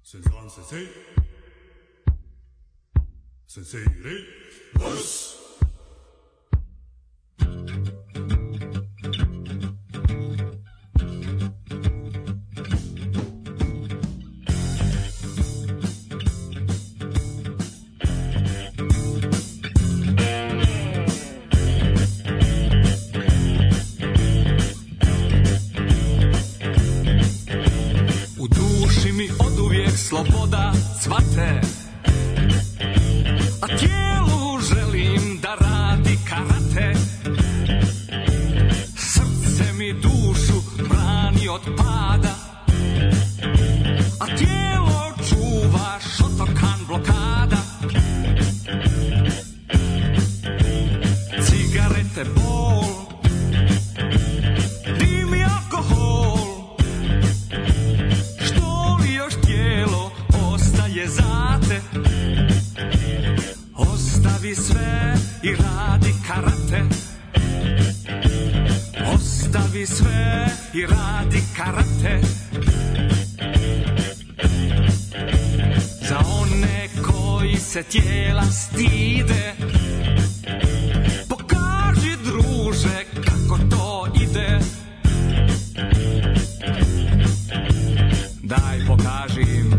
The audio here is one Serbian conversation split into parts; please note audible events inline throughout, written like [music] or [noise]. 先生先生ゆれワルス U duši mi od uvijek sloboda cvate A tijelu želim da radi karate Srce mi dušu brani od pada A tijelo čuva šotokan blokada Cigarete bol Dim i alkohol što li još tijelo ostaje za te Ostavi sve i radi karate Ostavi sve i radi karate Za one koji se tijela stide Pokaži druže kako to ide Daj pokaži im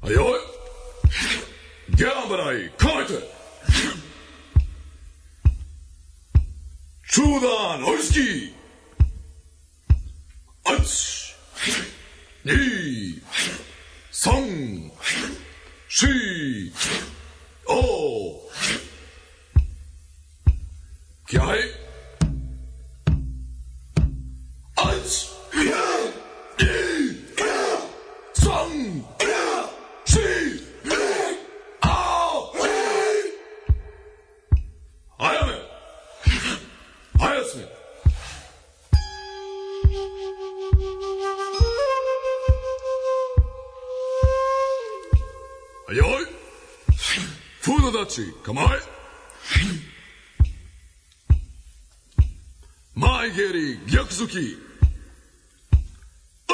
A joj Gerberaj, komajte Čudan, oljski Ač Ni Song Shi O Kjaj Ač Ni Song Shi O Ajame Ajasme Ajoj Fudo dači, kamaj Majgeri, gyakuzuki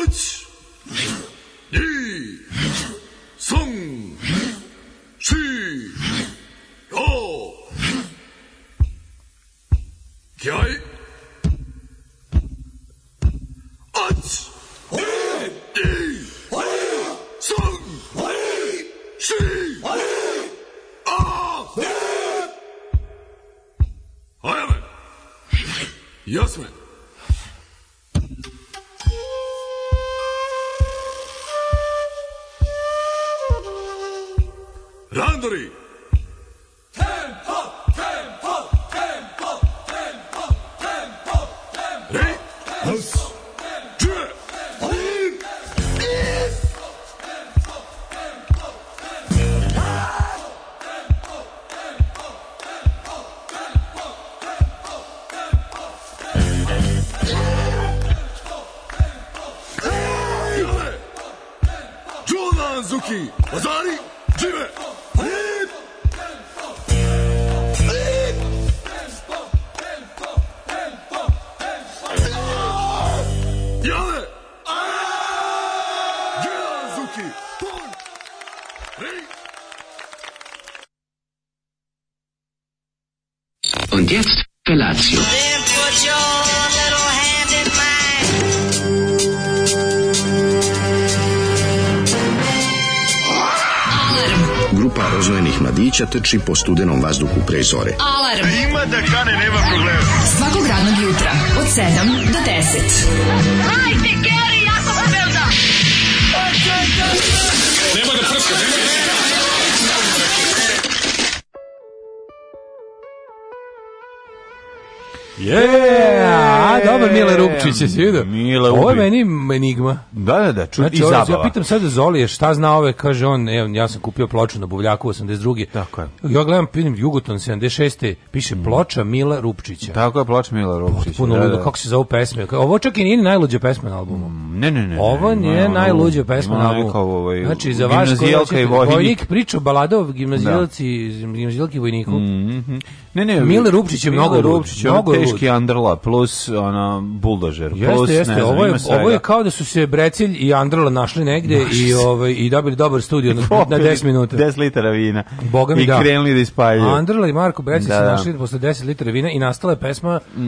Uč Ni Son Shi O Gjaj Uč Ni Son Şey! Aa! Hayır mı? Yaz mı? Randori! Tempo! Tempo! Tempo! Tempo! Tempo! Tempo! House! Jale! Jordan Zuki! Ozari! Žive! Lip! Lip! Jale! Jordan Zuki! Pon! Lip! Und jetzt Felatio. Then put your little hand in mine. Grupa rozvojenih mladića trči po studenom vazduhu pre zore. Alarm. E, Ima da kane, nema problema. Svakog radnog jutra, od 7 do 10. Hajde, Geri, jako se velda! Yeah! E, A, dobar Mile Rupčić, jesi vidio? Mile Ovo je ubi. meni enigma. Da, da, da, ču, Znači, i ovo- zabava. ja pitam sad Zolije šta zna ove, kaže on, evo, ja sam kupio ploču na Buvljaku 82. Tako je. Mm. Ja gledam, vidim, Jugoton 76. piše ploča Mila Rupčića. Tako je ploč Mila Rupčić. Puno ludo, kako se zove pesme. Ovo čak i nije ni najluđa pesma na albumu. Ne, ne, ne. Ovo ne, nije ima najluđa ono- pesma ima na ono albumu. neka, Ovaj, znači, za vas koji gimnazijalka hoćete- i vojnik. priča o balada o gimnazijalci, Mm. gimnazijalki i vojniku. Ne, ne, Mile Rupčić je Mile mnogo lud, Rupčić je ono mnogo lud. teški underla plus ono buldožer. plus, Jeste, ne jeste, znam, ovo je, ima svega. ovo je kao da su se Brecilj i Andrla našli negde i, ovaj, i dobili dobar studio na, na Popili 10 minuta. 10 litara vina. Boga mi I da. krenuli da ispaljuju. Andrla i Marko Brecilj Da, se da. našli posle 10 litara vina i nastala je pesma uh,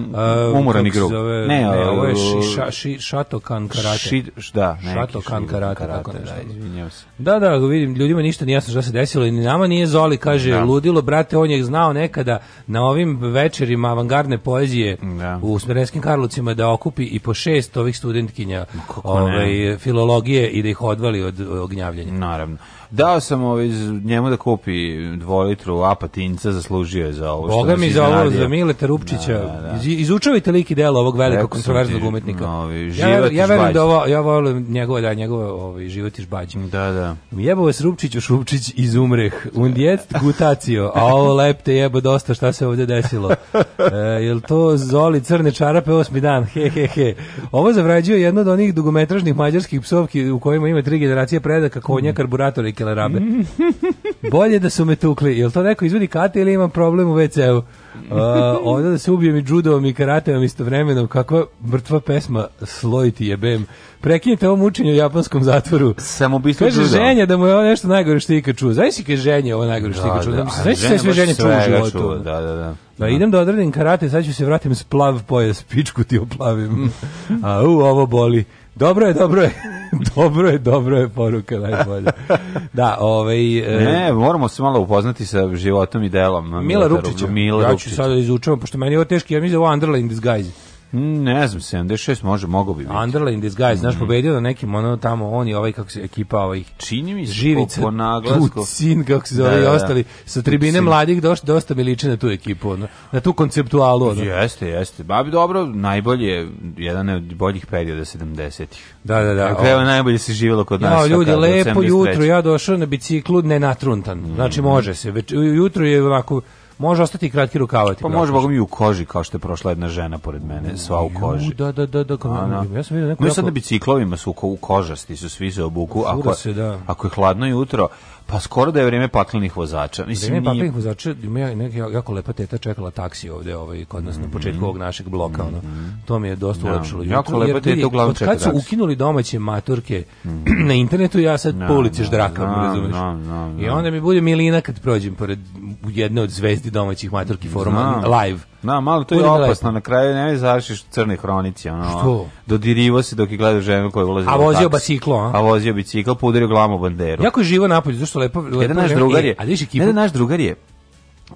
Umoran kako se igrok. zove- Ne, Ne, ovo je o- ši, ša, ši, Šatokan karate. Šit- š- da, neki Šatokan šit- karate, tako nešto. da, izvinjavam se. Da, da, vidim, ljudima ništa nije jasno šta se desilo i ni nama nije Zoli, kaže, ludilo, brate, on je znao nekada na ovim večerima avangardne poezije Da. u Smedenskim Karlovcima da okupi i po šest ovih studentkinja kako ne? ovaj, filologije i da ih odvali od e, ognjavljenja. Naravno. Dao sam ovaj, iz- njemu da kupi dvolitru apatinca, zaslužio je za ovo. što Boga nas mi za ovo, iznenadio. za Mileta Rupčića. Da, da, da. Iz- Izučavajte lik i delo ovog velikog Rekao sam kontroverznog ti, umetnika. ovi, ja, život i ja verujem žbađ. da ovo, ja volim njegove, da, njegove ovaj, život i žbađ. Da, da. Jebo vas Rupčić, u Šupčić iz umreh. Und jetzt gutacio. A ovo lepte jebo dosta šta se ovdje desilo. E, jel to zoli crne čarape osmi dan? He, he, he. Ovo zavrađuje jedno od onih dugometražnih mađarskih psovki u kojima ima tri generacije predaka, konja, karburatora i kelerabe. Bolje da su me tukli. Jel to neko izvedi kate ili imam problem u WC-u? Uh, ovdje da se ubijem i judovom i karateom istovremenom, kakva mrtva pesma sloj ti jebem. Prekinite ovo mučenje u japanskom zatvoru. Samoubistvo Kaže judo. ženja da mu je ovo nešto najgore što je ikad čuo. Znaš si kaže ženja ovo najgore što je ikad čuo. Da, a Znaš si sve žena sve ženja čuo u baš svega životu. čuva, Da, da, da. Da, idem da odradim karate, sad ću se vratim s plav pojas, pičku ti oplavim. A u, ovo boli. Dobro je, dobro je. [laughs] dobro je, dobro je poruka najbolja. Da, ovaj... e, Ne, moramo se malo upoznati sa životom i delom. Mila Mileta Rupčića. Rupčića. Mila ja ću Rupčića. sada da izučavam, pošto meni je ovo teški, ja mislim da je ovo Underla in disguise. Mm, Ne znam, 76 može, mogao bi biti. Underla in disguise, Mhm. znaš, pobedio na nekim, ono, tamo, on i ovaj, kako se, ekipa ovih Čini mi se Živica, po, po naglasku. Tucin, kako se zove, Da, i da, da. ostali. Sa tribine Tucin. mladih doš, dosta mi liče na tu ekipu, ono, na tu konceptualu. Ono. Jeste, jeste. Babi dobro, najbolje, je jedan od boljih perioda 70-ih. Da, da, da. Na kraju najbolje se živjelo kod nas. Ja, sad ljudi, kad, od lepo 73. jutro, ja došao na biciklu, ne natruntan. Mm. Znači, može se. Već, jutro je onako, može ostati i kratki rukavati. Pa može, boga mi i u koži, kao što je prošla jedna žena pored mene, sva u koži. Da, da, da, da, kao, Ono. ja sam vidio neku... No i sad jako- na biciklovima su ko, u kožasti, su svi se obuku. Fura Ako, se, da. ako je hladno jutro, pa skoro da je vrijeme paklenih vozača. Mislim, Vreme nije- papirnih vozača, ima ja- neka jako lepa teta čekala taksi ovde, ovaj, kod nas Mhm. na početku ovog našeg bloka, ono. To mi je dosta ulepšalo. jutro, Jako lepa jer teta vidi, uglavnom od kad su čeka taksi. Mhm. ukinuli domaće maturke [clears throat] na internetu, ja sad po ulici no, ždrakam, no, razumeš? no, no, no. I onda mi bude milina kad prođem pored jedne od zvezdi domaćih maturki foruma Znam. live. Na, malo to je Budem opasno, lepo. na kraju ne završiš u crnoj hronici, ono. Što? Dodirivo se dok je gledao ženu koja ulazi A vozio biciklo, a? A vozio biciklo, pa udario glavom o banderu. Jako je živo napolje, zašto lepo, lepo Jedan naš vreme. drugar E, je, a vidiš ekipu, jedan naš drugar je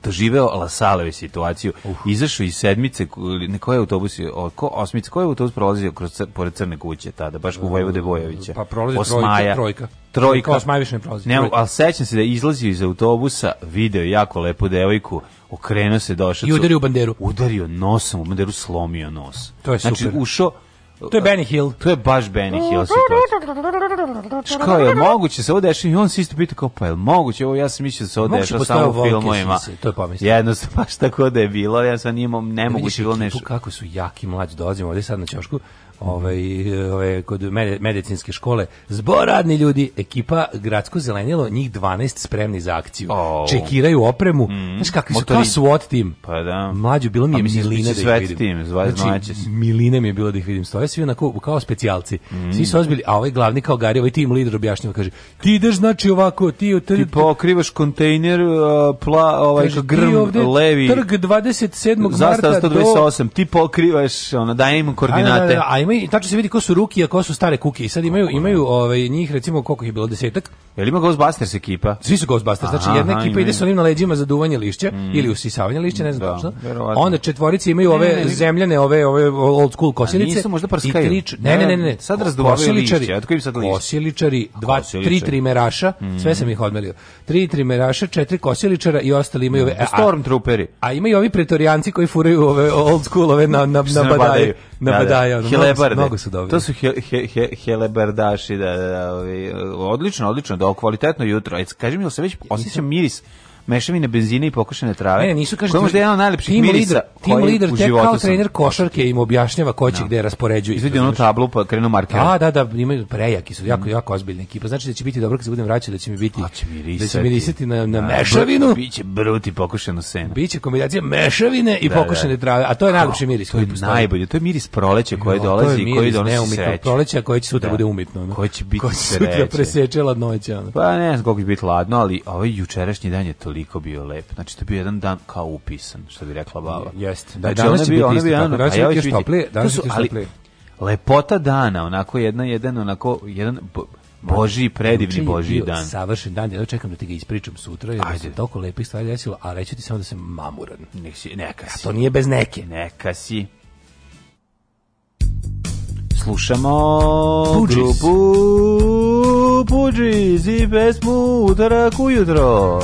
doživeo Lasaleve situaciju. Izašao iz sedmice, k- ne koji autobus je, o, ko, osmice, koji je autobus prolazio kroz cr, pored Crne kuće tada, baš u Vojvode Vojovića. pa prolazi Osmaja. trojka, trojka. Trojka. Kao Osmaja više ne prolazi. Ne, Trojka. ali sećam se da je izlazio iz autobusa, video je jako lepu devojku, okrenuo se došao. I udario u banderu. Udario nosom u banderu, slomio nos. To je Znači, super. ušao... To je Benny Hill. To je baš Benny Hill situacija. Znaš kao, je moguće se ovo dešava? I on se isto pita kao, pa je moguće? Ovo ja sam mislio da se ovo Moguće dešava postoje samo u volke filmovima. sise, to je pomislio. Jednostavno, baš tako da je bilo, ja sam imao nemoguće Vidiš bilo ekipu nešto. kako su jaki mlađi dolazimo ovdje sad na ćošku ovaj, ovaj, kod mede- medicinske škole zbor radni ljudi ekipa gradsko zelenilo njih 12 spremni za akciju Au. Mm. čekiraju opremu znaš kakvi su Motori- kao SWAT tim Pa da. mlađo bilo mi je A mislim, milina bit da će ih svet vidim tim, zva- znaće se. znači milina mi je bilo da ih vidim stoje svi onako kao specijalci Mm. svi su ozbiljni a ovaj glavni kao Gari ovaj tim lider objašnjava kaže ti ideš znači ovako ti, Ti pokrivaš kontejner, uh, pla, ovaj, kaže, ti grm, ovde levi, trg 27. zastava marta do 128, ti pokrivaš, ono, dajem im Da, da, da, koordinate. da, a ima i tačno se vidi ko su ruki, a ko su stare kuke. I sad imaju imaju ovaj njih recimo koliko ih je bilo desetak. Jel ima Ghostbusters ekipa? Svi su Ghostbusters, znači Aha, jedna ekipa imaju. Mm. ide sa onim na leđima za duvanje lišća ili usisavanje lišća, ne znam Da, tačno. verovatno. Onda četvorice imaju ove zemljane, ove ove old school kosilice. nisu možda i prskaju? trič- ne, ne, ne, ne. Sad razduvavaju Kosiličari- lišće, otkud im sad lišće? Kosiličari, dva, kosiličari. Mm. tri trimeraša, sve sam ih odmelio. Tri trimeraša, četiri kosiličara i ostali imaju ove... Pa E, a- Stormtrooperi. a ima i ovi pretorijanci koji furaju ove old school ove na na Što na se badaje, na Da, da. badaje, ono, mnogo su- Helebarde. mnogo su dobri. To su he, he, he, helebardaši, da, da, da, ovi, odlično, odlično, da, kvalitetno jutro. Ajde, kaži mi, jel se već osjećam miris mešavine benzina i pokošene trave? Ne, ne, nisu kaže. Koji je možda jedan od najlepših mirisa Tim koji lider u tek životu kao sam- trener košarke im objašnjava ko će gde raspoređuje. Izvedi ono tablu pa krenu marker. Da, da, da, imaju prejaki su, jako, jako ozbiljna ekipa. Znači da će biti dobro kad se budem vraćao, da će mi biti... Mm. Pa da će će mirisati. mi risati na, na Da, mešavinu. br- Biće bruti pokušeno seme. Biće kombinacija mešavine i pokušane trave, a to je najljepši miris To je koji postoji. najbolje, to je miris proleća koje Jo, to je dolazi i koji miris donosi neumitnog sreću. Proleća koje će sutra Da. bude umitno. ono. Koje će biti Koje će sutra sreće. preseče ladnoće. ono. Pa ne znam koliko će biti ladno, ali ovaj jučerašnji dan je toliko bio lep. Znači, to je bio jedan dan kao upisan, što bi rekla baba. Jeste. Da, Znači, danas ono će bio- biti ono isto bio tako. jedan- Danas a će ja biti hoću još toplije, danas će To su- biti još ali toplije. Lepota dana, onako jedna, jedan, onako, jedan bo- božji, Juče predivni Znači, je božji bio dan. Savršen dan, ja čekam da ti ga ispričam sutra, jer Ajde. se toliko lepih stvari desilo, a reći ću ti samo da sam mamuran. Nek si, neka si, To nije bez neke. neka si. Slušamo Fugees. grupu Puđis i pesmu Utorak ujutro.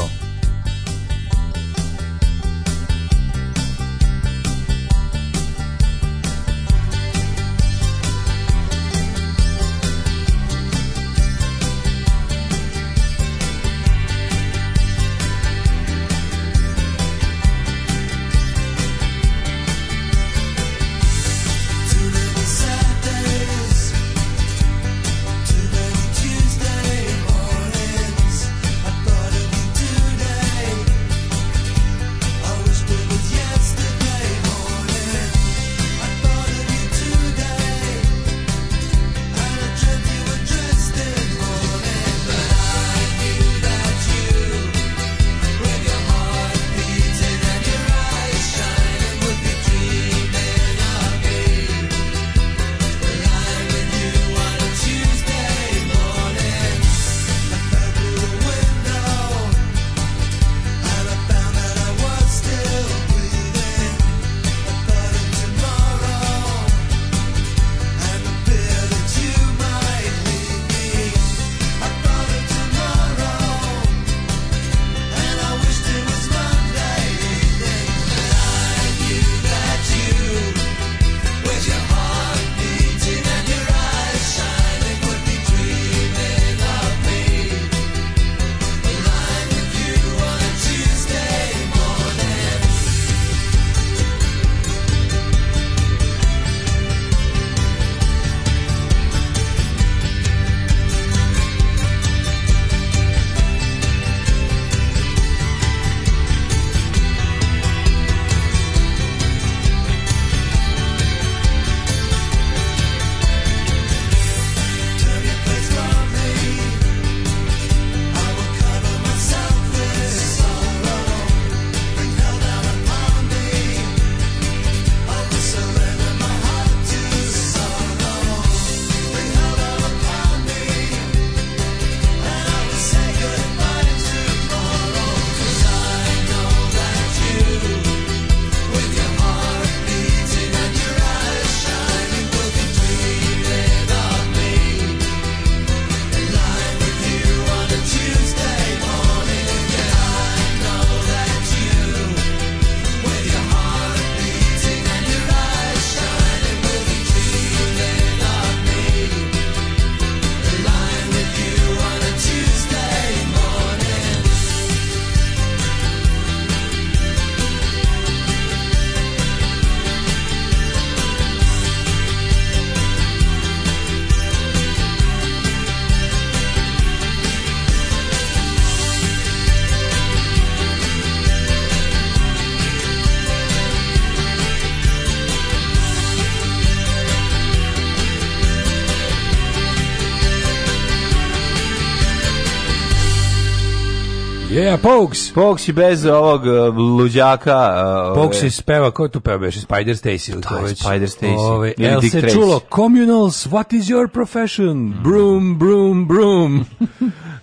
Yeah, Pogues! Poks i bez ovog e, luđaka. e, Pogues ove- je speva, ko je tu peva, beše Spider Stacy ili Da, ko već? Spider Stacy. Ove, Ili El Dick se Tracy. čulo, communals, what is your profession? Broom, broom, [laughs] broom.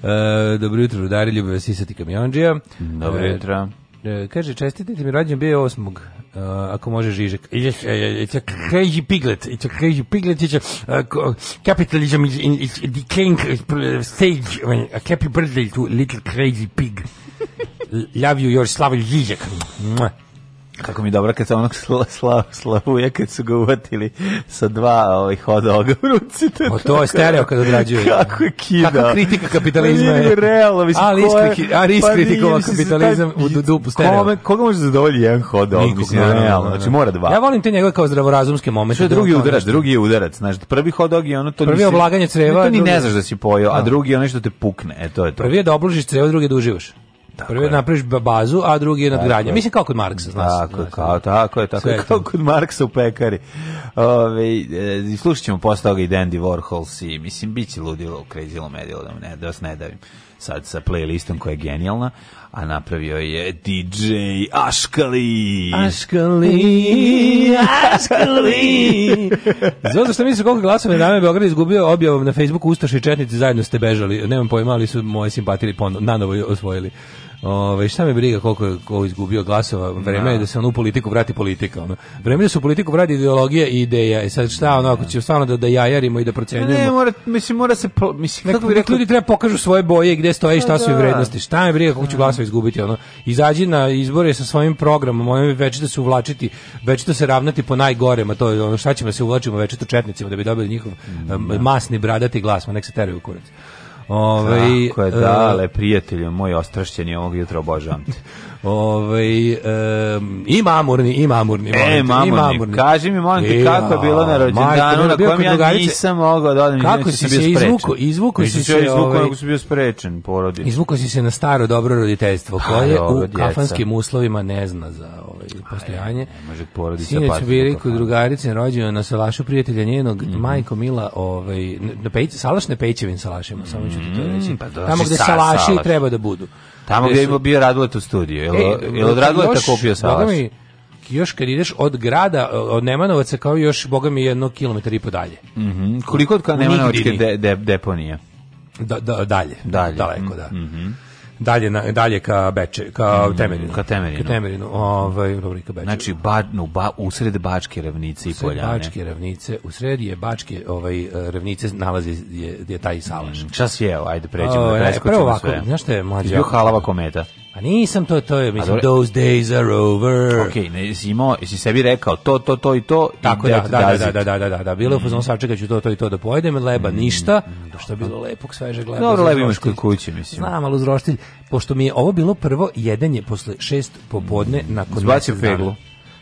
e, dobro jutro, rudari, ljubi vas isati kamionđija. Dobro E, jutro. E, kaže, čestite ti mi rođen bio osmog. E, ako može Žižek. Yes, e, e, It's a crazy piglet. It's a crazy piglet. It's a uh, co- capitalism is in its decaying uh, stage. When a happy [laughs] birthday to little crazy pig. Love you, your Slavoj Žižek. Mua. Kako mi je dobro kad sam onog sla, sla, slavuja kad su ga uvatili sa dva ovih hodoga u ruci. To, je O, to je tako- stereo kad odrađuje. Kako je kidao. Kakva kritika kapitalizma je. Nije realno, mislim, Ali ko je- iskri- ali pa nije, iskritikovao mislim, kapitalizam taj- u du- dupu stereo. Kome, koga može zadovoljiti jedan hodog? Nikog, mislim, naravno, da, realno, da. znači mora dva. Ja volim te njegove kao zdravorazumske momente. Što je da drugi on kao udarac, nešto- drugi je udarac, znaš, prvi hot dog je ono to Prvi je nisi- oblaganje creva, To ni drugi- ne znaš da si pojeo, a drugi je ono što te pukne, e to je to. Prvi je da obložiš crevo, drugi je da uživaš. Prvi je je. da napraviš ba- bazu, a drugi je nadgradnja. Mislim kao kod Marksa, znaš. Tako, je, znaš. kao, tako je, tako Sve je, je kao to. kod Marksa u pekari. Ove, e, slušat ćemo posle toga i Dandy Warhols i, mislim, bit će ludilo u Crazy Lomedilo, da, mu ne, da vas ne davim sad sa playlistom koja je genijalna, a napravio je DJ Aškali. Aškali, aškali. Zato što misliš koliko glasova je Dame Beograd izgubio objavom na Facebooku Ustaši i Četnici zajedno ste bežali. Nemam pojma, ali su moje simpatije pono- nanovo osvojili. Ove, šta me briga koliko je ko izgubio glasova, vreme je da se on u politiku vrati politika. Ono. Vreme je da se u politiku vrati ideologija i ideja. I sad šta ono, ako ćemo stvarno da, da jajarimo i da Ne, procenjujemo. mora, mislim, mora se, pl- mislim, Nek, kako bi nek rekli, ljudi treba pokažu svoje boje i gde stoje i šta su im da. Mm. vrednosti. Šta me briga kako ću glasova izgubiti ono. Izađi na izbore sa svojim programom, ono večito se uvlačiti, večito se ravnati po najgorema, to je ono šta ćemo da se uvlačimo večito četnicima da bi dobili njihov Mm, em, masni bradati glas, ma nek se teraju u kurac. Ovaj Tako je, e, dale, prijatelju, moj ostrašćeni ovog jutra obožavam te. [laughs] ovaj em, i mamurni, i mamurni, molim te, E, i mamurni, kaži mi, molim te, Ja, kako je bilo na E, majko rođendanu, mila, na bio kojem kod ja drugarice. nisam mogao da odem, Kako inače si sam se bio sprečen. izvukao? Izvukao Nisam si ja se, izvukao, ovaj, nego sam bio sprečen, porodi. Izvukao si se na staro dobro roditeljstvo koje Pa, dobro, u djeca. kafanskim uslovima ne zna za ovaj postojanje. ne može porodica Sinoć patiti su u bili kafani. kod drugarice rođena na salašu prijatelja njenog Mhm. Majko Mila, ovaj n- na peć, salaš ne pećevim salašima, samo ću ti to reći. pa dođi Tamo gde sa- salaši salaš. treba da budu. Tamo gdje je bio Radulet u studiju. Jel, E, jel od Raduleta još, kupio boga salaš? mi, još kad ideš od grada, od Nemanovaca, kao još, boga mi, jedno kilometar i po dalje. Mhm. Koliko od kada nema Nigdini. novačke de, de, deponije? Da, da, dalje. Dalje. Mm-hmm. Daleko, da. Dalje, na, dalje ka Beče, ka Temerinu. ka Temerinu. Ka Temerinu, ovaj, dobro, i ka Beču. Znači, ba, no, ba, usred Bačke ravnice i Usred Poljane. Bačke ravnice, u sredi je Bačke ovaj, eh, ravnice nalazi je, je taj salaš. Mm, Šta si jeo? Ajde, pređemo O, da ne, preskočimo prvo ovako, sve. znaš šta je mlađe? Jesi bio halava kometa. A nisam to, to je, mislim, dobro. those days are over. Ok, ne, jesi imao, jesi sebi rekao to, to, to i to. i Tako da, dete da, da, dazit. da, da, da, da, da, bilo je u fazonu Mm-hmm. sačekat ću to, to i to da pojedem, leba ništa, što je bilo lepog, svežeg leba. Dobro, za lepo imaš kod zroštilj. kuće, mislim. Znam, ali uz roštilj, pošto mi je ovo bilo prvo jedenje posle šest popodne nakon Zbacio mjesec dana. peglu.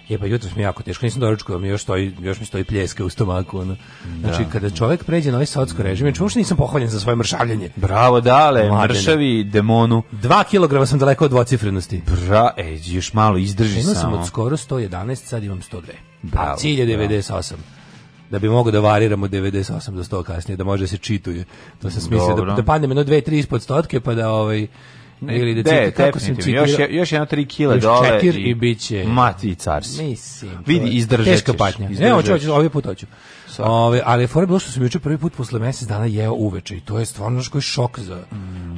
Je pa jutros mi je jako teško, nisam doručkao, mi još stoji, još mi stoji pljeska u stomaku. Ono. Znači, kada čovjek pređe na ovaj socko režim, ja čuš nisam pohvaljen za svoje mršavljenje. Bravo, dale, Mladene. mršavi demonu. Dva kilograma sam daleko od dvocifrenosti. Bra, ej, još malo izdrži Imao sam samo. od skoro 111, sad imam 102. Bravo, a cilj je 98. Da bi mogao da variramo 98 do 100 kasnije, da može da se čituje. To sam smislio da, Dobro. da padnem jedno 2-3 ispod stotke, pa da ovaj... Ili da De, citi, kako sam E, definitivno. Još, citirao- je- još jedno tri kila Još dole. četir i bit će- Ma ti car si. Mislim. to Vidi, je izdržat Teška ćeš, patnja. Ne, izdržat hoću, ćeš. hoću, ovaj put hoću. Ove, ali je fora bilo što sam juče prvi put posle mesec dana jeo uveče i to je stvarno znaš koji šok za,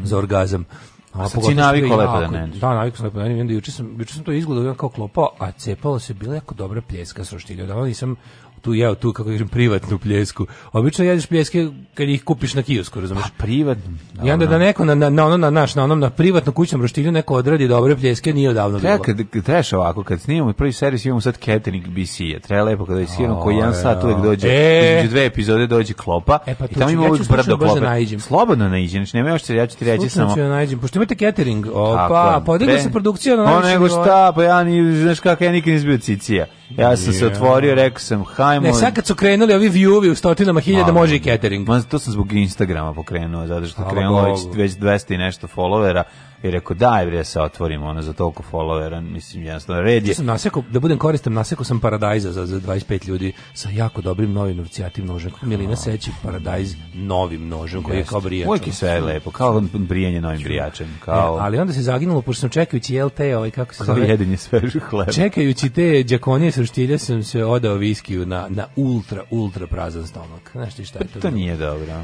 za orgazam. A, sad si navikao što je lepo da jako- ne jedeš. Da, navikao sam lepo da ne jedem. I onda Juče sam, juče sam to izgledao jedan kao klopao, a cepalo se bila jako dobra pljeska s roštilja. Da, nisam tu jeo tu, kako kažem, privatnu pljesku. Obično jedeš pljeske kad ih kupiš na kiosku, razumiješ? Privatno. I onda da neko na, na, na, ono, na, naš, na onom na privatno kućnom roštilju neko odradi dobre pljeske, nije odavno Treba, bilo. kad, kad trebaš ovako, kad snimamo prvi serijs imamo sad catering BC-a, treba lepo kada je sirano koji jedan sat uvek dođe, E. između dve epizode dođe klopa, E, pa i tu tamo ću- ima ja ću uvek slučajno brdo baš da klopa. naiđem. Slobodno naiđi, znači nema još ja ću ti reći Slučajno samo... ću ja nađem, pošto imate catering, Tako opa, je. podigla Pre- se produkcija na O, najviši nego nivo. šta, pa ja ni, znaš kako, ja nikad nisam bio cicija. Ja sam se otvorio, rekao sam, hajmo... Ne, sad kad su krenuli ovi view-ovi u stotinama hiljada, Malo. može i catering. Ma, to sam zbog Instagrama pokrenuo, zato što je Hvala krenulo već, Bogu. već 200 i nešto followera i rekao daj bre se otvorim ono za toliko followera, mislim jednostavno red je. Ja sam naseko, da budem koristan, naseko sam paradajza za, za 25 ljudi sa jako dobrim novim novcijatim nožem. Kako Milina seći paradajz novim nožem koji je kao brijač. Uvijek je sve lepo, kao brijanje novim brijačem, kao, E, Ali onda se zaginulo, pošto sam čekajući LT, ovaj, kako se kao zove, jedenje svežu hleba. Čekajući te džakonije sa roštilja sam se odao viskiju na, na ultra, ultra prazan stomak. Znaš ti šta je to? To nije dobro.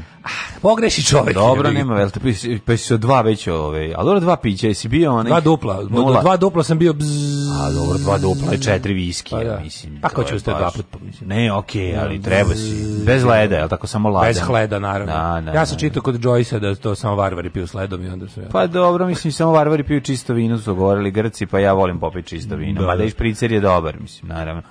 Pogreši čovjek. Dobro, jebi ga. nema velte, pa jesi- pa jesi se od dva već ove, ali dobro dva pića, jesi bio onaj? Dva dupla, Nula. dva dupla sam bio bzzz. A dobro, dva dupla i četiri viskija, Pa da. mislim. Pa ko to će je ustati baš- dva puta, mislim. Ne, okej, ali treba si. Bez leda, je li tako samo ladan? Bez hleda, naravno. Pa Da, da, ja sam da. čitao kod Joyce-a da to samo varvari piju s ledom i onda sam ja... Pa dobro, mislim, samo varvari piju čisto vino, su govorili Grci, pa ja volim popiti čisto vino. Da, Da, Mada da. i špricer je dobar, mislim, naravno.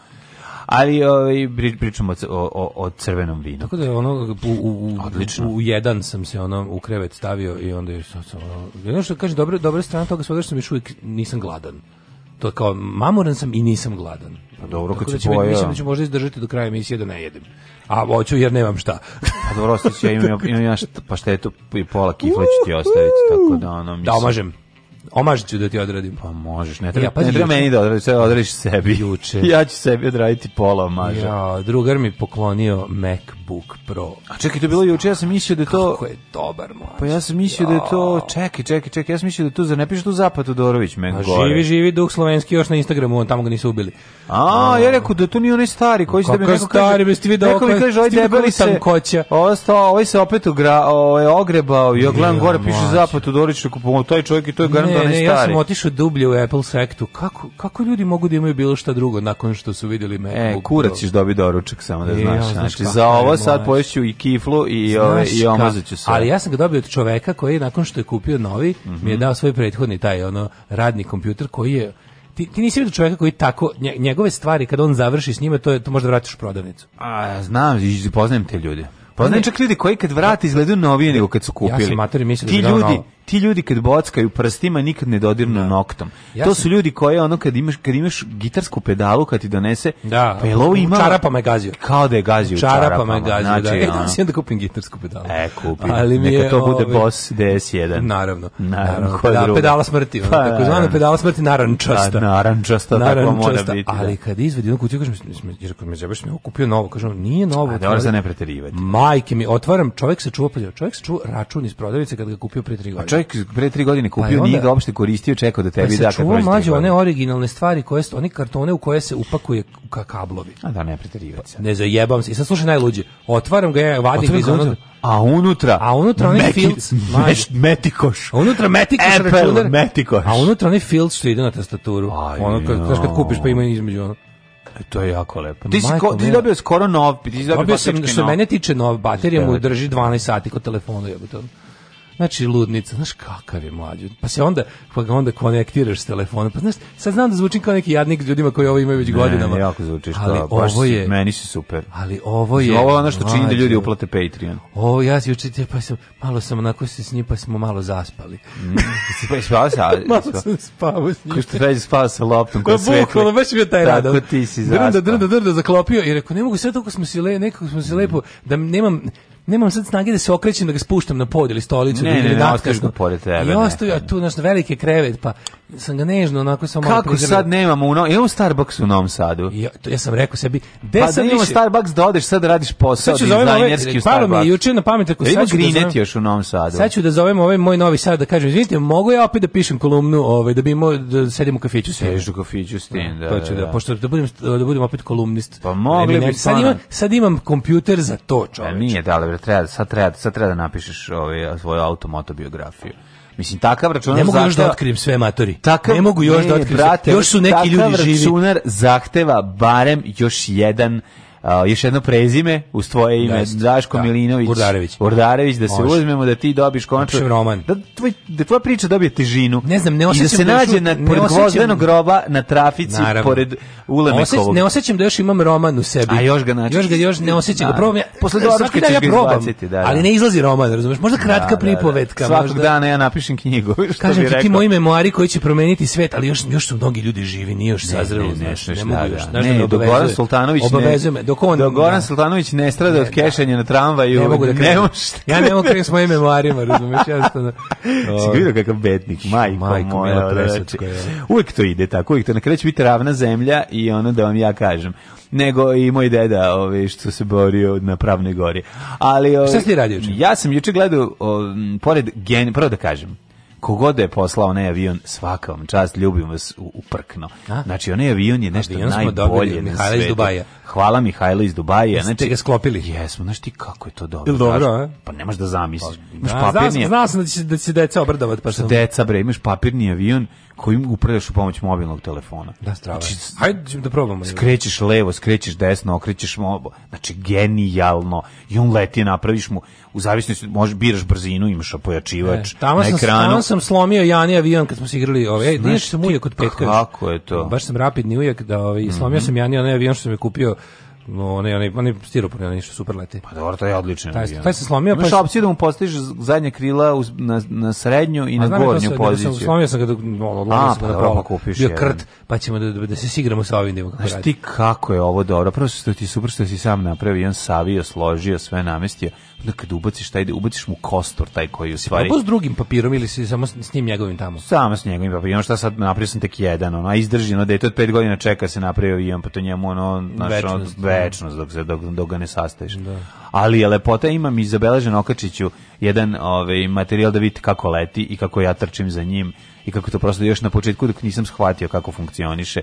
Ali ovaj, pri- pričamo o c- o, o, o crvenom vinu. Tako da je ono u, u, Odlično. u, u jedan sam se ono u krevet stavio i onda je sad sam ono, ono što kaže dobra dobra strana toga svega što sam još uvijek nisam gladan. To je kao mamoran sam i nisam gladan. Pa dobro, Tako kad da si će, mi- pojeo. mislim da ću možda izdržati do kraja emisije da ne jedem. A hoću jer nemam šta. Pa dobro, ostaće, ja imam, imam ja šta, pa štetu i pola kifle ću ti ostaviti, tako da ono, mislim. da omažem. Omaž ću da ti odradim. Pa možeš, ne treba, Ja, pazi, ne treba juče- meni da odradiš, sve odradiš sebi. Juče. Ja ću sebi odraditi pola omaža. Ja, drugar mi poklonio MacBook Pro. A čekaj, to je bilo juče, ja sam mislio da je to... Kako je dobar mlađe. Pa ja sam mislio da je to... Čekaj, čekaj, čekaj, ja sam mislio da je tu, zar ne piše tu Zapad Todorović, men A gore. Pa Živi, živi duh slovenski još na Instagramu, on tamo ga nisu ubili. A, ja rekao da to nije onaj stari koji će da mi Kakav neko kaže. stari, bre, ste vi da neko mi oko- kaže, ovaj ste vi debeli kako se, tankoća. ostao, ovaj se opet ugra, ovaj, ogrebao i ja gledam Ja, gore, piše mlađe. Zapad Todorović, rekao, pa taj čovjek i to je garant ne, onaj ne, stari. ja sam otišao dublje u Apple sektu. Kako, kako ljudi mogu da imaju bilo šta drugo nakon što su vidjeli E, MacBook kurac Pro? ćeš dobiti doručak, samo da E, znaš. ja, znaš znači, kako za je, ovo mlađe. sad poješću i kiflu i, ove, Znaš i ka- omazat ću se. Ali ja sam ga dobio od čoveka koji je nakon što je kupio novi, mi je Mhm. dao svoj prethodni taj ono radni kompjuter koji je Ti, ti nisi vidio čoveka koji tako, nje- njegove stvari, kada on završi s njima, to, je, to možda vratiš u prodavnicu. A, znam, i poznajem te ljude. Ne. Poznajem čak ljudi koji kad vrate izgledaju novije nego kad su kupili. Ja sam mater i mislio da ti bi dao ljudi, novo. ti ljudi kad bockaju prstima nikad ne dodirnu noktom. Ja to sam- su ljudi koji ono kad imaš kad imaš gitarsku pedalu kad ti donese, Da, pa jel ovo u ima čarapama je gazio. Kao da je gazio u Čarapama čarapama, je gazio, da. znači, [laughs] E, da ono, si onda kupim gitarsku pedalu. E, kupi. Ali mi Neka je, to bude ovaj, Boss DS1. Naravno. Naravno, ko pedala, drugo? pedala smrti, ono, Pa, tako zvana naravno. pedala smrti narančasta. Da, narančasta, tako mora biti, da. Ali kad izvedi jednu kutiju, kažem, mislim, mislim, jer kod me zebaš mi je ovo kupio novo, kažem, nije novo. A dobro otvaraj. za ne preterivati. Majke mi, otvaram, čovjek se čuva, pa čovjek se čuva račun iz prodavnice kad ga je kupio pre tri godine. Čovjek pre tri godine Pa i kupio, onda- nije ga uopšte koristio, čekao da Pa tebi se da kad čuva prođe tri mlađe one godine. originalne stvari, koje, su- oni kartone u koje se upakuje ka kablovi. Ah, A da, ne preterivati sad. Ne zajebam se. I sad slušaj najluđe. Otvaram ga, ja vadim ga Otvori iz ga onog... unutra. A unutra? A unutra onaj Meki- filc, meš- mlađe. Pa Metikoš. A unutra metikoš Apple računar. metikoš. A unutra onaj filc što ide na tastaturu. Aj, ono kad, znaš kad kupiš pa ima između ono. E, To je jako lepo. Ti si, Majko ko, ti si mila. dobio skoro nov, ti si dobio Dobio sam, faktički što nov. mene tiče, nov baterija mu Veliko. drži 12 sati kod telefonu, jebote. ono. Znači, ludnica, znaš kakav je mlađi. Pa se onda, pa ga onda konektiraš s telefonom. Pa znaš, sad znam da zvučim kao neki jadnik ljudima koji ovo imaju već godinama. Ne, jako zvučiš ali to, baš ovo si- je, meni si é super. ali ovo je... Ovo je ono što čini da ljudi mlađe. uplate Patreon. O, ja se juče, pa sam, malo sam onako se s njim, pa smo malo zaspali. Pa spava sa... malo sam spavao s njim. Kao što Feđa spava sa loptom Pa koja svetli. bukvalno, baš bio taj radan. Tako né? Tá ti si zaspao. Drnda, drnda, drnda, zaklopio i rekao, ne mogu sad, tako smo se, le, nekako smo se lepo, da nemam, nemam sad snage da se okrećem, da ga spuštam na pod ili stolicu. Ne, da ne, ili ne, datkasno. ostaviš ga pored tebe, I ostavio, ne. tu, znaš, velike krevet, pa sam ga nežno, onako samo malo Kako prigrlio. sad nemamo u Novom... Imamo é um Starbucks u Novom Sadu. I Ja, to, ja sam rekao sebi, gde Pa da sam imamo više- um Starbucks da odeš sad da radiš posao Sad ću zovem ovaj, dizajnerski u palo mi je Starbucks. juče na pamet, rekao, Da ima sad ću da zovem- Grinet još u Novom Sadu. Sad ću da zovem ovaj moj novi sad da kažem, izvinite, mogu ja opet da pišem kolumnu, ovaj, da bi imao, da sedim u kafiću sve. Sediš u kafiću s tim, da, Mm, to ću da, pošto da budem da budem opet kolumnist. Pa mogli Ne bi bi nek- sad stvarno. imam sad imam kompjuter za to, E, čoveče. nije, da, ali bre, treba, sad, treba, sad treba da napišeš ovaj, svoju automotobiografiju. Mislim, takav računar Ne mogu još da zahteva- otkrijem sve matori. Takav, ne mogu još ne, da otkrijem. sve. brate, još su neki ljudi takav živi. računar zahteva barem još jedan a, još jedno prezime uz tvoje ime Jeste, Daško da. Milinović Urdarević. Urdarević da se Može. uzmemo da ti dobiš konačno Napišem roman. da tvoj da tvoja priča dobije težinu Ne znam, ne i da osjećam se da još nađe u- na ne pored osjećam- gvozdenog groba na trafici Naravno. pored Osjeć- Ulemekovog ne osjećam da još imam roman u sebi. A još ga znači- Još ga još ne osjećam. Da. Da. Probam ja. Posle doručka Svaki dan ćeš ja ga probam, izbaciti, da, da. Ali ne izlazi roman, razumeš? Možda kratka Da, da, da. pripovetka, svakog možda. dana ja napišem knjigu [laughs] što Kažem bi ti, ti rekao. moji memoari koji će promeniti svet, ali još, još su mnogi ljudi živi, nije još sazrelo, ne, znaš, ne, ne ne, mogu da, još, da. znaš, Ne, da me dok Goran obavezuje. Sultanović ne- Obavezuje me, dok on... dok Goran da. Sultanović ne strada od kešanja na tramvaju ne mogu da ne krenem. možeš ja ne mogu krenem s mojim memoarima, razumeš, Ovaj. jednostavno. [laughs] Si ga vidio kakav betnik, majko, Majko, moja, mila da, preslatko, znači, je. Uvijek to ide tako, uvijek to na kraju će biti ravna zemlja i ono da vam ja kažem. Nego i moj deda, ovaj, što se borio na Pravnoj gori. Ali, ovaj, Šta si ti radio juče? Ja sam juče gledao, o, m, pored gen, prvo da kažem, kogod da je poslao onaj avion, svaka vam čast, ljubim vas u- uprkno. A? Znači, onaj avion je nešto Avion smo dobili, najbolje na Mihajla iz svetu. Dubaja. Hvala Mihajlo iz Dubaja. Znači, Jeste ga sklopili? Jesmo, znaš ti kako je to dobro. Jel dobro, znaš? a? Pa nemaš da zamisliš. Imaš A, znao, sam, papirni, znao sam da će, se- da će se deca obrdovat, pa sam... deca bre, imaš papirni avion kojim upravljaš u pomoć mobilnog telefona. Da, strava. je. Znači, s- Hajde da probamo. skrećeš levo, skrećeš desno, okrećeš mobo. Znači, genijalno. I on leti, napraviš mu, u zavisnosti, možeš, biraš brzinu, imaš pojačivač E, tamo na sam, ekranu. tamo sam slomio Jani avion kad smo se igrali, ovaj, ej, Znaš znaš sam ti ujak od petka. još. kako je to? Mhm. Baš sam rapidni ujak da ovaj, slomio sam Jani onaj avion što sam je kupio, no, onaj, onaj, onaj stiropor, onaj što super leti. Pa dobro, to je odličan Taj- avion. taj se slomio, Imaš pa- opciju da mu postaviš zadnje krila uz- na, na srednju i A na znam ja to gornju sve, nego poziciju. Sam, slomio sam ga, da, no, odlomio A, sam ga pa na dobro, prola. pa kupiš Bio jedan. krt, pa ćemo da, da, da se sigramo sa ovim da vidimo kako Znaš radi. ti kako je ovo dobro, prvo što ti je super što si sam napravio, on savio, složio, sve namestio, onda kad ubaciš taj, ubaciš mu kostor taj koji u stvari... Probao s drugim papirom ili si samo s, s njim njegovim tamo? Samo s njegovim papirom, šta sad napravio sam tek jedan, ono, a izdrži, ono, dete od pet godina čeka da se napravio avion, pa to njemu, ono, znaš, ono, Večnost, da. večnost dok, se, dok, dok ga ne sastaviš. Ali je lepota, imam i zabeležen Okačiću jedan ovaj, materijal da vidite kako leti i kako ja trčim za njim i kako to prosto još na početku dok nisam shvatio kako funkcioniše.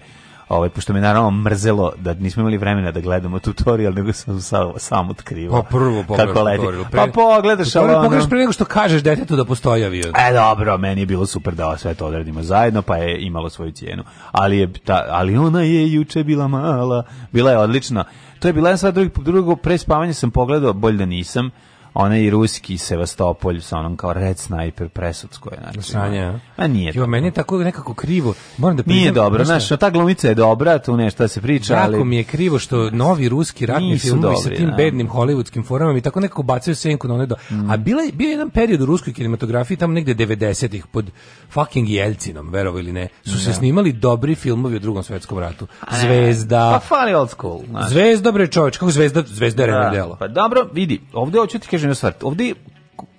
Ovaj, pošto me naravno mrzelo da nismo imali vremena da gledamo tutorial, nego sam sam, sam otkrivao Pa prvo pogledaš kako leti. tutorial. Pa pogledaš, ali tutorial ono- pogledaš pre nego što kažeš detetu da postoji avion. E dobro, meni je bilo super da sve to odradimo zajedno, pa je imalo svoju cijenu. Ali je ta, ali ona je juče bila mala, bila je odlična. To je bila jedna stvar drugi drugo pre spavanja sam pogledao, bolje da nisam. Onaj i ruski Sevastopolj sa onom kao Red Sniper presudsko je znači. Sranje, a? A nije. Jo, dobro. meni je tako nekako krivo. Moram da Nije priznam, dobro, znaš šta? znaš, ta glumica je dobra, tu nešto se priča, Jako ali mi je krivo što novi ruski ratni Nisu filmovi sa dobri, tim da. Mm. bednim hollywoodskim formama mi tako nekako bacaju senku na one do... A bila, je- bio je jedan period u ruskoj kinematografiji tamo negde 90-ih pod fucking Jelcinom, verovo ili ne, su se snimali dobri filmovi o drugom svetskom ratu. Pa Zvezda, fali old school, znaš. Zvezda bre čoveč, kako zvezda, zvezda je reno Da, delo. Pa dobro, vidi, ovde hoću ti kažem jednu stvar. Ovde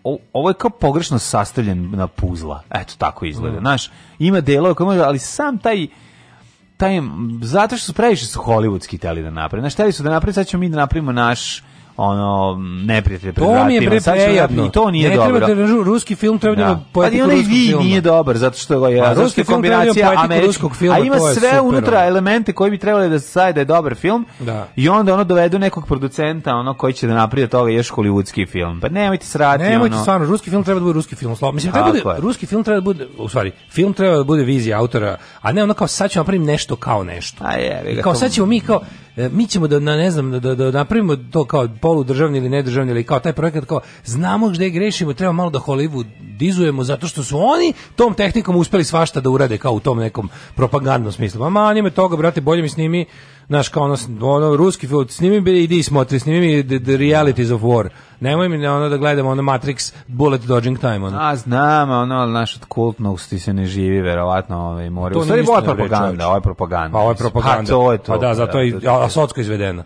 o- ovo je kao pogrešno sastavljen na puzla. Eto tako Mm. izgleda. Znaš, ima delova koje može, ali sam taj taj m, zato što su previše su hollywoodski teli da naprave. Znaš, teli su da naprave, sad ćemo mi da napravimo naš ono neprijatelj pred To mi je vratima. bre Sad ćemo prejadno. napraviti- I to nije ne dobro. treba da ruski film treba da ima Da. Pa i poetiku onaj ruskog vi filma. nije dobar zato što ga je A zato ruski što je film treba da ima kombinacija poetiku američkog ruskog filma, a ima to je sve super, unutra ono. elemente koji bi trebali da se saje da je dobar film. Da. I onda ono dovedu nekog producenta ono koji će da napravi od toga još hollywoodski film. Pa nemojte srati Nemojte ono. stvarno, ruski film treba da bude ruski film. Slo- Mislim, treba da Tako bude, je. ruski film treba da bude, u stvari, film treba da bude vizija autora, a ne ono kao sad ćemo napraviti nešto kao nešto. A jebi ga, I kao to- sad ćemo mi kao, e, mi ćemo da, na- ne znam, da, da, da napravimo to kao poludržavni ili nedržavni ili kao taj projekat kao znamo gde grešimo, treba malo da Hollywood dizujemo zato što su oni tom tehnikom uspeli svašta da urade kao u tom nekom propagandnom smislu. Ma manje me toga, brate, bolje mi snimi naš kao ono, ono ruski film, snimi mi idi i smotri, snimi mi the, the realities of war. Nemoj mi na ono da gledamo ono Matrix Bullet Dodging Time. Ono. A znam, ono, ali naš od kultnosti se ne živi, verovatno, ovaj, mora. To U stvari, nije ovo je istina, bre, propaganda, čoveče. ovo je propaganda. Pa ovo je mislim. propaganda. Pa to je to. Pa da, zato i, to je a, to. a Sotsko je izvedena.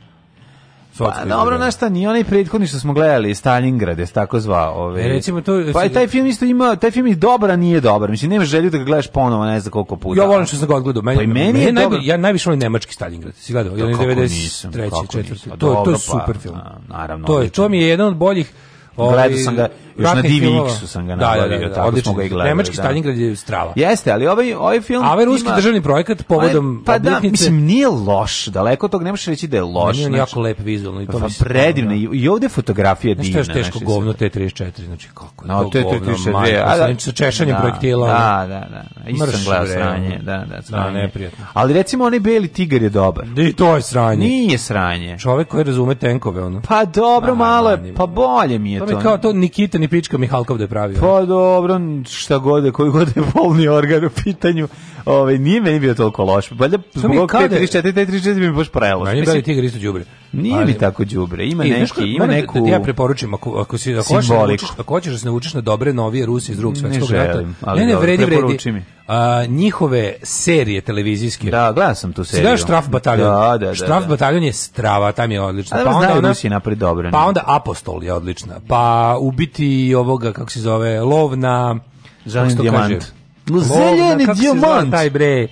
Sotsko Pa je dobro, izvedena. znaš šta, ni onaj prethodni što smo gledali, Stalingrad, je se tako zvao. Ove, E, recimo, to- pa i taj film isto ima, taj film je dobar, a nije dobar. Mislim, nema želju da ga gledaš ponovo, ne znam koliko puta. Ja volim što sam ga odgledao. Meni, Pa i meni je meni najbolje- dobro. ja najviše volim nemački Stalingrad. Si gledao? Ja To ne kako 93. nisam, kako 4. To, nisam. Pa to je dobro, pa, super film. a, naravno, To je, odličan. to mi je jedan od boljih Gledao sam ga, još na ratnih filmova. DVX-u sam Da, ga da, da, nabavio, da, tako odličan smo ga i film. gledali, Nemački da. Stalingrad je strava. Jeste, ali ovaj, ovaj film... A ovaj ruski ima- državni projekat povodom Pa da, obljetnice- mislim, nije loš, daleko od toga, ne možeš reći da je loš. Meni je on znači, jako lep vizualno i to pa mi se- predivno, i i ovde je fotografija divna. znači, Nešto je teško znaš, govno T34, znači kako je No, to Pa to je govno, 34. majko, znači a sa- sa češanjem da, projektila. ono. Da, da, da. Isto sam Mrš, gledao bre, sranje. ono. Da, da, Da, sranje. neprijatno. Ali recimo onaj beli tigar je dobar. I to je sranje. Nije sranje. Čovek koji razume tenkove, ono. Pa dobro, Ma, malo manje, je, pa bolje mi je To to. mi je kao to Nikita ni pička Mihalkov da je pravio. Pa dobro, šta god, je, koji god je polni organ u pitanju, ovaj, nije meni bio toliko loš. Valjda zbog mi ovog kada- 5-3-4, 5-3-4 mi je baš prelo. Meni je Beli Tigar isto đubre. Nije mi tako đubre, ima I, znaš ko- Pa neki, ima moram da- neku... da ti ja preporučujem ako ako si ako hoćeš, da simboliku. naučiš, ako hoćeš da se naučiš na dobre novije Ruse iz Drugog svetskog rata. želim, ali ne, ne, dobro, vredi, preporuči vredi. mi. A, njihove serije televizijske. Da, gledam sam tu Si seriju. gledaš Štraf bataljon? Da, da, da. Štraf da. bataljon je strava, tam je odlična. A dobro, znaju Rusi napred dobro, Pa ne? onda Apostol je odlična. Pa ubiti ovoga, kako se zove, lov na... Zeleni kako se to kaže? dijamant. Lov na- Zeleni kako se zove dijamant. Taj bre,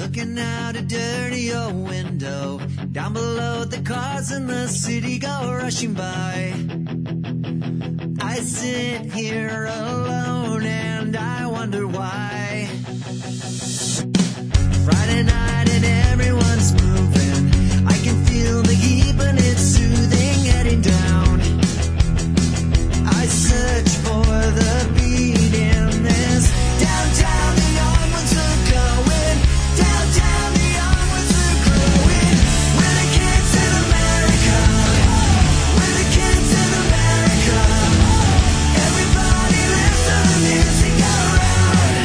Looking out a dirty old window. Down below, the cars in the city go rushing by. I sit here alone and I wonder why. Friday night and everyone's moving. I can feel the heat, and it's soothing, heading down. I search for the beat in this downtown. The young ones are going downtown. The young ones are growing. We're the kids in America. We're the kids in America. Everybody listen to the music around.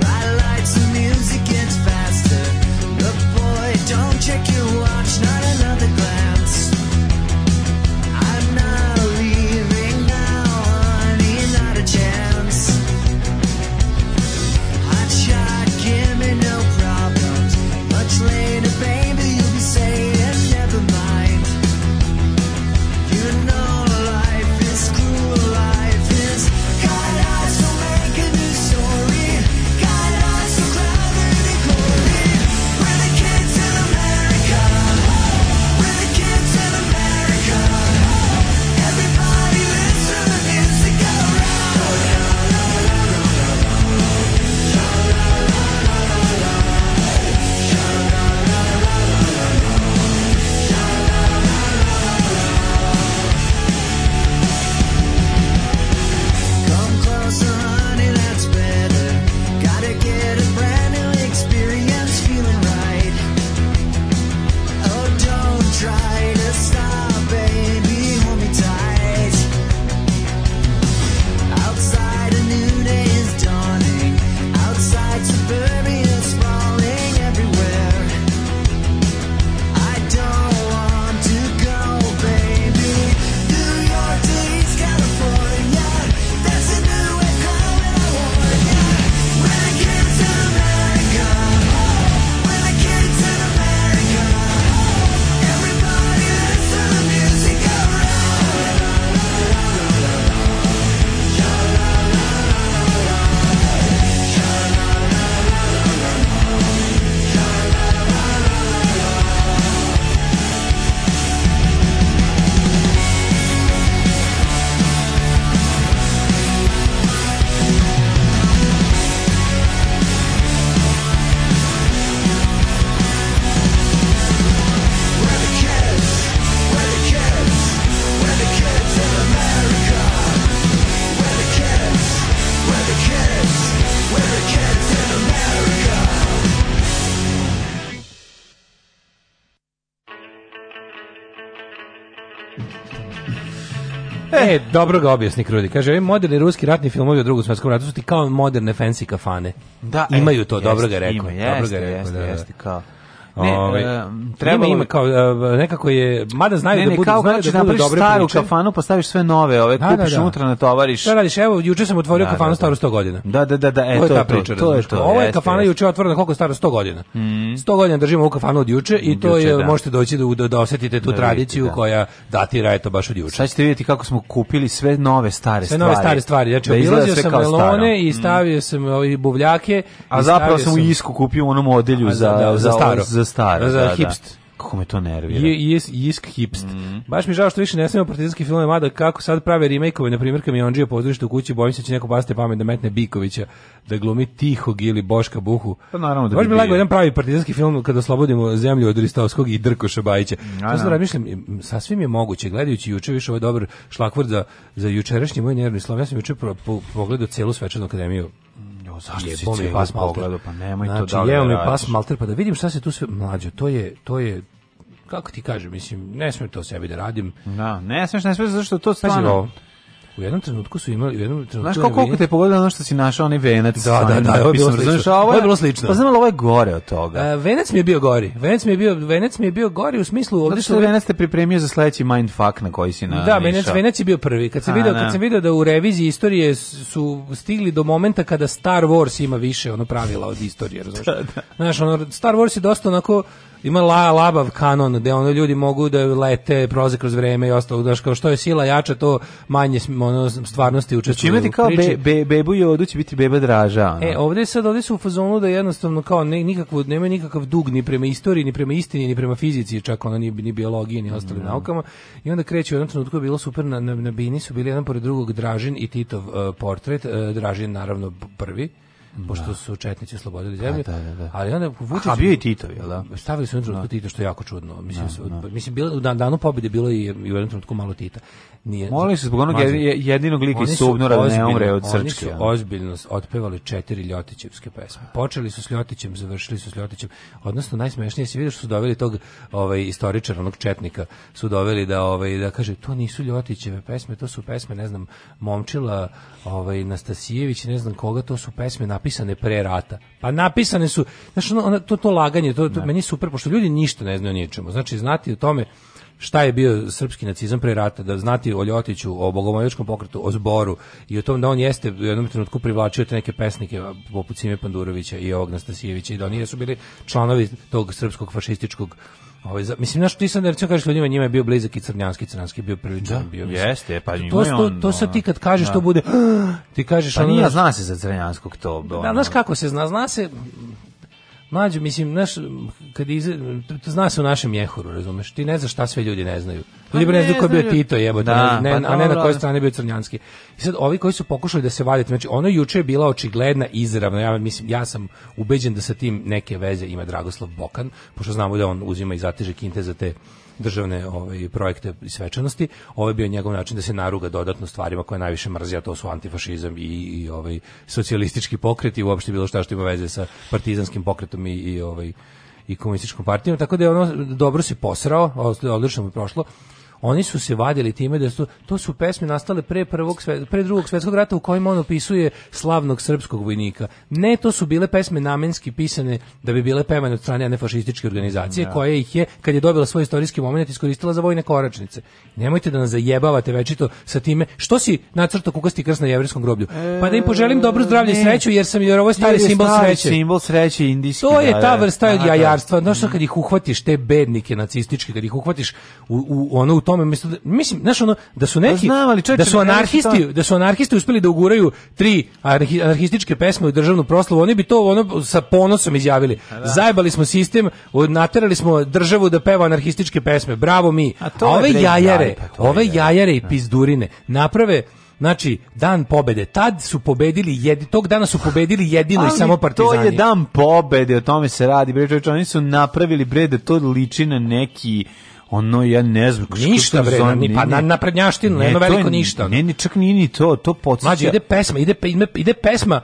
Bright lights and music gets faster. Look, boy, don't check your watch. Not another glance. I'm not leaving now, honey, not a chance. Hot shot, give me no problems. Much later, baby, you'll be saying never mind. You know life is cruel, life is God eyes will make a new story. God eyes will rather than glory. We're the kids in America. We're the kids in America. Everybody listen to the music around. Come closer, honey, that's better. Gotta get a brand new experience, feeling right. Oh, don't try to stop, baby, hold me tight. Outside, a new day is dawning. Outside, suburbia sprawling everywhere. I don't want to go, baby. New York to East California. There's a new wave coming, I warn ya. We're the kids in America. We're the kids in America. Everybody listen to the music around. E, dobro ga objasni Krudi. Kaže, ovi moderni ruski ratni filmovi o drugom svetskom ratu su ti kao moderne fancy kafane. Imaju to, dobro ga rekao. Ima, dobro e, jeste, ga rekao, jeste, da, da. jeste, kao. Ne, Ovaj, e, ima, trebalo ima kao, e, nekako je, mada znaju ne, da ne, budu, kao znaju kad ćeš da budu napraviš dobre staru priče. kafanu, postaviš sve nove, ove, Da, kupiš da, da. unutra, natovariš. Šta radiš? Evo, juče sam otvorio Da, kafanu da, da. staru 100 godina. Da, da, da, da, e, to, to je ta je to, priča. to je razumeš? to, Ovo je jeste, kafana jeste. Mm. juče otvorena koliko je stara 100 godina. 100 godina držimo ovu kafanu od juče i to Juče, je da. možete doći da da, da osetite tu Da vidite, tradiciju da. koja datira eto baš od juče. Sad ćete vidjeti kako smo kupili sve nove stare Sve stvari. nove stare stvari. Znači, Da izgleda obilazio sve sam kao staro. Mm. melone i stavio sam ovi buvljake. A i zapravo stavio sam u isku kupio onu modelju A, za, da, da, za, ovaj- za staro. Za staro, Za da, da. hipst. Kako me to nervira. Je, jes, jisk hipst. Mhm. Baš mi žao što više ne snimamo partizanski film, mada kako sad prave remake-ove, na primjer Kamionđija pozdravište u kući, bojim se da će neko paste pamet da metne Bikovića, da glumi Tihog ili Boška Buhu. Pa naravno da Baš bi bi lagao bio. jedan pravi partizanski film kada oslobodimo zemlju od Ristovskog i Drkoša Bajića. To sam da. razmišljam, m, sasvim je moguće, gledajući juče više ovo je dobar šlakvrt za, za jučerašnji moj nervni slom. Ja sam juče pro- po- pogledao celu svečanu akademiju Jo, zašto si Jebo mi cijelu pas malter. pogledao? Pa nemoj znači, to da li jeo mi radiš. pas malter, pa da vidim šta se tu sve mlađo. To je, to je, kako ti kažem, mislim, ne smijem to sebi da radim. Pa Da, ne smeš, ne smeš, zašto to Pazi stvarno... ovo. U jednom trenutku su imali, u jednom trenutku Znaš kako koliko te je pogodilo ono što si našao onaj venac. Da, da, da, ovo je bilo slično. Ovo Ovo je je bilo slično. E, Pa znam, ali ovo je gore od toga. A, venac mi je bio gori. Venac mi je bio, venac mi je bio gori u smislu Zato ovdje što je venac te pripremio za sledeći mindfuck na koji si na Da, Venac, Venac je bio prvi. Kad sam A, video, da. kad sam video da u reviziji istorije su stigli do momenta kada Star Wars ima više ono pravila od istorije, razumeš? Znaš, ono Star Wars je dosta onako ima la, labav kanon gde ono ljudi mogu da lete, proze kroz vreme i ostalo, znaš, kao što je sila jača, to manje sm- ono, stvarnosti Znači učestvuju. imati u kao priči. be, be, bebu i odu će biti beba draža. Ono. E, ovde sad ovde su u fazonu da jednostavno kao ne, nikakvu nema nikakav dug ni prema istoriji, ni prema istini, ni prema fizici, čak ono ni, ni biologiji, ni ostalim naukama. I onda kreće u jednom trenutku je bilo super na, na, na bini su bili jedan pored drugog Dražin i Titov e, portret, e, Dražin naravno p- prvi pošto su četnici oslobodili zemlju. Pa da, da, da. Ali onda Vučić A, bio i Titov, jel da? Stavili su u jednom trenutku Tita što je jako čudno. Mislim, se- mislim bilo, na danu pobjede bilo je i u jednom trenutku malo Tita. Nije, Molili su zbog onog Mazno. jedi- jedinog lika Oni iz su Subnora da ne ozbiljno- umre od Oni su srčke. ono. ozbiljno s- otpevali četiri Ljotićevske pesme. Počeli su s Ljotićem, završili su s Ljotićem. Odnosno najsmešnije se vidiš su doveli tog ovaj istoričara, onog četnika, su doveli da ovaj da kaže to nisu Ljotićeve pesme, to su pesme, ne znam, Momčila, ovaj Nastasijević, ne znam koga, to su pesme napisane pre rata. Pa napisane su, znači ono, ono- to to laganje, to, to meni je super pošto ljudi ništa ne znaju o ničemu. Znači znati o tome šta je bio srpski nacizam pre rata, da znati o Ljotiću, o bogomoljačkom pokretu, o zboru i o tom da on jeste u jednom trenutku privlačio te neke pesnike a, poput Sime Pandurovića i ovog Nastasijevića i da oni jesu bili članovi tog srpskog fašističnog Ovaj, za- mislim, znaš, ti sad ne recimo kažeš ljudima, njima je bio blizak i crnjanski, crnjanski je bio prilično bio. mislim. jeste, pa njima to, je to, on, to sad ono, ti kad kažeš, da. to bude, [gasps] ti kažeš, Pa ono, nije, znaš, zna se za Crnjanskog to. da, ono. znaš kako se zna, zna se mlađe, mislim, znaš, kad iz, zna se u našem jehuru, razumeš, ti ne znaš šta sve ljudi ne znaju. Ljudi Pa ne, ne znaju ko je bio znaju. Tito, jebote, Da, ne, pa a ne na dobro. kojoj strani je bio Crnjanski. I sad, ovi koji su pokušali da se vadite, znači, ono juče je bila očigledna izravno, ja, mislim, ja sam ubeđen da sa tim neke veze ima Dragoslav Bokan, pošto znamo da on uzima i zateže kinte za te državne ovaj, projekte i svečanosti. Ovo je bio njegov način da se naruga dodatno stvarima koje najviše mrzi, a to su antifašizam i, i ovaj socijalistički pokret i uopšte bilo šta što ima veze sa partizanskim pokretom i, i ovaj i komunističkom partijom, tako da je ono dobro se posrao, odlično mu je prošlo. Oni su se vadili time da su to su pesme nastale pre prvog sve- pre drugog svjetskog rata u kojima on opisuje slavnog srpskog vojnika. Ne, to su bile pesme namenski pisane da bi bile pevane od strane nefašističke organizacije koja ih je kad je dobila svoj istorijski momenat iskoristila za vojne koračnice. Nemojte da nas zajebavate večito sa time što si nacrtao kukasti krst na jevrejskom groblju. pa da im poželim dobro zdravlje E, ne. i sreću jer sam jer ovo je stari Jer je simbol stari sreće. Simbol sreće indijski. To je da, ta da. vrsta Da, da. jajarstva. Znaš što kad ih uhvatiš, te bednike nacističke, kad ih uhvatiš u, u ono u tome, mislim, da- mislim, znaš ono, da su neki, znam, ali čovječe, da su ne, ne, anarhisti, to- da su anarhisti uspeli da uguraju tri anarhi- anarhističke pesme u državnu proslavu, oni bi to ono sa ponosom izjavili. Zajebali smo sistem, od- naterali smo državu da peva anarhističke pesme. Bravo mi. A A to je, ove bre, jajare, jaj, pa to je, ove da. jajare i pizdurine naprave Znači, dan pobede. Tad su pobedili, jedi, tog dana su pobedili jedino i Ali samo partizani. To je dan pobede, o tome se radi. Bre, čovječe, oni su napravili bre da to liči na neki ono ja ne znam kako Ništa se bre, zove, ni- ne, pa ne. na naprednjaštinu, Ne, jedno to je- veliko ništa. ono. Ne, ni čak nije ni to, to podsjeća. Mlađe, ide pesma, ide, pe- ime- ide pesma,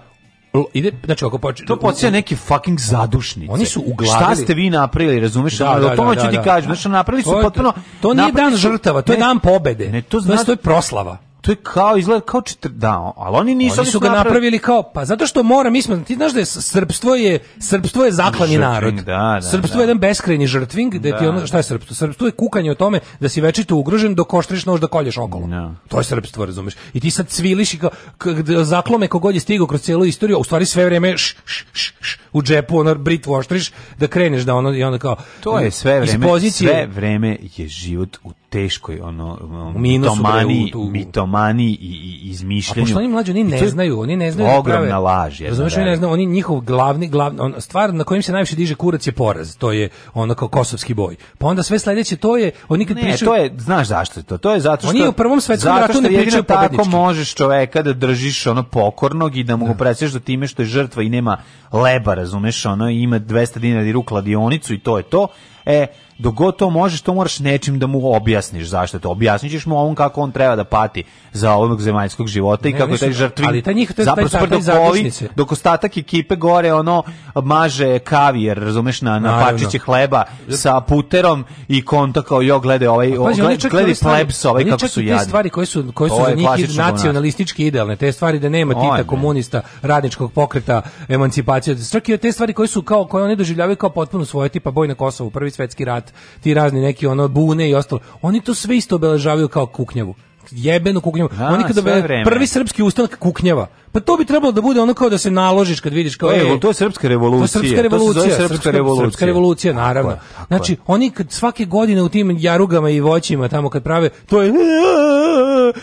l- ide, znači ako počne... To podsjeća neke fucking zadušnice. Oni su Šta uglavili- ste vi napravili, razumeš? Da, Ono, da, o tome da, ću da, ti da. kažem. Znači, napravili su To je- potpuno... To nije napravili dan su- žrtava, to je Ne, dan pobede. Ne, to znači... znači... To je proslava. To je kao, izgleda kao četiri... Da, ali oni nisu... Oni su ga napravili kao, pa zato što mora, mi smo, ti znaš da je s- srpstvo je, srpstvo je zaklani Žrtving, narod. da, da, srpstvo je da. jedan beskrajni žrtving, gde ti Da. ono, šta je srpstvo? Srpstvo je kukanje o tome da si večito ugrožen dok oštriš nož da kolješ okolo. Da. To je srpstvo, razumeš? I ti sad sviliš i kao, k- k- zaklome kogod je stigao kroz cijelu istoriju, a u stvari sve vreme š, š, š, š, u džepu ono britvu oštriš da kreneš da ono i onda kao To je sve iz vreme, pozicije- sve vreme je život u teškoj ono U minusu, bre, mitomani, u- u- mitomani i, i A izmišljanju. pošto oni mlađi, oni I ne to je znaju, oni ne znaju da ogromna prave- laž, jedna Razumeš, oni ne velika. znaju, oni njihov glavni glavni on, stvar na kojim se najviše diže kurac je poraz. To je ono kao kosovski boj. Pa onda sve sledeće to je oni kad Ne, pričaju to je, znaš zašto je to? To je zato što Oni u Prvom svetskom zato ratu što ne jedino pričaju tako pobednički. možeš čoveka da držiš ono pokornog i da mu ga presješ do time što je žrtva i nema leba, razumeš, ono ima 200 dinara i rukla dionicu i to je to. E, dok god to možeš, to moraš nečim da mu objasniš zašto je to. Objasnit ćeš mu ovom kako on treba da pati za ovog zemaljskog života i Ne, kako oni je taj su- žrtvin. ali taj njih- to je- zapravo taj- taj- super dok taj ovi- zadušnice. dok ostatak ekipe gore ono maže kavijer, razumeš, na, na Naravno. pačiće hleba sa puterom i konta kao jo, gledaj ovaj, o, Pazi, oni gled, čak i gledaj ove stvari- plebs ovaj oni kako čak i su te jadni. stvari koje su koje su To za je njih klasično id- bonac. nacionalistički idealne, te stvari da nema Ajme. Tita komunista, radničkog pokreta, emancipacije, čak i te stvari koje su kao koje oni doživljavaju kao potpuno svoje, tipa boj na Kosovu, prvi svetski rat, ti razni neki ono bune i ostalo. Oni to sve isto obeležavaju kao kuknjavu jebenu kuknjavu. A, Oni kada sve obele- vreme. prvi srpski ustanak kuknjava. Pa to bi trebalo da bude ono kao da se naložiš kad vidiš kao To je- ej, to je srpska revolucija. To je srpska To se zove revolucija, srpska revolucija. Srpska revolucija Tako naravno. je, tako znači, je. oni kad svake godine u tim jarugama i voćima tamo kad prave, to je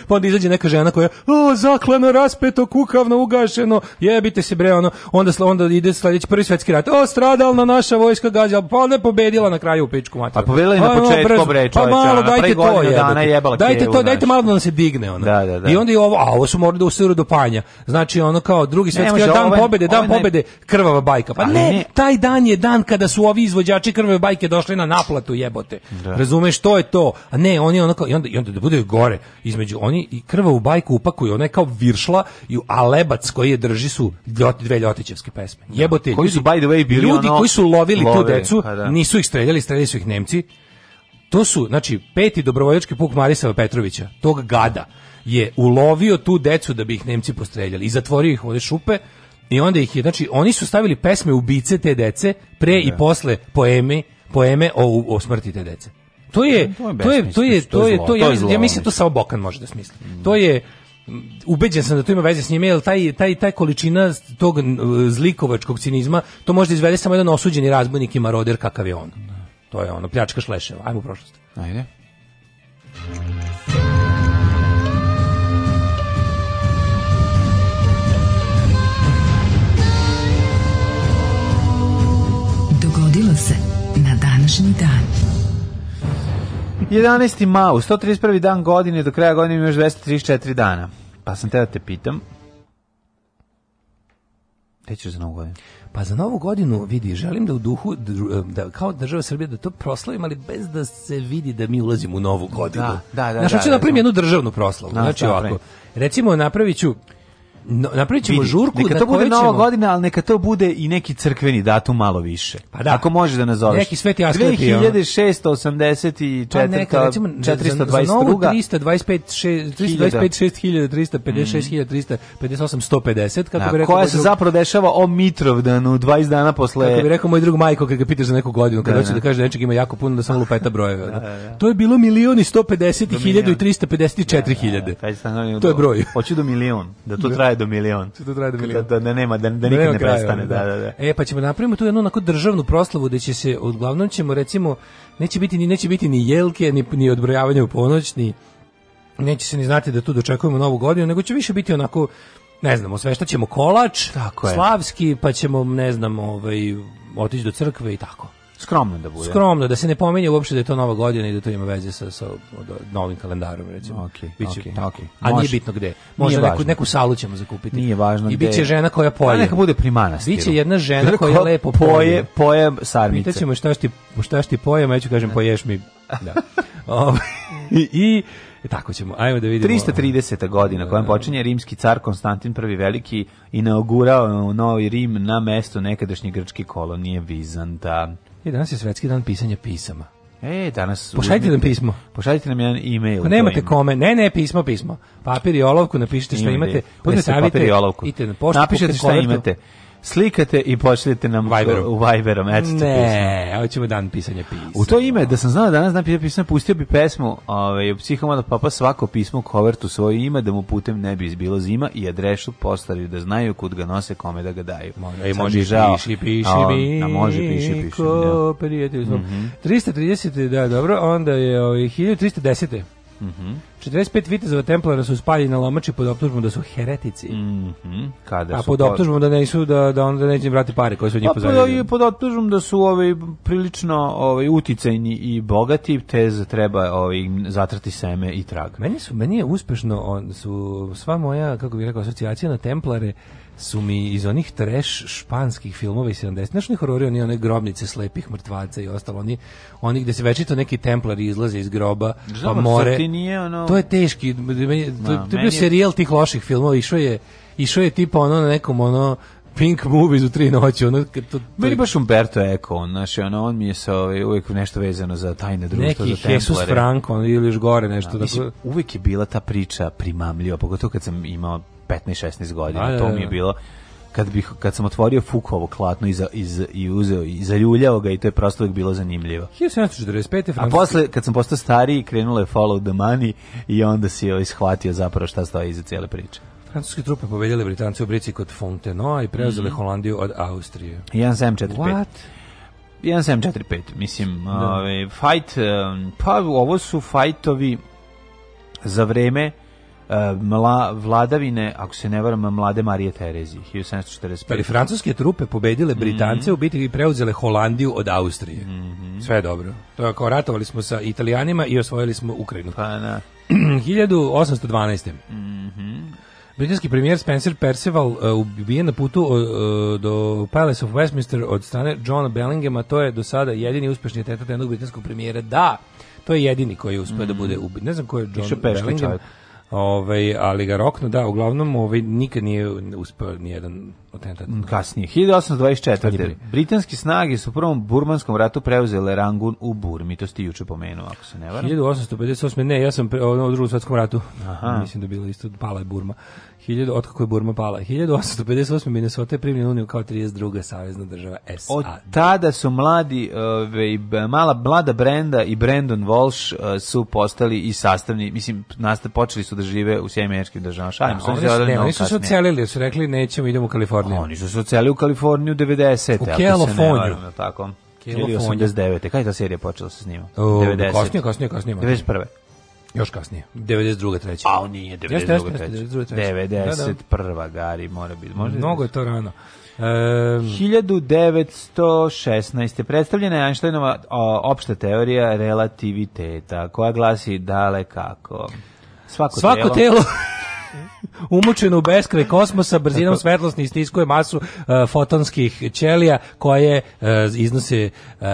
pa onda izađe neka žena koja o, zaklano, raspeto, kukavno, ugašeno, jebite se bre, ono, onda, sl- onda ide sledeći prvi svetski rat, o, stradalna naša vojska gađa, pa onda je pobedila na kraju u pičku A mater. pobedila je na početku, bre, Pa čoveče, ono, malo, pre dajte to, godinu dana jebate. je jebala dajte Kijevu, to, znači. dajte malo da nam se digne, ono. Da, da, da. I onda i ovo, a ovo su morali da usiru do panja. Znači, ono kao drugi svetski može, rat, dan ovo je- pobede, ovo dan je naj- pobede, krvava bajka. Pa Ali ne, ne. taj dan je dan kada su ovi izvođači krve bajke došli na naplatu jebote. Razumeš to je to. A ne, oni onako i onda i onda da bude gore između oni i krva u bajku upakuju, ona je kao viršla i a lebac koji je drži su ljot, dve ljotićevske pesme. Jebote. Koji su, by the way, bili ljudi ono- koji su lovili tu lovili, decu, pa da. nisu ih streljali, streljali su ih Nemci. To su, znači, peti dobrovoljački puk Marisava Petrovića, tog gada, je ulovio tu decu da bi ih Nemci postreljali i zatvorio ih u one šupe i onda ih je, znači, oni su stavili pesme ubice te dece pre i posle poeme, poeme o, o smrti te dece. To je, To je to je, to je, besmislica, to je, to je to zlo, je, ja, to je mislim- zlo, ono. ja mislim to mislim. samo Bokan može da smisli. To je, m, ubeđen sam da to ima veze s njime, jer taj, taj, taj količina tog n- zlikovačkog cinizma, to može da izvede samo jedan osuđeni razbojnik i maroder kakav je on. To je ono, pljačka šleševa, ajmo u prošlost. Ajde. Dogodilo se na današnji dan. 11. mau, 131. dan godine, do kraja godine ima još 234 dana. Pa sam te da te pitam. Te ćeš za novu godinu. Pa za novu godinu vidi, želim da u duhu dru- eh, da kao država Srbija da to proslavim, ali bez da se vidi da mi ulazimo u novu godinu. Da, da, da, Znaš, da, hoću da, napravim da. jednu državnu proslavu. Da, znači šta napravi? ovako. Recimo napravit ću no, napravit ćemo Vidi, žurku neka na to bude kojoj nova ćemo- godina, ali neka to bude i neki crkveni datum malo više. Pa da. Ako možeš da nazoveš. Neki sveti asklep je, ono. 2684. Pa neka, recimo, za- za, za novu 422. 325, šest- 325, 6356, 358, 150, kako bi Da, rekao koja moj se drug- zapravo dešava o Mitrovdanu 20 dana Kako bi posle rekao moj drug Majko kad ga pitaš za neku godinu, kad hoće da kaže da nečeg ima jako puno da samo lupeta brojeve. To je bilo milion i 150 i hiljadu i 354 hiljade. Kad stanovim To je do- broj. [laughs] Hoću do milion, da to traje do milion. to traje do milion. Da, da nema, da, da nikad Nema ne kraja, prestane. Da, da, da. E pa ćemo napravimo tu jednu onako državnu proslavu gde će se uglavnom ćemo recimo neće biti ni neće biti ni jelke, ni ni odbrojavanja u ponoć, ni neće se ni znati da tu dočekujemo novu godinu, nego će više biti onako ne znam, osveštaćemo kolač, Tako je. slavski, pa ćemo ne znam, ovaj otići do crkve i tako. Skromno da bude. Skromno, da se ne pominje uopšte da je to nova godina i da to ima veze sa, sa od- novim kalendarom, recimo. Okej, Biće okej, tako. okej. A nije Može. bitno gde. Možda Nije neku, važno. neku salu ćemo zakupiti. Nije važno I gde bit će je. žena koja poje. A neka bude pri manastiru. Biće jedna žena Tako, koja lepo poje. Poje, poje sarmice. Pitaćemo šta još ti, šta još ti pojem, a ja ću kažem poješ mi. [laughs] Da. Ovaj, I, i tako ćemo. Ajmo da vidimo. 330. godina kojom počinje rimski car Konstantin I Veliki inaugurao Novi Rim na mesto nekadašnje grčke kolonije Vizanta. I danas je svetski dan pisanja pisama. E, danas... Pošaljite nam uzmite- pismo. Pošaljite nam jedan e-mail. Ako Pa nemate kome, ne, ne, pismo, pismo. Papir i olovku, napišite šta imate, Uzmite presavite, papir i olovku. idite na poštu, Napišete kupite šta kovertu. imate. Slikate i pošaljete nam Viberom. u Viberom. Eto ti pismo. Ne, evo ćemo dan pisanja pisma. U to ime, da sam znao danas dan pisanja pisma, pustio bi pesmu ovaj, u psihomada papa svako pismo kovertu svoje ime, da mu putem ne bi izbilo zima i adresu postavio da znaju kud ga nose, kome da ga daju. Ej, Sad može mi je žao. piši, piši, A on- mi. a može, piši, piši. da. Mhm. Mhm. prijatelj, smo. 330, da, dobro, onda je ovaj, 1310. Mm 45 vitezova templara su spaljeni na lomači pod optužbom da su heretici. Mhm, kada A su pod to- optužbom da nisu da da onda neće im vrati pare koje su njih Pa, pod, i pozajmili. pod optužbom da su ovaj prilično ovaj uticajni i bogati, te za- treba ovaj im zatrati seme i trag. Meni su meni je uspešno on su sva moja kako bih rekao asocijacija na templare su mi iz onih trash španskih filmova iz 70-ih, znaš oni horori, oni one grobnice slepih mrtvaca i ostalo, oni, oni gde se večito neki templari izlaze iz groba, pa Znam, more. sad ti nije ono- To je teški, meni, to, Da, to je meni je- bio serijel tih loših filmova, išao je, išao je tipa ono na nekom ono Pink Movies u tri noći, ono, kad to, to Meni je- baš Umberto Eco, on, znaš, ono, on mi je sa, ovaj, uvijek nešto vezano za tajne društvo, neki za Jesus templare. Franco ono, ili još gore nešto. Da, tako- mislim, uvijek je bila ta priča primamljiva, pogotovo kad sam imao 15-16 godina, Da, da, to da. mi je bilo kad bih kad sam otvorio Fukovo klatno i za, i, za- i uzeo i zaljuljao ga i to je prosto uvijek bilo zanimljivo. 1745. A Francuski posle, kad sam postao stariji, krenulo je follow the money i onda si joj shvatio zapravo šta stoji iza cijele priče. Francuske trupe pobedjele Britance u Brici kod Fontenoa i preuzele Holandiju od Austrije. 1745. What? 1745, mislim, ovaj, fight, em, pa ovo su fajtovi za vreme eh, mla, vladavine, ako se ne varam, mlade Marije Terezije, 1745. Ali francuske trupe pobedile Britance u bitki i preuzele Holandiju od Austrije. Sve je dobro. To je kao ratovali smo sa Italijanima i osvojili smo Ukrajinu. Pa, na, [clears throat] 1812. Mhm. Britanski premijer Spencer Perceval uh, ubijen na putu uh, do Palace of Westminster od strane Johna Bellinghama, to je do sada jedini uspešni atentat jednog britanskog premijera. Da, to je jedini koji je uspio da bude ubijen. Ne znam ko je Išao John Mhm. peške Bellingham. čovjek. Ovaj, ali ga rokno, da, uglavnom ovaj, nikad nije uspeo nijedan atentat. kasnije, 1824. Ajde. Britanske snage su u prvom burmanskom ratu preuzele Rangun u Burmi, to ste juče pomenuo, ako se ne varam. 1858. Ne, ja sam pre, ono, u drugom svetskom ratu. Aha. Mislim da je bilo isto, pala je Burma. 1000, otkako je Burma pala. 1858. Minnesota je primljena u Uniju kao 32. savezna država SAD. Od tada su mladi, ove, b- mala, mlada Brenda i Brandon Walsh e, su postali i sastavni, mislim, nastav, počeli su da žive u Sjedinim Američkim državama. Šalim, A, se, oni, se su, rodili ne, mnogo oni su se kasnije. ocelili, jer su rekli nećemo, idemo u Kaliforniju. Oni su se ocelili u Kaliforniju 90. U ako se ne Kelofoniju. varam, je li tako? Ili Kelofoniju. 89. Kada je ta serija počela se snima? O, kasnije, kasnije, kasnije. 91. Još kasnije. 92. treće. A on nije Jeste, jeste, 92. treći. 92., treći. 91. Gari mora biti. Može Mnogo je to rano. E, 1916. predstavljena je Einsteinova o, opšta teorija relativiteta, koja glasi dalekako. Svako, svako telo, telo [laughs] umočeno u beskraj kosmosa brzinom svetlosti istiskuje masu e, fotonskih ćelija koje e, iznose e,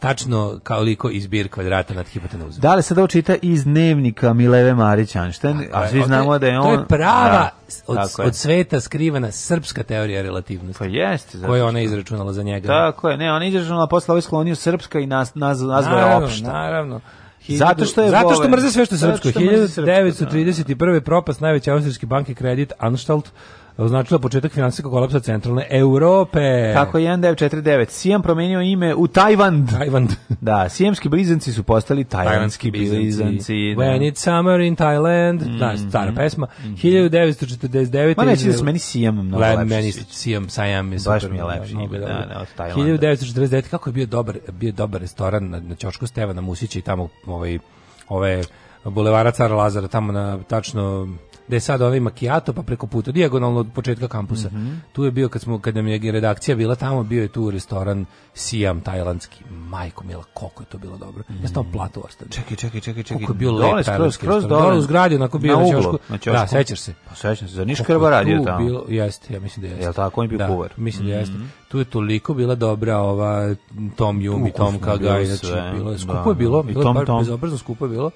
tačno kao liko izbir kvadrata nad hipotenuzom. Da li se ovo čita iz dnevnika Mileve Marić Einstein, a svi znamo da je on... E, To je prava Da, od, tako je. od sveta skrivena srpska teorija relativnosti Pa jeste. zato koju je što- ona izračunala za njega. Tako je, ne, on izražena posle ovaj sklonio srpska i naz, naz, nazvao je Naravno, opšta. Naravno. Zato što je zato što Boven- mrze sve što je zato srpsko. što mrze srpsko, da. 1931. propast najveće austrijske banke kredit Anstalt označila početak finansijskog kolapsa centralne Europe. Tako je 1949. Sijam promenio ime u Tajvan. Tajvan. Da, sijemski blizanci su postali tajvanski blizanci. da. Mm, When it's summer in Thailand. Da, stara pesma. 1949. Ma neće da se meni Sijam mnogo Le, lepše meni sviđa. Siam Sajam je Baš super, mi je lepše mnogo ime, da, dobro. da, od Tajlanda. 1949. Kako je bio dobar, bio je dobar restoran na, na Ćošku Stevana Musića i tamo ovaj, ove bulevara Cara Lazara, tamo na tačno gde je sad ovaj makijato, pa preko puta, dijagonalno od početka kampusa. Mhm. Tu je bio, kad, smo, kad nam je redakcija bila tamo, bio je tu restoran Siam, tajlandski. Majko mila, koliko je to bilo dobro. Ja sam tamo platu ostavio. Mhm. Čekaj, čekaj, čekaj, čekaj. Koliko je bio Dole, lep skroz, tajlandski skroz restoran. dole. Dole u zgradi, onako bio na uglu, ćošku. Da, sećaš se. Pa sećam se, za Niš Kako je Krba radio tu tamo. Bilo, jeste, ja mislim da jeste. Jel tako? On je bio da, kuvar. Mm. Mislim da jeste. Tu je toliko bila dobra ova Tom Yum i Ukusno Tom je Kagaj, bilo znači sve, bilo je skupo da. je bilo, I bilo je Tom bar Tom. Mm. bezobrazno skupo je bilo,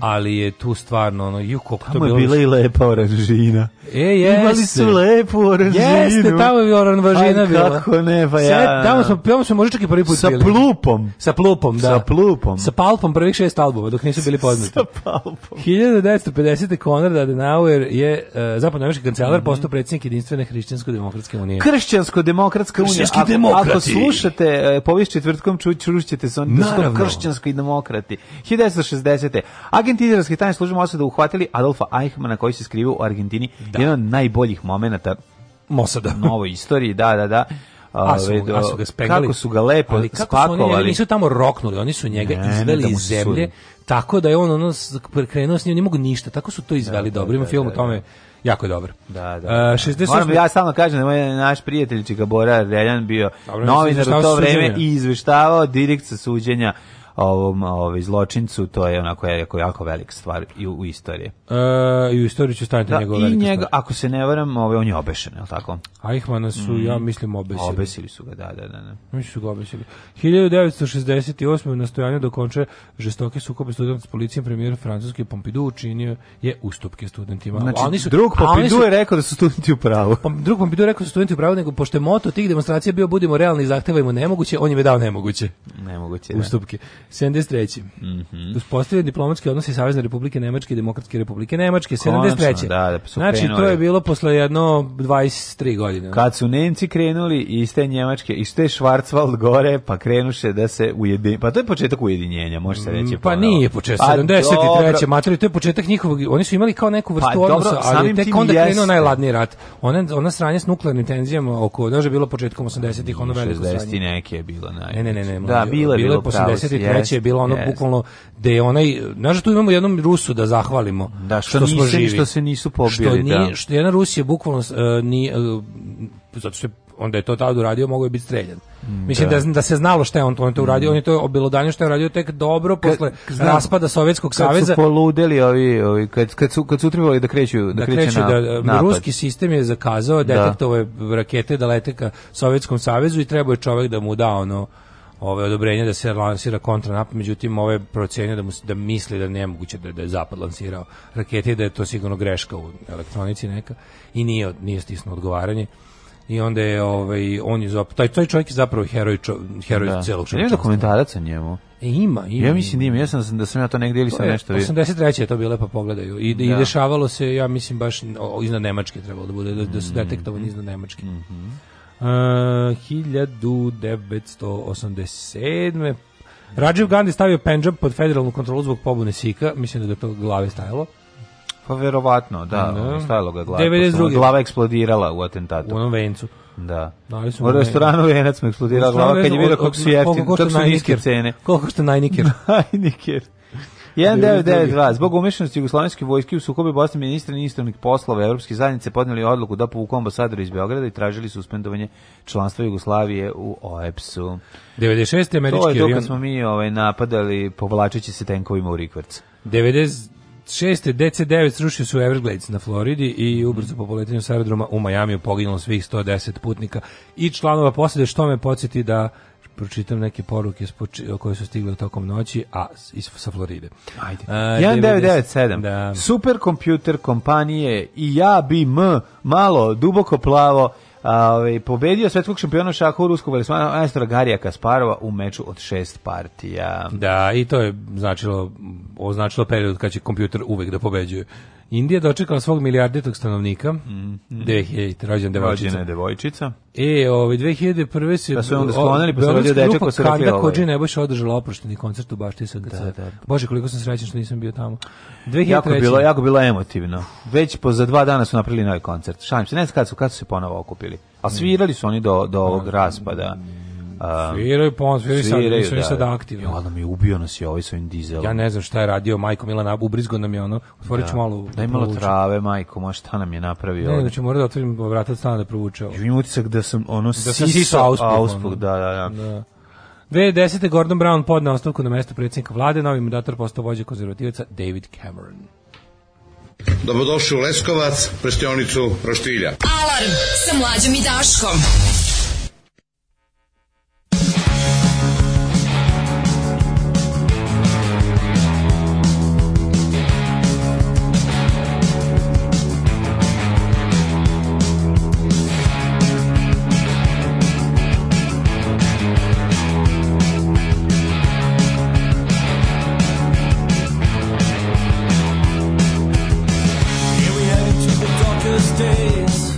ali je tu stvarno ono ju koliko to Tamo je bilo. bila i lepa oranžina. E, jeste. Imali su lepu oranžinu. Jeste, tamo je oranžina Aj, bila. kako ne, pa Sve- ja- Tamo [laughs] smo, tamo smo možda čak i prvi put Sa bili. plupom. Sa plupom, da. Sa plupom. Sa palpom prvih šest albuma, dok nisu bili poznati. Sa palpom. 1950. Konrad Adenauer je uh, zapadnoamerički kancelar, postao predsjednik jedinstvene hrišćansko-demokratske unije. Kršćansko-demokratska unija. Kršćanski Ako- demokrati. Ako slušate e, povijest četvrtkom, ču, čušćete se oni da su to Naravno. kršćansko i demokrati. 1960. Agenti izraelske tajne službe Mosada uhvatili Adolfa Eichmana koji se skrivao u Argentini. Jedan od najboljih momenata Mosada. novoj istoriji, da, da, da. A su, ove, do- a su ga spegali. Kako su ga lepo ali kako su oni njega, spakovali. nisu tamo roknuli, oni su njega Ne, ne, izveli da mu iz se zemlje, sudi. tako da je on ono s- krenuo s njim, ne mogu ništa, tako su to izveli dobro. Ima film o tome, jako je dobro. Da, da. E, 68. Moram, ja stalno kažem da moj naš prijatelj Čikabora Reljan bio Dobro, novinar u izveštavao sa to suđenja. vreme i izveštavao direkt sa suđenja ovom ovaj zločincu, to je onako ja rekao jako velika stvar i u, u istoriji. E, I u istoriju ću staviti Da, njegove i velike njega, stvari. ako se ne varam, ovaj on je obešen, je l' tako? Eichmanna su, ja Mm. mislim, obesili. Obesili su ga, da, da, da. da. Mislim su ga obesili. 1968. u nastojanju da okonča žestoke sukobe studenta s policijom premijer Francuske Pompidou učinio je ustupke studentima. Znači, A oni su, drug a oni Popidu su- je rekao da su Pa, studenti u pravu. Pom- drug Pompidou je rekao su studenti u pravu, nego pošto je moto tih demonstracija bio budimo realni i zahtevajmo nemoguće, on im je dao nemoguće Nemoguće, da. Mhm. ustupke. 73. Mm -hmm. Uspostavio diplomatski odnosi Savezne republike Nemačke i Demokratske republike Nemačke. 73. da, da, su znači, to krenuli. je bilo posle jedno 23 godine. Kad su Nemci krenuli iz te Njemačke, iz te Schwarzwald gore, pa krenuše da se ujedine. Pa to je početak ujedinjenja, može se reći. Pa ponovo. nije početak Pa 73. dobro. materi, to je početak njihovog, oni su imali kao neku vrstu Pa dobro, odnosa, ali samim tek tim onda i krenuo jeste. najladniji rat. Ona, ona sranje s nuklearnim tenzijama oko, znaš da je bilo početkom 80-ih, ono veliko 60 i sranje. neke je bilo naj. Ne, ne, ne, ne. Da, mlađe, bilo je bilo bilo je po 83. je bilo ono bukvalno da je onaj, znaš da tu imamo jednom Rusu da zahvalimo. Da, što smo nisi- živi. što se nisu pobili, Što nije, da. što jedna Rusija bukvalno uh, nije, uh, zato što je onda je to tada uradio, mogao je biti streljan. Mm, Mislim da. da, se znalo šta je on to, on je to uradio, on je to obelodanje što je uradio tek dobro posle raspada Sovjetskog Kad su saveza. poludeli ovi, ovi kad, kad, su, kad su utrivali da kreću, da, Da kreće kreću na, da um, napad. ruski sistem je zakazao detektovao je rakete da lete ka Sovjetskom savezu i trebao je čovjek da mu da ono ove odobrenje da se lansira kontra napad, međutim ove procenio da mu s- da misli da je nemoguće da, da je zapad lansirao rakete i da je to sigurno greška u elektronici neka i nije od- nije stisnuo odgovaranje i onda je ovaj on je zapravo taj taj čovjek je zapravo heroj čo, heroj Da. celog Jel Ima čovječanstva. dokumentarac o njemu. E, ima, ima. Ja mislim da ima, ja sam da sam ja to negdje ili sam E, nešto vidio. 83. je to bilo, pa pogledaju. I, I Da. dešavalo se, ja mislim, baš o, iznad Nemačke trebalo da bude, da, da Mhm. su detektovani iznad Nemačke. Mm -hmm. uh, 1987. Rajiv Gandhi stavio Pendžab pod federalnu kontrolu zbog pobune Sika. Mislim da je do to glave stajalo. Pa verovatno, da, Da. da. stajalo ga glava. 92.. pošto mu je Glava eksplodirala u atentatu. U onom vencu. Da. Dali su u mu restoranu Venac me eksplodirala glava kad je vidio Od- od- kako su jeftine, koliko košta kako su niske najniker? cene. Koliko što [laughs] najniker? Hajniker. 1992. Zbog umešanosti jugoslovenske vojske u sukobe Bosne ministri inostranih poslova Evropske zajednice podneli odluku da povuku ambasadora iz Beograda i tražili suspendovanje članstva Jugoslavije u OEPS-u. 96. To američki je to avion- kad smo mi ovaj, napadali povlačeći se tenkovima u Rikvrc. 96. DC-9 srušio su Everglades na Floridi i ubrzo po poletanju s aerodroma u Majamiju poginulo svih 110 putnika i članova posade, što me podsjeti da pročitam neke poruke s poči- koje su stigle tokom noći, a s- iz, sa Floride. Ajde. A, 1997. Da. Superkompjuter kompanije i ja bi m malo duboko plavo a, ovaj, pobedio svetskog šampiona šaha u ruskog velismana Majstora Garija Kasparova u meču od šest partija. Da, i to je značilo, označilo period kad će kompjuter uvek da pobeđuje. Indija je dočekala svog milijarditog stanovnika, mm, 2000, rođen devojčica. Rođena je devojčica. E, ovaj 2001 se Pa su onda sklonili, pa se Beogradska rodio dečak grupa ko se rekli, Kanda ovaj. Kođe Nebojša održala oprošteni koncert u Bašti SGC. Da, da. Bože, koliko sam srećan što nisam bio tamo. 2003. Jako je bilo, jako je bilo emotivno. Već po za dva dana su napravili novi koncert. Šalim se, ne znam kad su, kad su se ponovo okupili. Mm. A svirali su oni do, do ovog raspada. A, Sviraju pon, sviraju sad, sviraju, Mm. nisu da, sad Jo, aktivni. ono mi je ubio nas je ovaj s ovim dizelom. Ja ne znam šta je radio Majko Milana, ubrizgo nam je ono, otvorit ću malo. Daj malo provučem. trave, majko, ma šta nam je napravio? Ne, ovdje? znači mora da otvorim vrata od stana da provuče ovo. Ja Imam utisak da sam ono da sam sisao sisao auspuh, auspuh, ono. da, da, da. 2010. Gordon Brown podnao ostavku na mesto predsjednika vlade, novi mandator postao vođa konzervativaca David Cameron. Dobrodošli u Leskovac, prštionicu Roštilja. Alarm sa mlađom i Daškom. Here we head into the darkest days.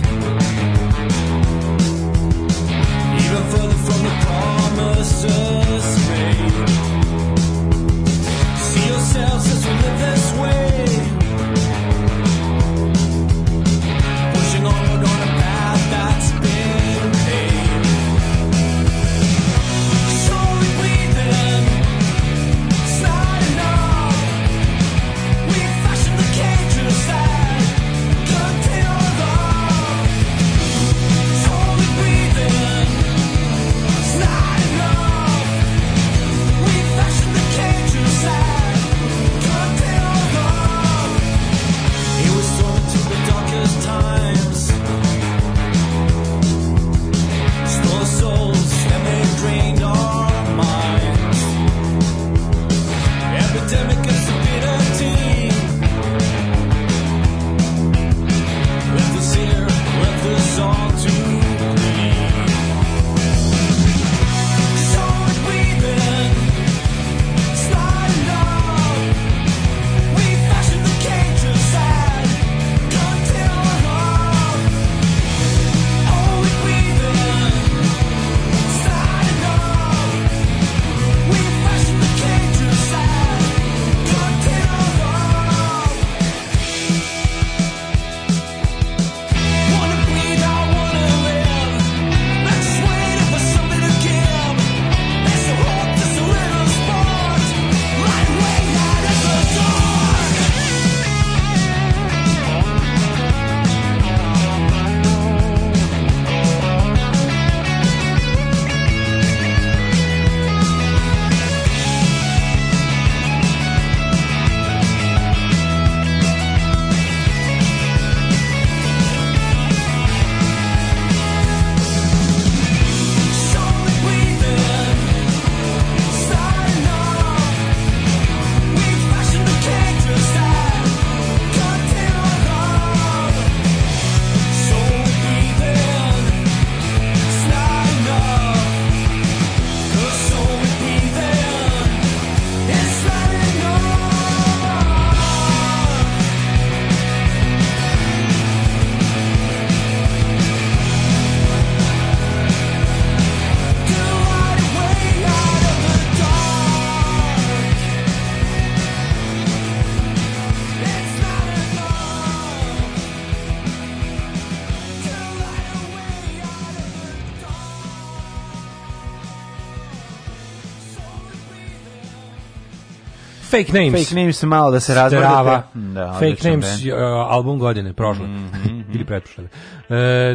Fake Names. Fake names malo da se razmrdate. Strava. Mm, Da, Fake odličan Mm-hmm. Names, bend. uh, album godine, prošle. [laughs] Ili pretprošle. Uh,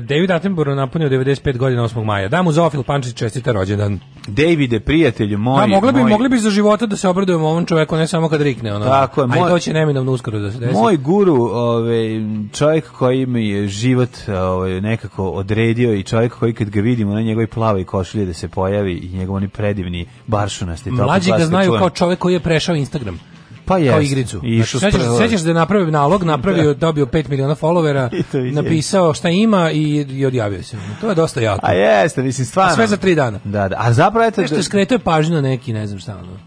David Attenborough napunio 95 godina 8. maja. Da mu Zofil Pančić čestita rođendan. Davide, prijatelju moj. Da, mogli bi, moj, mogli bi za života da se obradujemo ovom čoveku, ne samo kad rikne. Ono. Tako je, A i moj- to će neminovno uskoro da se desi. Moj guru, ovaj, čovjek koji mi je život ovaj, nekako odredio i čovjek koji kad ga vidimo na njegovoj plavoj košulji da se pojavi i njegov oni predivni baršunasti. topli Mlađi ga glas kad znaju čujem. kao čovjek koji je prešao Instagram. pa kao jeste. igricu. I išao znači, sećaš, spravo- sećaš da je napravio nalog, napravio, dobio 5 miliona [laughs] I to followera, je. napisao šta ima i, i odjavio se. To je dosta jako. A jeste, mislim, stvarno. A sve za tri dana. Da, da. A zapravo, eto, Nešto je skretao je pažnju na neki, ne znam šta ono.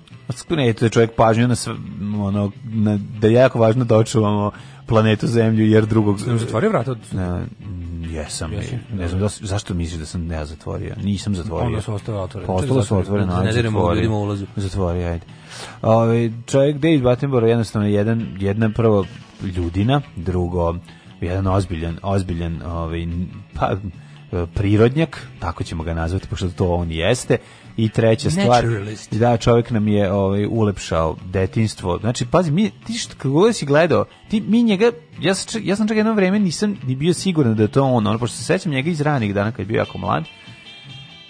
Ne, to je čovjek pažnju na sve, ono, na, da je jako važno da očuvamo planetu Zemlju, jer drugog... Sam zatvorio vrata od... Ne, Mm, jesam, ne znam, da, zašto misliš da sam ja zatvorio? Nisam zatvorio. Onda su ostale otvorene. Pa ostalo su Čekaj, otvoreno, da ne ajde, diramo zatvori. ljudima ulazu. Zatvori, ajde. Ove, čovjek David Attenborough jednostavno je jedan, jedna prvo ljudina, drugo jedan ozbiljan, ozbiljan ovaj, n- pa, e, prirodnjak, tako ćemo ga nazvati, pošto to on jeste, i treća stvar, Naturalist. da, čovjek nam je ovaj, ulepšao detinstvo, znači, pazi, mi, ti što, kako god si gledao, ti, mi njega, ja sam, čak- ja sam čak jedno vreme nisam ni bio siguran da je to on, ono, pošto se sećam njega iz ranih dana kad je bio jako mlad,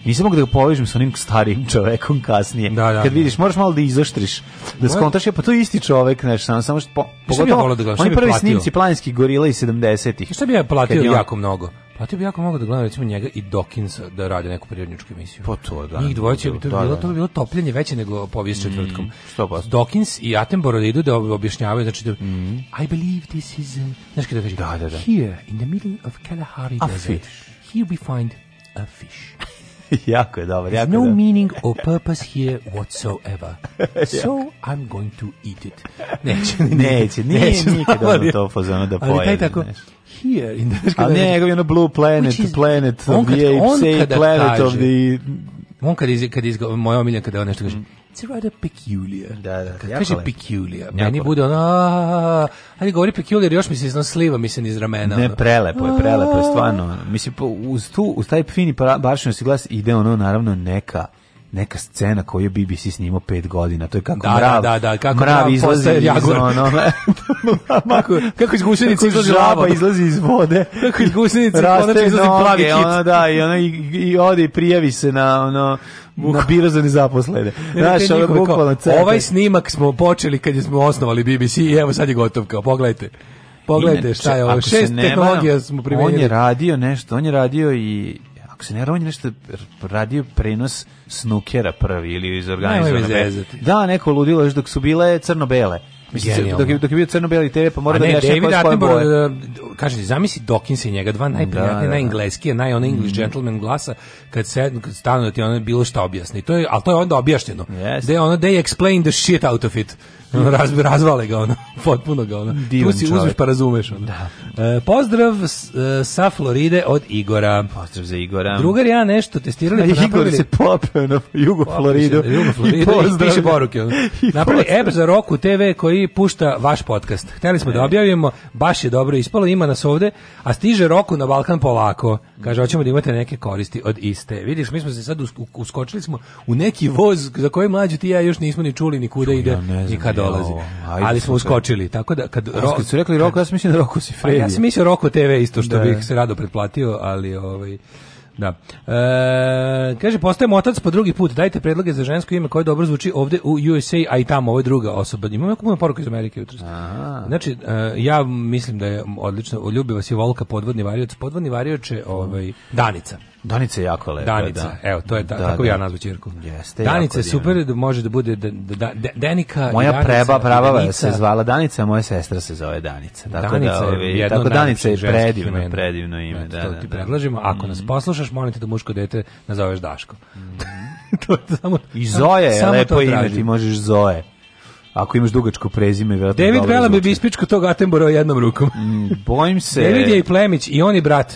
Nisam mogu da ga povežem sa onim starijim čovekom kasnije. Da, da, Kad da. vidiš, moraš malo da izoštriš, da skontaš, je, pa to je isti čovek, znaš, samo, samo što... Po, Šta bi ja volao da gledam? Šta oni bi prvi platio? snimci planinskih gorila iz 70-ih. Šta bi ja platio Kad je on- jako mnogo? Platio bi jako mnogo da gledam recimo njega i Dokinsa da rade neku periodničku emisiju. Pa to, da. Njih dvojica bi to Da, bilo, da. Mm, to bi bilo topljenje veće nego povijest četvrtkom. 100%. Dawkins i Attenborough da idu da objašnjavaju, znači da I believe this is, uh, znaš kada kaže, Mm. Da, da, da. here in the middle of Kalahari A desert, fish. here we find a fish. [laughs] jako je dobar, There's [laughs] jako no je dobar. meaning or purpose here [laughs] whatsoever. So I'm going to eat it. Neće, Neće, nije nikad ono to fazonu da [laughs] Ali taj pojede, tako, znaš. here, in the, A ne, njegov je ono Blue Planet, Which is- Planet Znači, on of kad- the on Apes, Ape kada Planet kaže- of the... On kad iz, kad iz, moja omilja kada on nešto kaže, it's rather peculiar. Mm. Da, da, Kad jako kaže lepo. peculiar, Jako meni lepo. bude ono, "A, ali govori peculiar, još mi se iznos sliva, mi se niz ramena. Ne, ono. prelepo je, prelepo je, A. stvarno. Mislim, po- uz, tu, uz taj fini pra- baršinosti glas ide ono, naravno, neka neka scena koju je BBC snimao pet godina. To je kako Da, mrav, da, da, kako mrav, mrav izlazi postaje iz Jaguar. [laughs] ono... kako, [laughs] kako iz gusenice izlazi žaba lava. izlazi iz vode. [laughs] Kako iz gusenice Raste konačno izlazi noge, plavi kit. Ono, da, i, ono, i, i ode i prijavi se na, ono, na biro za nezaposlene. Ne, ne, Znaš, te ono, njihove kao, bukvalno cepaj. ovaj snimak smo počeli kad smo osnovali BBC i evo sad je gotov kao, pogledajte. Pogledajte Inače, šta je ovo, ako se šest ne tehnologija varam, smo On primenili. je radio nešto, on je radio i ako se ne varam, on je nešto r- radio prenos snukera prvi ili iz organizovanog. Nemoj me zezati. Da, neko ludilo još dok su bile crno-bele. Mislim, Genijalno. dok je, dok je bio crno-beli TV, pa mora A da ne, objašnja David koje su koje Attenborough, boje. da, da, kaže ti, zamisli Dawkins i njega, dva najprijatnije, Da, Mhm. da, da. najengleski, naj onaj English gentleman glasa, kad, se, kad stanu da ti ono bilo šta objasni. To je, ali to je onda objašnjeno. Jeste. Mhm. Da je ono, they explain the shit out of it. Ono, Raz, razvale ga ono, [laughs] potpuno ga ono. Divan tu si čovjek. uzmeš pa razumeš ono. E, pozdrav s- e, sa Floride od Igora. Pozdrav za Igora. Drugar i ja nešto testirali pa A [laughs] Igor napravili- se popeo na jugo Floridu. Jugo Floridu i pozdravlja. piše poruke. ono. I Napravili pozdravlja. app za Roku TV koji pušta vaš podcast. Hteli smo da objavimo, baš je dobro ispalo, ima nas ovde, a stiže Roku na Balkan polako. Kaže, hoćemo da imate neke koristi od iste. Vidiš, mi smo se sad us- u- uskočili smo u neki voz za koji mlađi ti i ja još nismo ni čuli ni kuda ide, ne ni znam, kad ja, dolazi. ovo, ajde, Ali smo super. uskočili, tako da kad... Ro- Kad su rekli Roko, ja sam mislim da Roko si Pa Fredi. ja sam mislio Roko TV isto što Da. bih se rado pretplatio, ali ovaj da. E, kaže, postajem otac po drugi put, dajte predloge za žensko ime koje dobro zvuči ovde u USA, a i tamo, ovo je druga osoba. Imam jako puno poruka iz Amerike jutros. Znači, e, ja mislim da je odlično, ljubi vas je Volka, podvodni varioc. Podvodni varioc je ovaj, Danica. Danica E, je jako lepa. Danica, da. evo, to je ta, Da, tako da. bi ja nazvu ćirku. Jeste, Danica jako je super, da može da bude da, da, da, Denika Pa i Moja Danica preba, i prava Danica. se zvala Danica, a moja sestra se zove Danica. Tako Danica da, je ovi, jedno tako od Danica je najlepših ženskih predivno, imena. predivno ime. Eto, Da, to da, ti da. predlažemo. Ako nas poslušaš, molim te da muško dete nazoveš Daško. [laughs] to je samo, I Zoja je samo to lepo ime, tražim. ti možeš Zoe. Ako imaš dugačko prezime, vjerojatno David dobro Bela bi zvuči. bispičko tog Attenborough jednom rukom. Bojim se... David je i plemić i on i brat.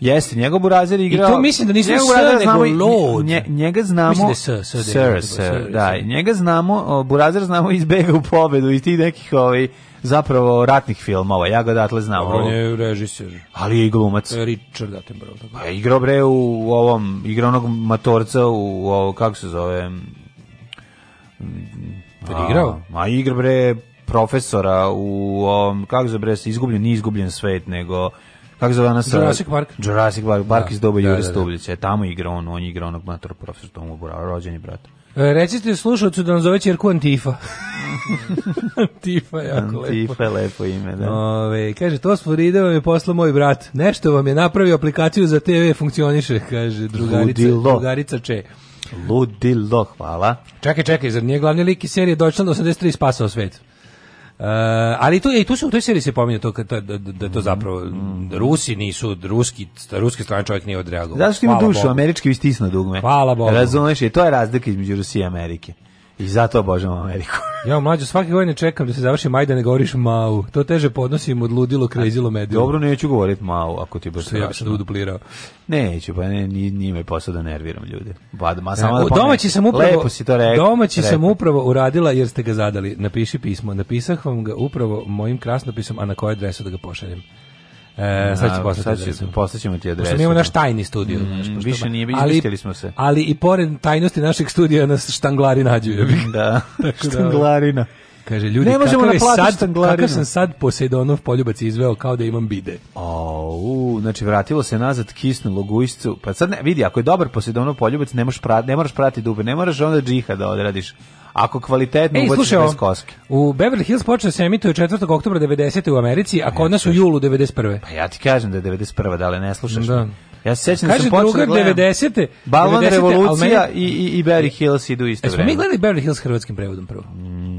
Jeste, njegov burazer je igrao... I to mislim da nismo njegov S, burazer nego znamo i- Lord. nje- njega znamo... Mislim da je S, S, da je Sir, njegov, sir, Sir, da. Sir. Njega znamo, o, burazer znamo iz Bega u pobedu, iz tih nekih ovaj, zapravo ratnih filmova. Ja ga odatle znam. On ovo. je E, režiser. Ali je i glumac. To je Richard Attenborough. tako. Pa igrao bre u ovom, igrao onog matorca u, u ovo, kako se zove, mm, Jel igrao? A, ma igra bre profesora u ovom, kako se zove bre, izgubljen, nije izgubljen svet, nego kako se zove ona sa- Jurassic Park. Jurassic Park, Park iz da, doba Jure da, da. Stubljića. E, tamo igra on, on igra onog matora profesora Tomu Bura, rođeni brat. E, Recite slušalcu da nam zove čerku [laughs] Antifa. Antifa je jako lepo. Tifa je lepo ime, da. Ove, kaže, to sporide vam je poslao moj brat. Nešto vam je napravio aplikaciju za TV, funkcioniše, kaže drugarica, Ludilo. drugarica Če. Ludilo, hvala. Čekaj, čekaj, zar nije glavni lik iz serije Deutschland 83 spasao svet? E, ali tu, i tu se u toj seriji se pominje to, kad- da, da, da to zapravo da Rusi nisu, ruski, ruske strane čovjek nije odreagovao. Zato što ima Hvala dušu, Bogu. američki vi stisna dugme. Hvala Bogu. Razumeš, i to je razlika između Rusije i Amerike. I zato obožavam [laughs] Ameriku. Ja mlađo svake godine čekam da se završi Majdan ne govoriš mau. To teže podnosim od ludilo, krezilo, medilo. Dobro, neću govorit malo, ako ti je baš što ja bi sad strašno. uduplirao. Neću, pa ne, ni- nije me posao da nerviram ljude. Ba, ma, samo da U, pomenem. domaći sam upravo Lepo si to rekao. Domaći sam upravo uradila jer ste ga zadali. Napiši pismo. Napisah vam ga upravo mojim krasnopisom, a na koju adresu da ga pošaljem. E, sad ću poslati Sad adresu. ću, poslaćemo ti adresu. Pošto mi imamo naš tajni studio. znaš, pošto- više nije, ali- izmislili smo se. Ali i pored tajnosti našeg studija nas štanglari nađu. ja bih. [laughs] [laughs] Da, da- štanglarina. Kaže, ljudi, Ne možemo kakav, je naplatiti sad, štanglarinu. kakav sam sad Poseidonov poljubac izveo kao da imam bide. Au, znači vratilo se nazad kisnulo gujscu. Pa sad ne, vidi, ako je dobar posljedovno poljubac, ne možeš prati, ne moraš prati dube, ne moraš onda džiha da odradiš. Ako kvalitetno Ej, ubaciš slušaj ovo. bez koske. U Beverly Hills počeo se emituje 4. oktobra 90. u Americi, a kod nas u julu 91. Pa ja ti kažem da je 91. da li ne slušaš? Da. Ja se sjećam da Kaže sam počeo da drugar gledam 90. Balvan 90., revolucija ali meni- i, i, i Barry Hills idu isto Jesmo mi vreme. gledali Beverly Hills hrvatskim prevodom prvo?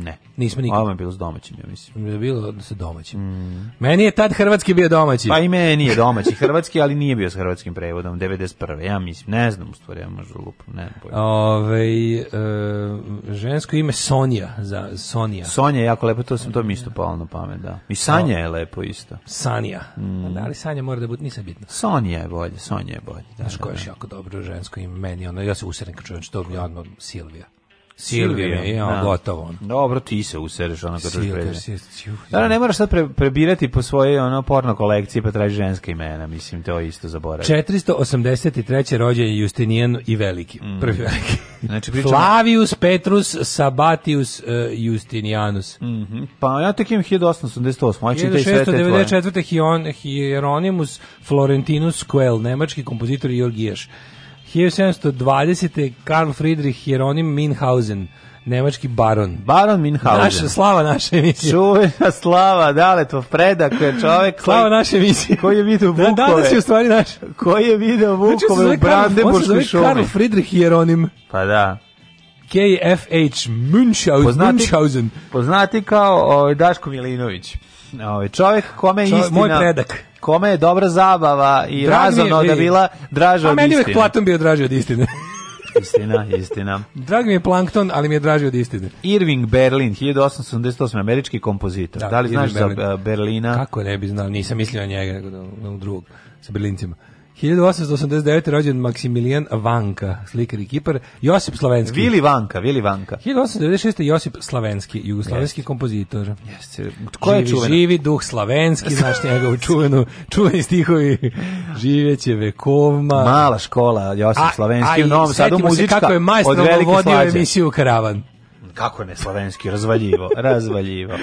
Ne. Nismo nikad. Ovo je bilo s domaćim, ja mislim. Je bilo da se domaćim. Meni je tad hrvatski bio domaći. Pa i meni je domaći hrvatski, ali nije bio s hrvatskim prevodom 91. Ja mislim, ne znam u stvari, ja možda lupam, ne znam. pojma. Ove, e, žensko ime Sonja. Za, Sonja. Sonja je jako lepo, to sam to mi isto palo na pamet, da. I Sanja je lepo isto. Sanja. Mm. Pa Da, ali Sanja mora da bude, nisam bitno. Sonja je bolje, Sonja je bolje. Da, Znaš da, koje je da. još jako dobro žensko ime? Meni ono, ja se usirim kad čujem što je ono Silvija. Silvija, Silvija mi je, da. ono, gotovo ono. Dobro, ti se usereš ono kad Silvija, prezime. Silvija, juh, Da, ne moraš sad pre, prebirati po svojoj ono porno kolekciji pa traži ženska imena, mislim, to je isto zaboravio. 483. rođen je Justinijan i veliki, prvi veliki. Znači, Mm. pričamo- Flavius Petrus Sabatius eh, Justinianus. Mhm, Pa ja tek imam 1888, aj čitaj sve Znači, te tvoje. 1694. Hion- Hieronymus Florentinus Quell, nemački kompozitor i orgijaš. 1720. Karl Friedrich Hieronym Minhausen, nemački baron. Baron Naša, Minhausen. slava naše emisije. Čuvena slava, dale, to predak je čovjek Slava koji- naše emisije. Koji je video Da, vukove. danas je u stvari naš. koji je video Znači, on se vukove zove u Karl- on se Brandenburškoj zove šumi. Karl Friedrich Hieronym. Pa da. KFH Münchau- Poznati, Münchhausen. poznati kao ovaj, Daško Milinović. Ovaj, čovjek kome je Čo- istina... moj predak. Kome je dobra zabava Drag mi i je, razumno da vidi. bila draža A od meni je uvek istine. Platon bio draži od istine. [laughs] Istina, istina. Drag mi je Plankton, ali mi je draži od istine. Irving Berlin, 1888, američki kompozitor. Da, Da, li Irving znaš za Berlin. eh, Berlina? Kako ne bi znao, nisam mislio na njega, nego na onog drugog, sa Berlincima. 1889. rođen Maksimilijan Vanka, slikar i kipar, Josip Slavenski. Vili Vanka, Vili Vanka. 1896. Josip Slavenski, jugoslovenski kompozitor. Jeste. Ko je živi, čuvena? živi duh slavenski, znaš [laughs] njegov čuvenu, čuveni stihovi živeće vekovma. Mala škola, Josip A- Slavenski a u i Novom Sadu, setimo se muzička kako je od majstor velike vodio slađe. emisiju Karavan. Kako ne Slavenski, [laughs] razvaljivo, razvaljivo.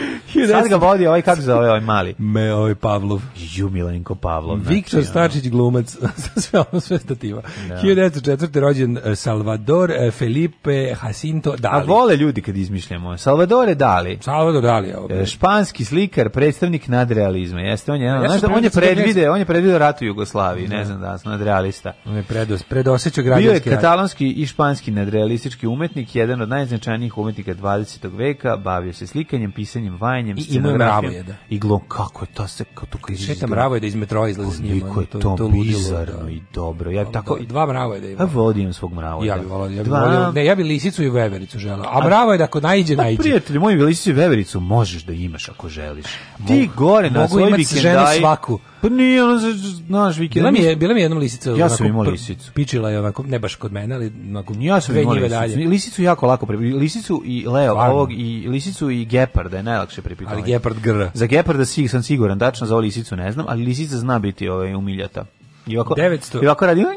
Sad ga vodi ovaj, kako zove ovaj mali? Me, ovaj Pavlov. Ju Milenko Pavlov. znači, Viktor ono. Starčić glumac, [laughs] sve ono sve stativa. 1904. rođen eh, Salvador eh, Felipe Jacinto A Dali. vole ljudi kad izmišljamo. Salvadore Dali. Salvador Dali, evo. e, Španski slikar, predstavnik nadrealizma. Jeste, on je, jedan- Ja sam znaš da on je primijetio da predvide, on je predvideo rat u Jugoslaviji, ne znam da sam nadrealista. On je predos, predosećao Bio je građanski rat. katalonski i španski nadrealistički umetnik, jedan od najznačajnijih umetnika 20. veka, bavio se slikanjem, pisanjem, vajanjem, I imao je scenografijom. mravo je, da. I glom, kako je to se, kako to kad Šeta izgleda. mravo je da iz metroa izlazi s njima. Koliko je ono, to, ludilo, bizarno da. i dobro. Ja bi tako, Do- Dva mravo je da ima. ja vodim svog mrava. Ja bih volao, ja bih Dva- volio, ne, ja bih lisicu i vevericu želeo. A bravo je da ako najđe, Pa, najđe. prijatelju, moju Velisicu i Vevericu možeš da imaš ako želiš. Ti gore na mogu svoj imat vikendaj... ženu svaku. Pa nije, ono, z- z- znaš, vikendaj... Bila mi je, bila mi je jednom lisica. Ja onako sam imao pr- lisicu. Pičila je onako, ne baš kod mene, ali onako Ja sam dve imao njive lisicu. dalje. Lisicu jako lako prepitala. Lisicu i leo, Stvarno? ovog, i lisicu i geparda je najlakše prepitala. Ali gepard grr. Za geparda si, sam siguran, tačno za ovu lisicu ne znam, ali lisica zna biti ovaj, umiljata. I ovako, 900. I ovako radi... "Njau, njau,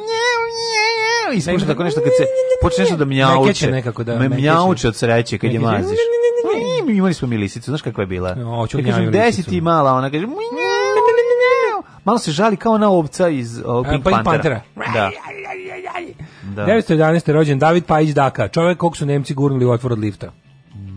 njau", I spušta tako nešto kad se... Počne nešto da Mekeće mjauče. nekako, da, Me mekeće. mjauče od sreće kad je Mekeće. maziš. mi imali smo mi lisicu, znaš kakva je bila? O, hoću ja gnjaviju kažem, desi lisicu." ti mala, ona kaže, "Mui, mjau, mjau." malo se žali kao ona ovca iz ovog A, Pink E, Pink Panthera. Panthera. Da. Da. Da. 911. rođen David Pajić Daka, čovjek kog su Nemci gurnuli u otvor od lifta.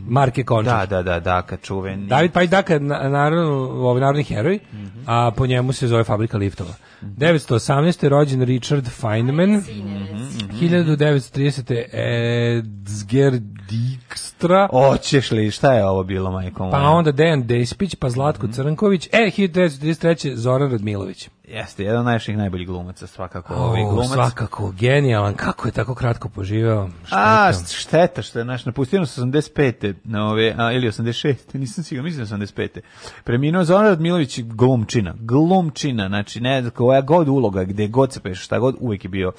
Marke Končar. Da, da, da, da, kad čuveni. David Pajić Daka, na- naravno, ovaj narodni heroj, Mhm. a po njemu se zove fabrika liftova. 918. je rođen Richard Feynman. Mhm, 1930. Edsger Dijkstra. Oćeš li, šta je ovo bilo, majko moja? Mhm. Pa onda Dejan Despić, pa Zlatko Crnković. E, 1933. Zoran Radmilović. Jeste, jedan od najviših najboljih glumaca, svakako. ovaj O, glumac. svakako, genijalan. Kako je tako kratko poživeo? A, Šteta. šteta što je naš napustio nas 85. Na ove, a, ili 86. Nisam siguran, mislim da je 85. Preminuo Zoran Radmilović glumčina. Glumčina, znači ne, koja god uloga, gde god se peš, šta god, uvijek je bio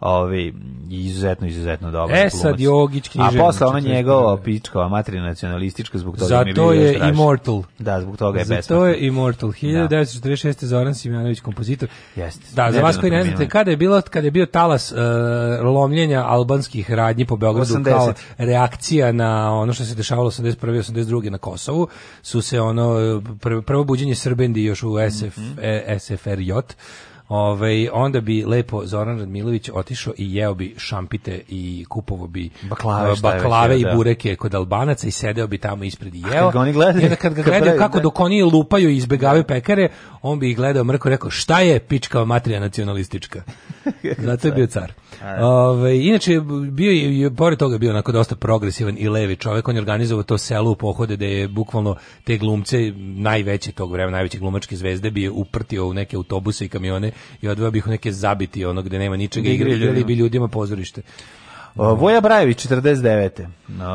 ove, izuzetno, izuzetno dobar E, glumac. sad Jogić, Književnik, A posle ona 41.. njegova pičkova, materina nacionalistička, zbog toga mi je Zato bio još je draži. Immortal. Da, zbog toga je Zato besmrtno. je Immortal 1946. Zoran Simjanović kompozitor. Jeste. Da, za Nedavno vas koji ne znate preminuli. kada je bilo kada je bio talas e, lomljenja albanskih radnji po Beogradu 80. kao reakcija na ono što se dešavalo 81. 82. na Kosovu, su se ono pr- prvo buđenje Srbendi još u SF Mhm. e, SFRJ. Ovaj onda bi lepo Zoran Radmilović otišao i jeo bi šampite i kupovo bi e, Baklave, šta je već baklave jeo, i da. bureke kod Albanaca i sedeo bi tamo ispred i jeo kad ga oni gledaju, i onda kad ga kad gledaju pravi, kako da. dok oni lupaju i izbegavaju pekare, on bi ih gledao mrko i rekao šta je pička materija nacionalistička. [laughs] Zato je bio car. Ove, inače, bio je, je- pored toga je bio onako dosta progresivan i levi čovjek, on je organizovao to selo u pohode da je bukvalno te glumce najveće tog vremena, najveće glumačke zvezde bi je uprtio u neke autobuse i kamione i odveo bi ih u neke zabiti ono gde nema ničega i Igre igrali ljudima. bi ljudima pozorište. O, Voja Brajević, 49.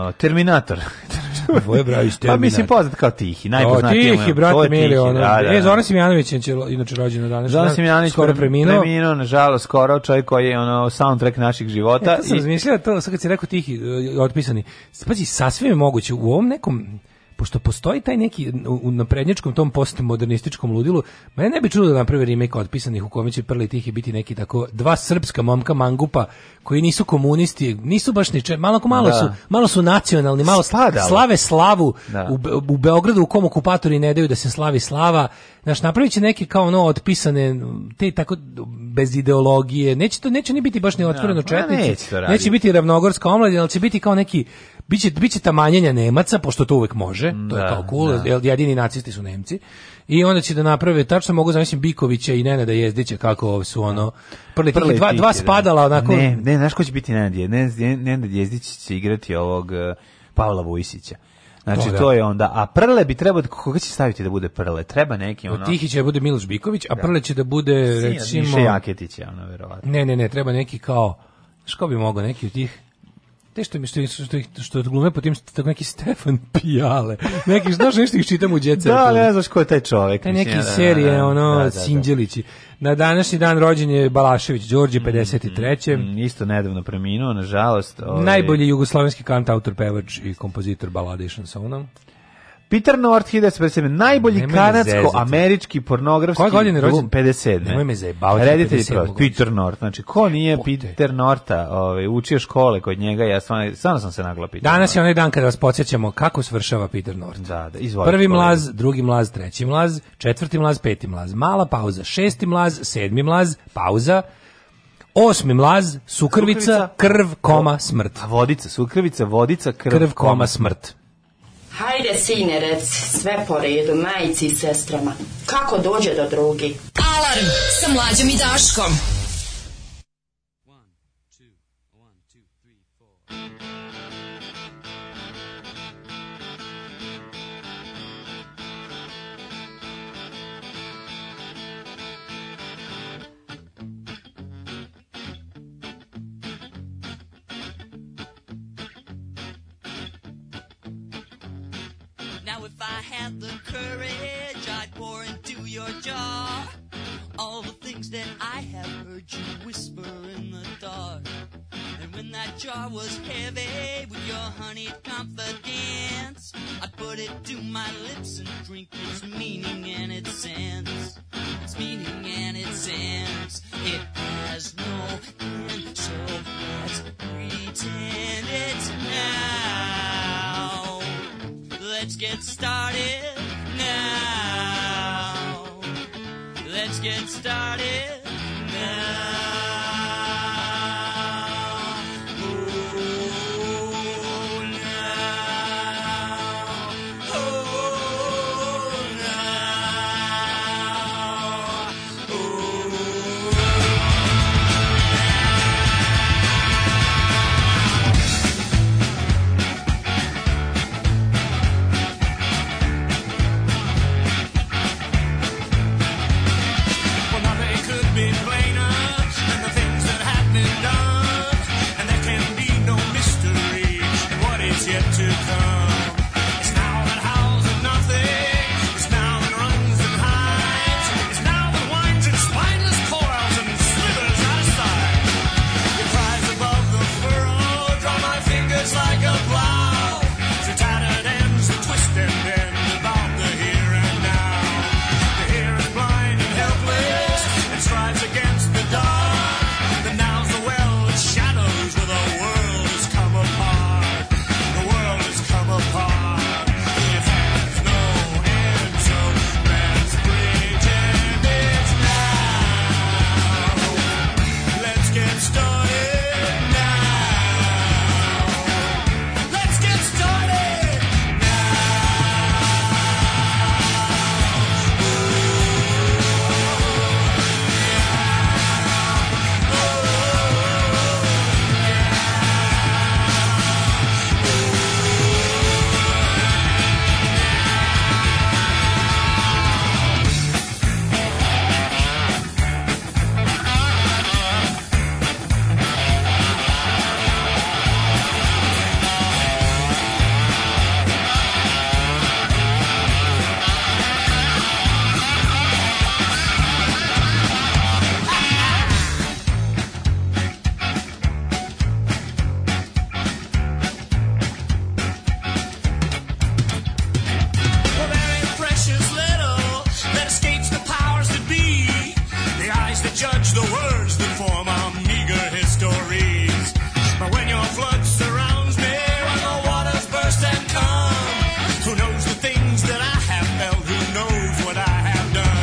O, Terminator. [laughs] Voja Brajević, Pa Terminator. mislim poznat kao Tihi, O, najpoznatiji. tihi, mu- brate, to je mili, Tihi, ono. da, da, E, da. Zoran Simjanović, je inče- inače rođen na danas. Zoran Simjanović skoro preminuo. preminuo, nažalost, skoro čovjek koji je ono soundtrack naših života. Da, E, to sam i- razmišljao, to sad kad si rekao tihi, e, otpisani. Pazi, sasvim je moguće, u ovom nekom pošto postoji taj neki u- u naprednjačkom tom postmodernističkom ludilu, mene ne bi čudo da naprave remake otpisanih u kome će prli tihi biti neki tako dva srpska momka mangupa koji nisu komunisti, nisu baš niče, malo ko malo Da. su, malo su nacionalni, malo Spadalo. slave slavu Da. u, Be- u Beogradu u kom okupatori ne daju da se slavi slava. Znaš, napravit će neke kao ono otpisane, te tako bez ideologije. Neće to neće ni biti baš ni otvoreno ma Ono, četnici. Pa neće to raditi. neće biti ravnogorska omladina, ali će biti kao neki biće biće tamanjenja Nemaca, pošto to uvek može. To je Da, kao cool, jer jedini nacisti su Nemci. I onda će da naprave tačno mogu zamisliti Bikovića i Nenada Jezdića kako su ono prli, Prle tiki, dva, Tihi, dva da. spadala onako. Ne, ne, znaš ko će biti Nenad Jezdić? Nenad- Nenad Jezdić će igrati ovog eh, Pavla Vujsića. Znači, To to, da. je onda. A Prle bi trebao, koga će staviti da bude Prle? Treba neki, ono... Pa Tihi će da bude Miloš Biković, a Prle će da bude sin od recimo Miše Jaketića, ono, verovatno. Ne, ne, ne, treba neki kao, što bi mogao neki od tih te što mi što što, što, ih- što glume po tim tako neki Stefan Pijale. Neki znaš nešto ih čitam u djece. Da, ali ne znaš ko je taj čovjek. Te mislim, neki da, da, da, serije, da, ono, da, da, da. Sinđelići. Na današnji dan rođen je Balašević, Đorđe, 53. Mm, Isto nedavno preminuo, nažalost. ovaj. Najbolji jugoslovenski kant, autor, pevač i kompozitor balade i šansona. Peter North 1957. Najbolji Nemoj me kanadsko-američki pornografski Koje godine je rođen? glum 57. Nemoj me zajebavati, Reditelj 57. je Peter North. Znači, ko nije Pote. Peter Norta ovaj, učio škole kod njega, ja stvarno, stvarno sam se nagla Peter Danas je onaj dan kada vas podsjećamo kako svršava Peter North. North. Da, da, izvoli. Prvi mlaz, drugi mlaz, treći mlaz, četvrti mlaz, peti mlaz, mala pauza, šesti mlaz, sedmi mlaz, pauza, osmi mlaz, sukrvica, Sukrvica, krv, koma, smrt. A vodica, sukrvica, vodica, krv, Krv, koma, smrt. Hajde, sine, rec, sve po redu, majici i sestrama. Kako dođe do drugi? Alarm sa mlađom i Daškom. Now if I had the courage, I'd pour into your jaw all the things that I have heard you whisper in the dark. And when that jar was heavy with your honeyed confidence, I'd put it to my lips and drink its meaning and its sense. Its meaning and its sense. It has no end, so let's pretend it's now. Let's get started now. Let's get started now. Oh, now. Oh, now. Well, nothing could be plainer than the things that have been done. And there can be no mystery in what is yet to come. It's now that howls at nothing. It's now that runs and hides. It's now that winds its spineless coils and slithers out of sight. It cries above the furrow. Draw my fingers like a plow. Through tattered ends that twist and bend about the here and now. The here is blind and helpless and strives against the dark. The now's the well that shadows where the world has come apart. The world has come apart. It has no end, so let's pretend it's now. Let's get started now. Let's get started Well, there ain't precious little that escapes the powers that be. The eyes that judge the words that form our meager histories. But when your flood surrounds me, when the waters burst and come, who knows the things that I have felt? Who knows what I have done?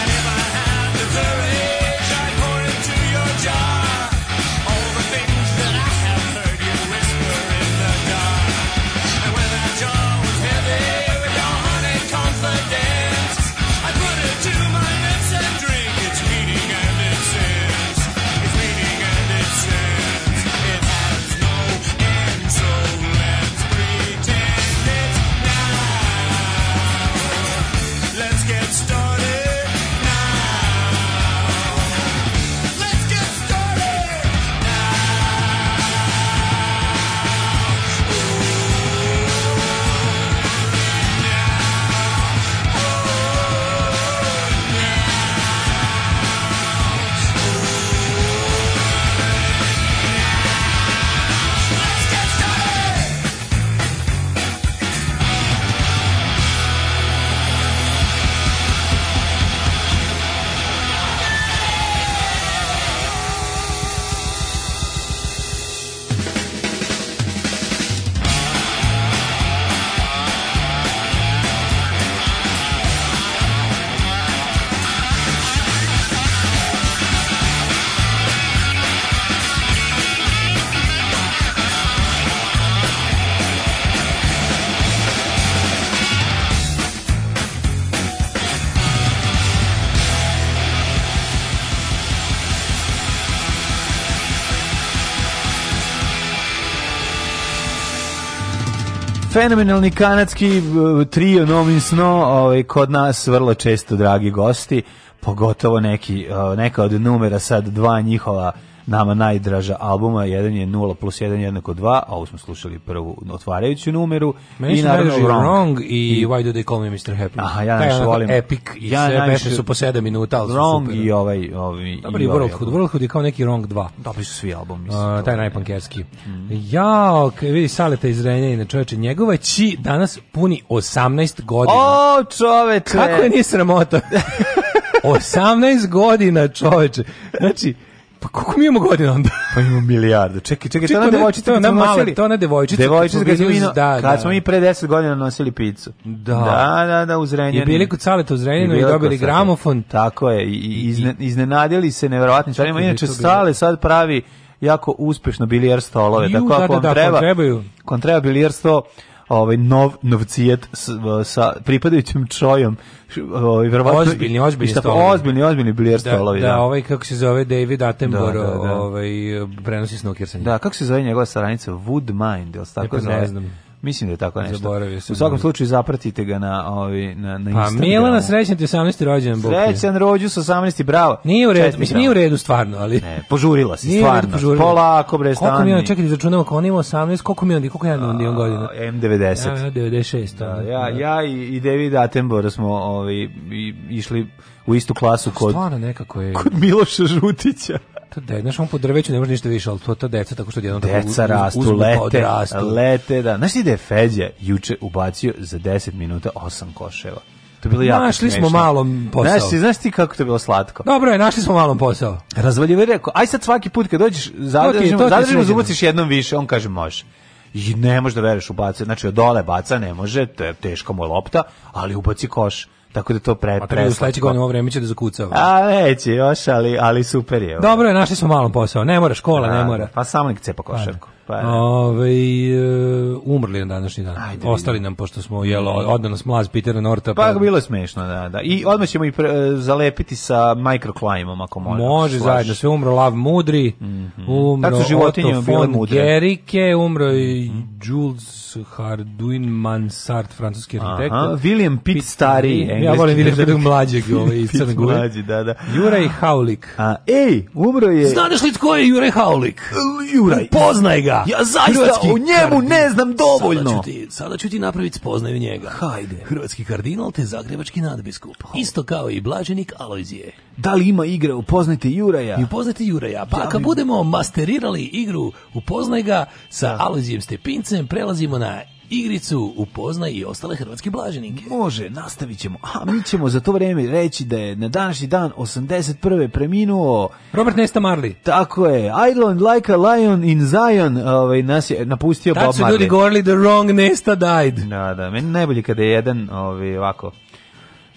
And if I had the courage, I'd pour into your jar all the things that I have heard you whisper in the dark. And when that jar was heavy with your honey confidence, I put it to my lips and drink its meaning and its sense. Its meaning and its sense. It has no end, so let's pretend it's now. Let's get started now. Let's get started. Fenomenalni kanadski eh, trio Nomin Sno, ovaj, kod nas vrlo često dragi gosti, pogotovo neki, eh, neka od numera sad dva njihova nama najdraža albuma, jedan je 0 plus 1 jednako 2, a ovo smo slušali prvu otvarajuću numeru. Meni su najdraži Wrong i, Why Do They Call Me Mr. Happy. Aha, ja Taj najviše onako volim. Epic i Ja sve najviše- pesme su po 7 minuta, ali su Wrong super. i ovaj... ovaj Dobar je Worldhood. Worldhood je kao neki Wrong 2. Dobri su svi albumi. mislim, A, to taj je. najpankerski. Mhm. Jao, k- vidi Saleta iz Renjanina, čoveče, njegovaći danas puni 18 godina. O, čoveče! Kako je nije [laughs] sramota? 18 godina, čoveče. Znači, pa koliko mi imamo godina onda? Pa ima milijardu. Čekaj, čekaj, to Čekaj, ona to je- devojčica to je kad smo ona mala- nosili- to je ona devojčica kad Devojčica smo kad smo bili mi, uz- da, kad da. smo mi pre 10 godina nosili picu. Da. Da, da, da, uz Renjanin. I bili kod Saleta uz Renjaninu I i bila dobili kod Saleta. gramofon. Tako je, i, i izne, iznenadili se neverovatnim stvarima. Kako je Inače, to bilo? Sale sad pravi jako uspešno bilijar stolove. Ju, tako da, ako da, vam da, ako vam treba, trebaju. ako vam treba bilijar sto, ovaj nov novcijet s, v- sa pripadajućim čojom š- ovaj verovatno Ozbiljni, i- ozbiljni i šta, pa, stolovi. ozbiljni ozbiljni bilijar stolovi da, ovaj kako se zove David Attenborough, Da, da, da. ovaj prenosi snukersanje. Da, kako se zove njegova stranica? Woodmind, ili se tako E, pa zove? ne znam. Mislim da je tako nešto. Zaboravio sam. U svakom slučaju zapratite ga na, ovi, na, na Pa Instagramu. Milana, srećan ti 18. rođendan, Bog. ti. Srećan rođu sa 18. bravo. Nije u redu, Čestitam. mislim, nije u redu stvarno, ali... Ne, požurila si, Nije u redu, stvarno. požurila. Polako, bre, Koliko mi je on, stani. čekaj, da izračunamo, ako on ima 18, koliko mi je on, koliko ja imam godina? M90. Ja, ja, 96. Da, onda. ja, ja i, i David Attenborough smo ovi, i, išli u istu klasu kod, Stvarno nekako je... kod [laughs] Miloša Žutića. To da, znaš, on po drveću ne može ništa više, ali to ta deca tako što jedno tako Deca uz- rastu, uzmu pa lete, odrastu. lete, da. Znaš ti da je Feđa juče ubacio za 10 minuta 8 koševa? To je bilo jako Našli smo smešno. malo posao. Znaš, ti, znaš ti kako to je bilo slatko? Dobro je, našli smo malom posao. Razvaljivo je rekao, aj sad svaki put kad dođeš, to zadržimo, ti je zadržimo, sređeno. zubaciš jednom više, on kaže može. I ne može da veruješ ubacio, znači od dole baca ne može, to je teška mu je lopta, ali ubaci koš, tako da to pre, A treba u sledećeg preslatko. godinu ovo vreme će da zakucava. pa. A neće još, ali, ali super je. ovo. Dobro je, našli smo malom posao. Ne mora, škola ne A, mora. Pa samo nek cepa košarku. Pa, da. Ove, e, umrli na današnji dan. Ajde, Ostali nam, pošto smo, jelo, odda nas mlaz Pitera Norta. Pa bilo je smešno, da, da. I odmah ćemo i pre, e, zalepiti sa microclimom, ako može. Može zajedno, sve umro Lav Mudri, umro Mhm. Tako su životinje Otto bile von mudre. Mhm. Gerike, umro i Jules Harduin Mansart, francuski arhitekt. Aha, William Pitt stariji, Ja engleski volim William državnik. Pitt [laughs] mlađeg ovaj, iz Pitt Crne Gore. mlađi, da, da. Juraj Haulik. A, ej, umro je... Znaš li tko je Juraj Haulik? Juraj. Poznaj ga. Ja zaista Hrvatski o njemu kardinal. ne znam dovoljno. Sada ću ti, sada ću ti napraviti spoznaju njega. Hajde. Hrvatski kardinal te zagrebački nadbiskup. Isto kao i blaženik Alojzije. Da li ima igre, upoznajte Juraja? I upoznati Juraja. Pa kad budemo masterirali igru Upoznaj ga sa Alojzijem Stepincem, prelazimo na igricu Upoznaj i ostale hrvatske blaženike. Može, nastavit ćemo. A mi ćemo za to vreme reći da je na današnji dan 81. preminuo Robert Nesta Marley. Tako je, Island like a lion in Zion, ovaj, nas je napustio Tad Bob su Marley. ljudi govorili the wrong Nesta died. Da, da, meni najbolje kada je jedan, ovaj, ovako,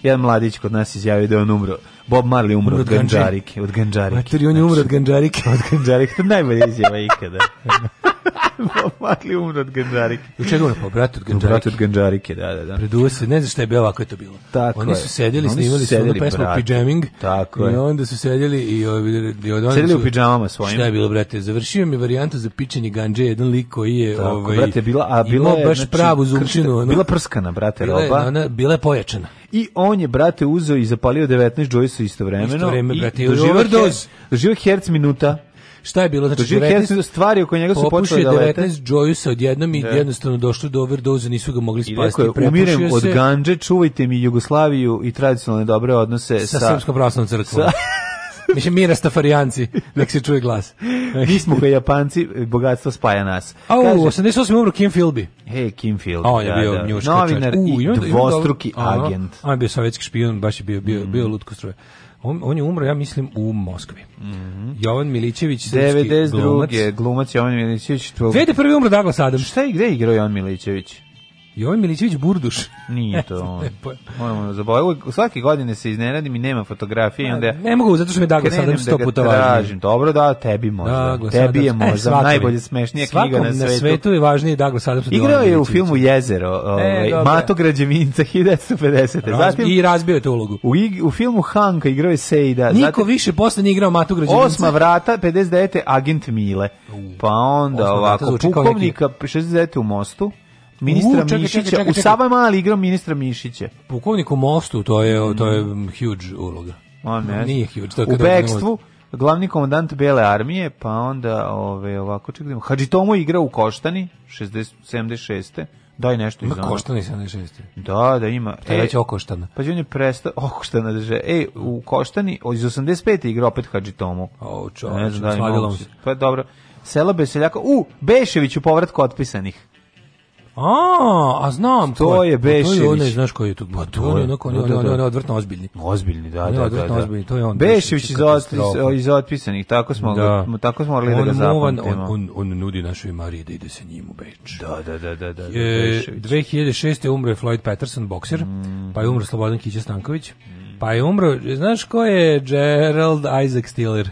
jedan mladić kod nas izjavio da je on umro. Bob Marley umro Umro od od ganđe. ganđarike. Od ganđarike. Mater, i on je umro Znači, od ganđarike. [laughs] Od ganđarike, to je najbolja izjava [laughs] ikada. Bob Marley umro od ganđarike. U čega ono, pa brate od Ganđarike. ganđarike. od ganđarike, da, da, da. Preduo se, ne znam šta je bilo, ovako je to bilo. Tako oni je. su sedjeli, Oni su snimali su sedjeli, onu pesmu brate. Pijaming. Tako I je. onda su sedjeli i, ovi- i od onda Sedjeli su- u pidžamama svojim. Šta je bilo, brate? Završio mi varijantu za pičenje ganđe, jedan lik koji je... Tako, ovaj, brate, bila, a bila imao je, baš znači, pravu kršta- zumčinu. ono. Bila prskana, brate, Bila je, roba. ona, bila je pojačana. I on je, brate, uzeo i zapalio 19 Joyce istovremeno. Isto vreme, brate, I i doživio, overdose. her- doživio herc minuta. Šta je bilo? Znači, Doživio herc minuta, stvari oko njega su Popušio počele je da lete. 19 Joyce odjednom i jednostavno došlo do overdose, nisu ga mogli I spasti. rekao je, umirem prepušio od se ganđe, čuvajte mi Jugoslaviju i tradicionalne dobre odnose Sa, sa... Srpskom pravoslavnom crkvom. Mislim, mira stafarijanci, nek se čuje glas. [laughs] Mi smo [laughs] kao Japanci, bogatstvo spaja nas. A u Kaže, 88. umro Kim Philby. Hej, Kim Field. A on je da, bio da. njuška Novinar i dvostruki agent. Mhm. On je bio sovjetski špijun, baš je bio, bio, bio lutko stroje. On, on je umro, ja mislim, u Moskvi. Mhm. Jovan Milićević, srpski glumac. 92. glumac Jovan Milićević. to- 2001. umro Douglas Adams. Šta je, gde je igrao Jovan Milićević? Jovan Milićević Burduš. E, pa- Nije to [laughs] on. Ne pojma. Moramo zaboraviti. Svake godine se iznenadim i nema fotografije i onda ja Ne mogu, zato što mi je Douglas krenem Adams sto da ga puta važniji. tražim. Dobro da, tebi možda. Douglas tebi je Adams. E, možda svakom najbolje je. smešnija knjiga Svakom na svetu. na svetu je važniji Douglas Adams. od Igrao Jovana je u Milićevića. filmu Jezero, ovaj, dobro. Mato Građevinca [laughs] 1950. Raz- Zatim I razbio je tu ulogu. u, ig- u filmu Hanka igrao je Sejda. Niko zatim više posle nije igrao Matu Građevinca. Osma vrata, 59. Agent Mile. Pa onda Osma vrata ovako, zvuči kao neki- pukovnika, 69. u Mostu. Ministra U, čekaj, Mišića, čekaj, čekaj, u čekaj. Sava Mali igrao ministra Mišića. Pukovnik u mostu, to je, to je mm, huge uloga. A ne. Nije huge. To je u kad radimo- bekstvu, glavni komandant Bele armije, pa onda ove, ovako, čekaj, da imamo- Hadži Tomo igra u Koštani, 60, 76. Daj nešto iz Ma onog. koštani 76. Da, da ima. To je već okoštana. Pa on je prestao, [laughs] okoštana drže. E, u Koštani, o, iz 85. igra opet Hadži Tomu. O, Ne čovječ, znam da li svadilo mogu znači, mu se- se. Pa dobro. Sela Beseljaka, u, Bešević u povratku otpisanih. A, a znam To ko je Pa To je Bešević. onaj, znaš koji je tu. Pa to je onako, on je Da, da, on je- da. on je odvrtno ozbiljni. Ozbiljni, da, On je da, da, odvratno da. ozbiljni, to je on Bešić Bešić, iz, katastrofa. otpis- iz otpisanih, tako smo, Da. ga, tako smo morali da On ga muvan, zapamtimo. on- on- on nudi našoj Mariji da ide sa njim u Beč. Da, da, da, da, da, da, E, Bešević. 2006. je umro je Floyd Patterson, bokser, pa je umro Slobodan Kića Stanković, pa je umro, znaš ko je Gerald Isaac Stiller?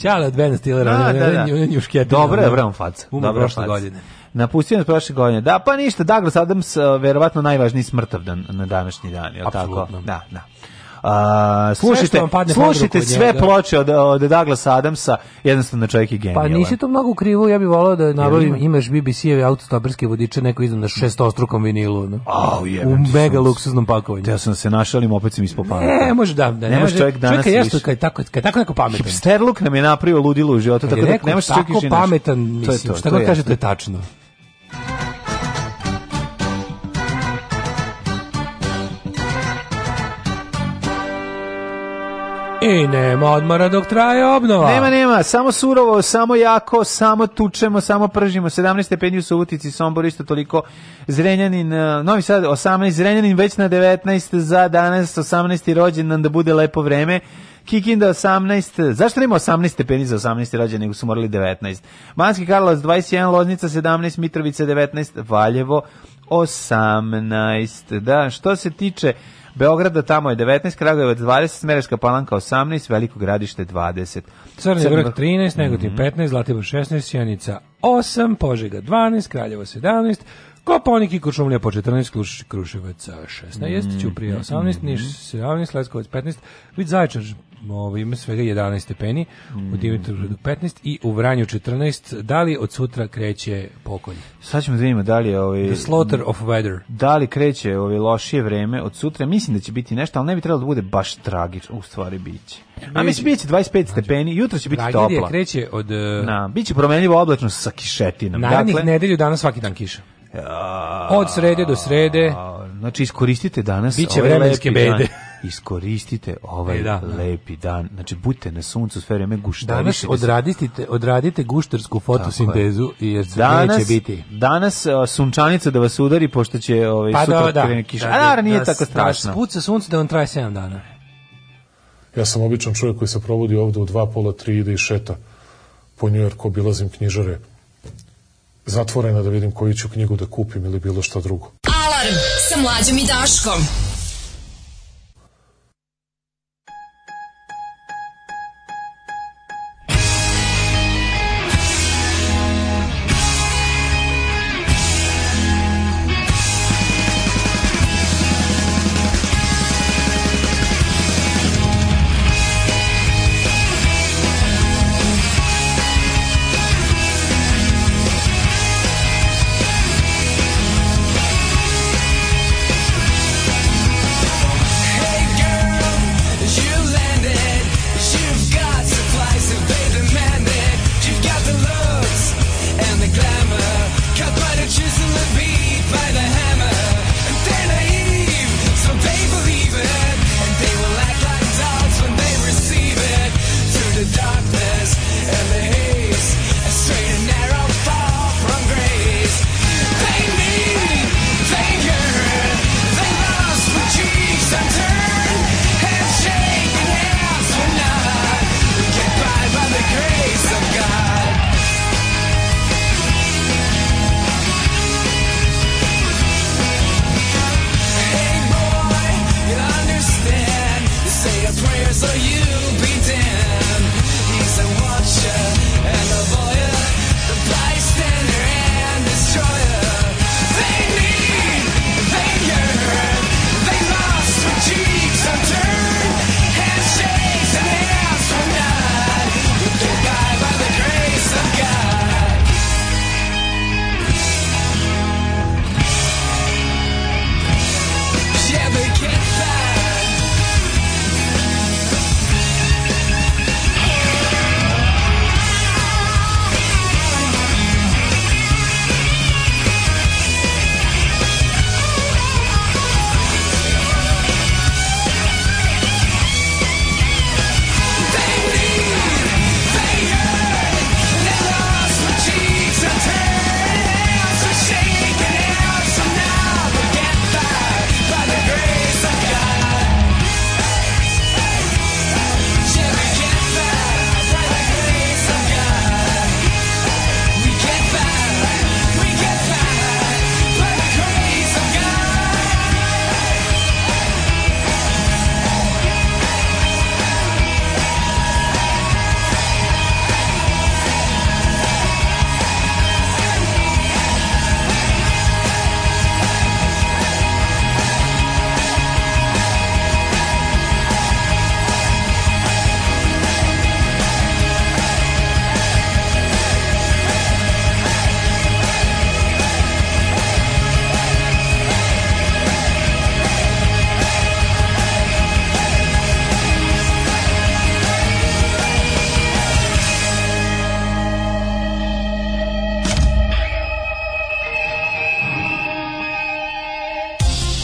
Ćale od Bena Stillera, Da, on je- da, on je- da. on je njušketina, Dobro je, ono. vrem faca. Umro Dobra prošle faca. godine. Napustio nas prošle godine. Da, pa ništa, Douglas Adams, e, verovatno najvažniji smrtav dan, na današnji dan, je li tako? Apsolutno. Da, da. A, Sve što slušajte, vam padne pod ruku slušajte od sve njega. ploče od, od Douglasa Adamsa, jednostavno čovjek je Pa genijalan. nisi to mnogo u krivu, ja bih volao da nabavim, imaš BBC-eve autostoperske vodiče, neko izdam na šestostrukom vinilu, ono. Au, jebem u ti mega sunce. luksuznom pakovanju. Ja sam se našalim, opet sam ispopao. Ne, E, može da, da, ne Nemaš može. čovjek danas Čovjek je jasno više. kad je tako, kad je tako neko pametan. Hipsterluk nam je napravio ludilo u životu, Kad tako Pa je da neko nemaš čovjek tako pametan, mislim, šta god kaže, to je tačno. I nema odmora dok traje obnova. Nema, nema, samo surovo, samo jako, samo tučemo, samo pržimo. 17 stepeni u Subotici, Sombor isto toliko. Zrenjanin, eh, Novi Sad 18, Zrenjanin već na 19 za danas, 18. rođendan da bude lepo vreme. Kikinda 18, zašto nema 18 stepeni za 18. rođendan, nego su morali 19. Manski Karlovac 21, Loznica 17, Mitrovica 19, Valjevo 18. Da, što se tiče Beograda tamo je 19, Kragujevac 20, Smereška Palanka 18, Veliko Gradište 20. Crni Crni vrh Vrh. Mhm. 13, Negotin 15, Zlatibor 16, Sjenica 8, Požega 12, Kraljevo 17, Koponik i Kuršumlija po 14, Kruš, Kruševac 16, Mhm. Ćuprija 18, Niš 17, Leskovac 15, Vid Zajčar ovaj, ima svega 11 stepeni, u Mhm. Dimitrovgradu 15 i u Vranju 14. Da li od sutra kreće pokolj? Sad ćemo da vidimo da li je ovaj The slaughter of weather. da li kreće ove lošije vreme od sutra. Mislim da će biti nešto, ali ne bi trebalo da bude baš tragično. U stvari biće. A mislim biće 25 stepeni, jutro će biti Tragedija toplo. kreće od... eh, Na, biće promenljivo oblačno sa kišetinom. Narednih Dakle, nedelju dana svaki dan kiša. Od srede do srede. znači iskoristite danas Biće ovaj vremenske lepi dan. bede. Iskoristite ovaj E, da, da. lepi dan. Znači budite na suncu sve vreme guštarite. Danas se. odradite, odradite guštersku fotosintezu i jer se neće biti. Danas a, sunčanica da vas udari pošto će ovaj Pa sutra krene kiša. A naravno, nije tako strašno. Da spuca sunce da vam traje 7 dana. Ja sam običan čovjek koji se provodi ovde u dva, pola, tri, ide i šeta po Njujorku, obilazim knjižare zatvorena da vidim koju ću knjigu da kupim ili bilo šta drugo. Alarm sa mlađom i Daškom. You've landed, you've got supplies that they demanded. You've got the looks and the glamour. Cut by the chisel and beat by the hammer. And they're naive, so they believe it. And they will act like dogs when they receive it. Through the darkness and the haze, a straight and narrow fall from grace. They need, they yearn, they lost for cheeks unturned. Handshake and hands were not. Get by by the grace of God. Hey boy, you understand. You say a prayer so you'll be damned. He's a watcher and a voyeur, the bystander and destroyer. They need, they yearn, they lost with cheeks unturned. Handshakes and hands were not. Get by by the grace of God. Yeah, they can't find. Hey,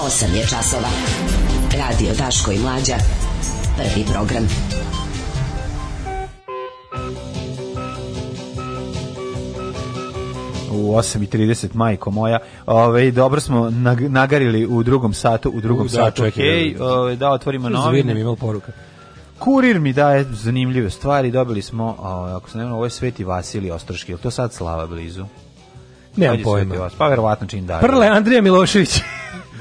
Osam je časova. Radio Daško i Mlađa. Prvi program. u 8.30, majko moja. Ove, dobro smo nag- nagarili u drugom satu, u drugom U, da, satu. čekaj, Hej, da, ove, da otvorimo Zvirnem novine. imao poruka. Kurir mi daje zanimljive stvari, dobili smo, o, ako se ne vrlo, ovo je Sveti Vasilij Ostroški, je li to sad slava blizu? Nemam Kad je pojma. Sveti Vas- Pa verovatno čim dalje. Prle Andrija Milošević.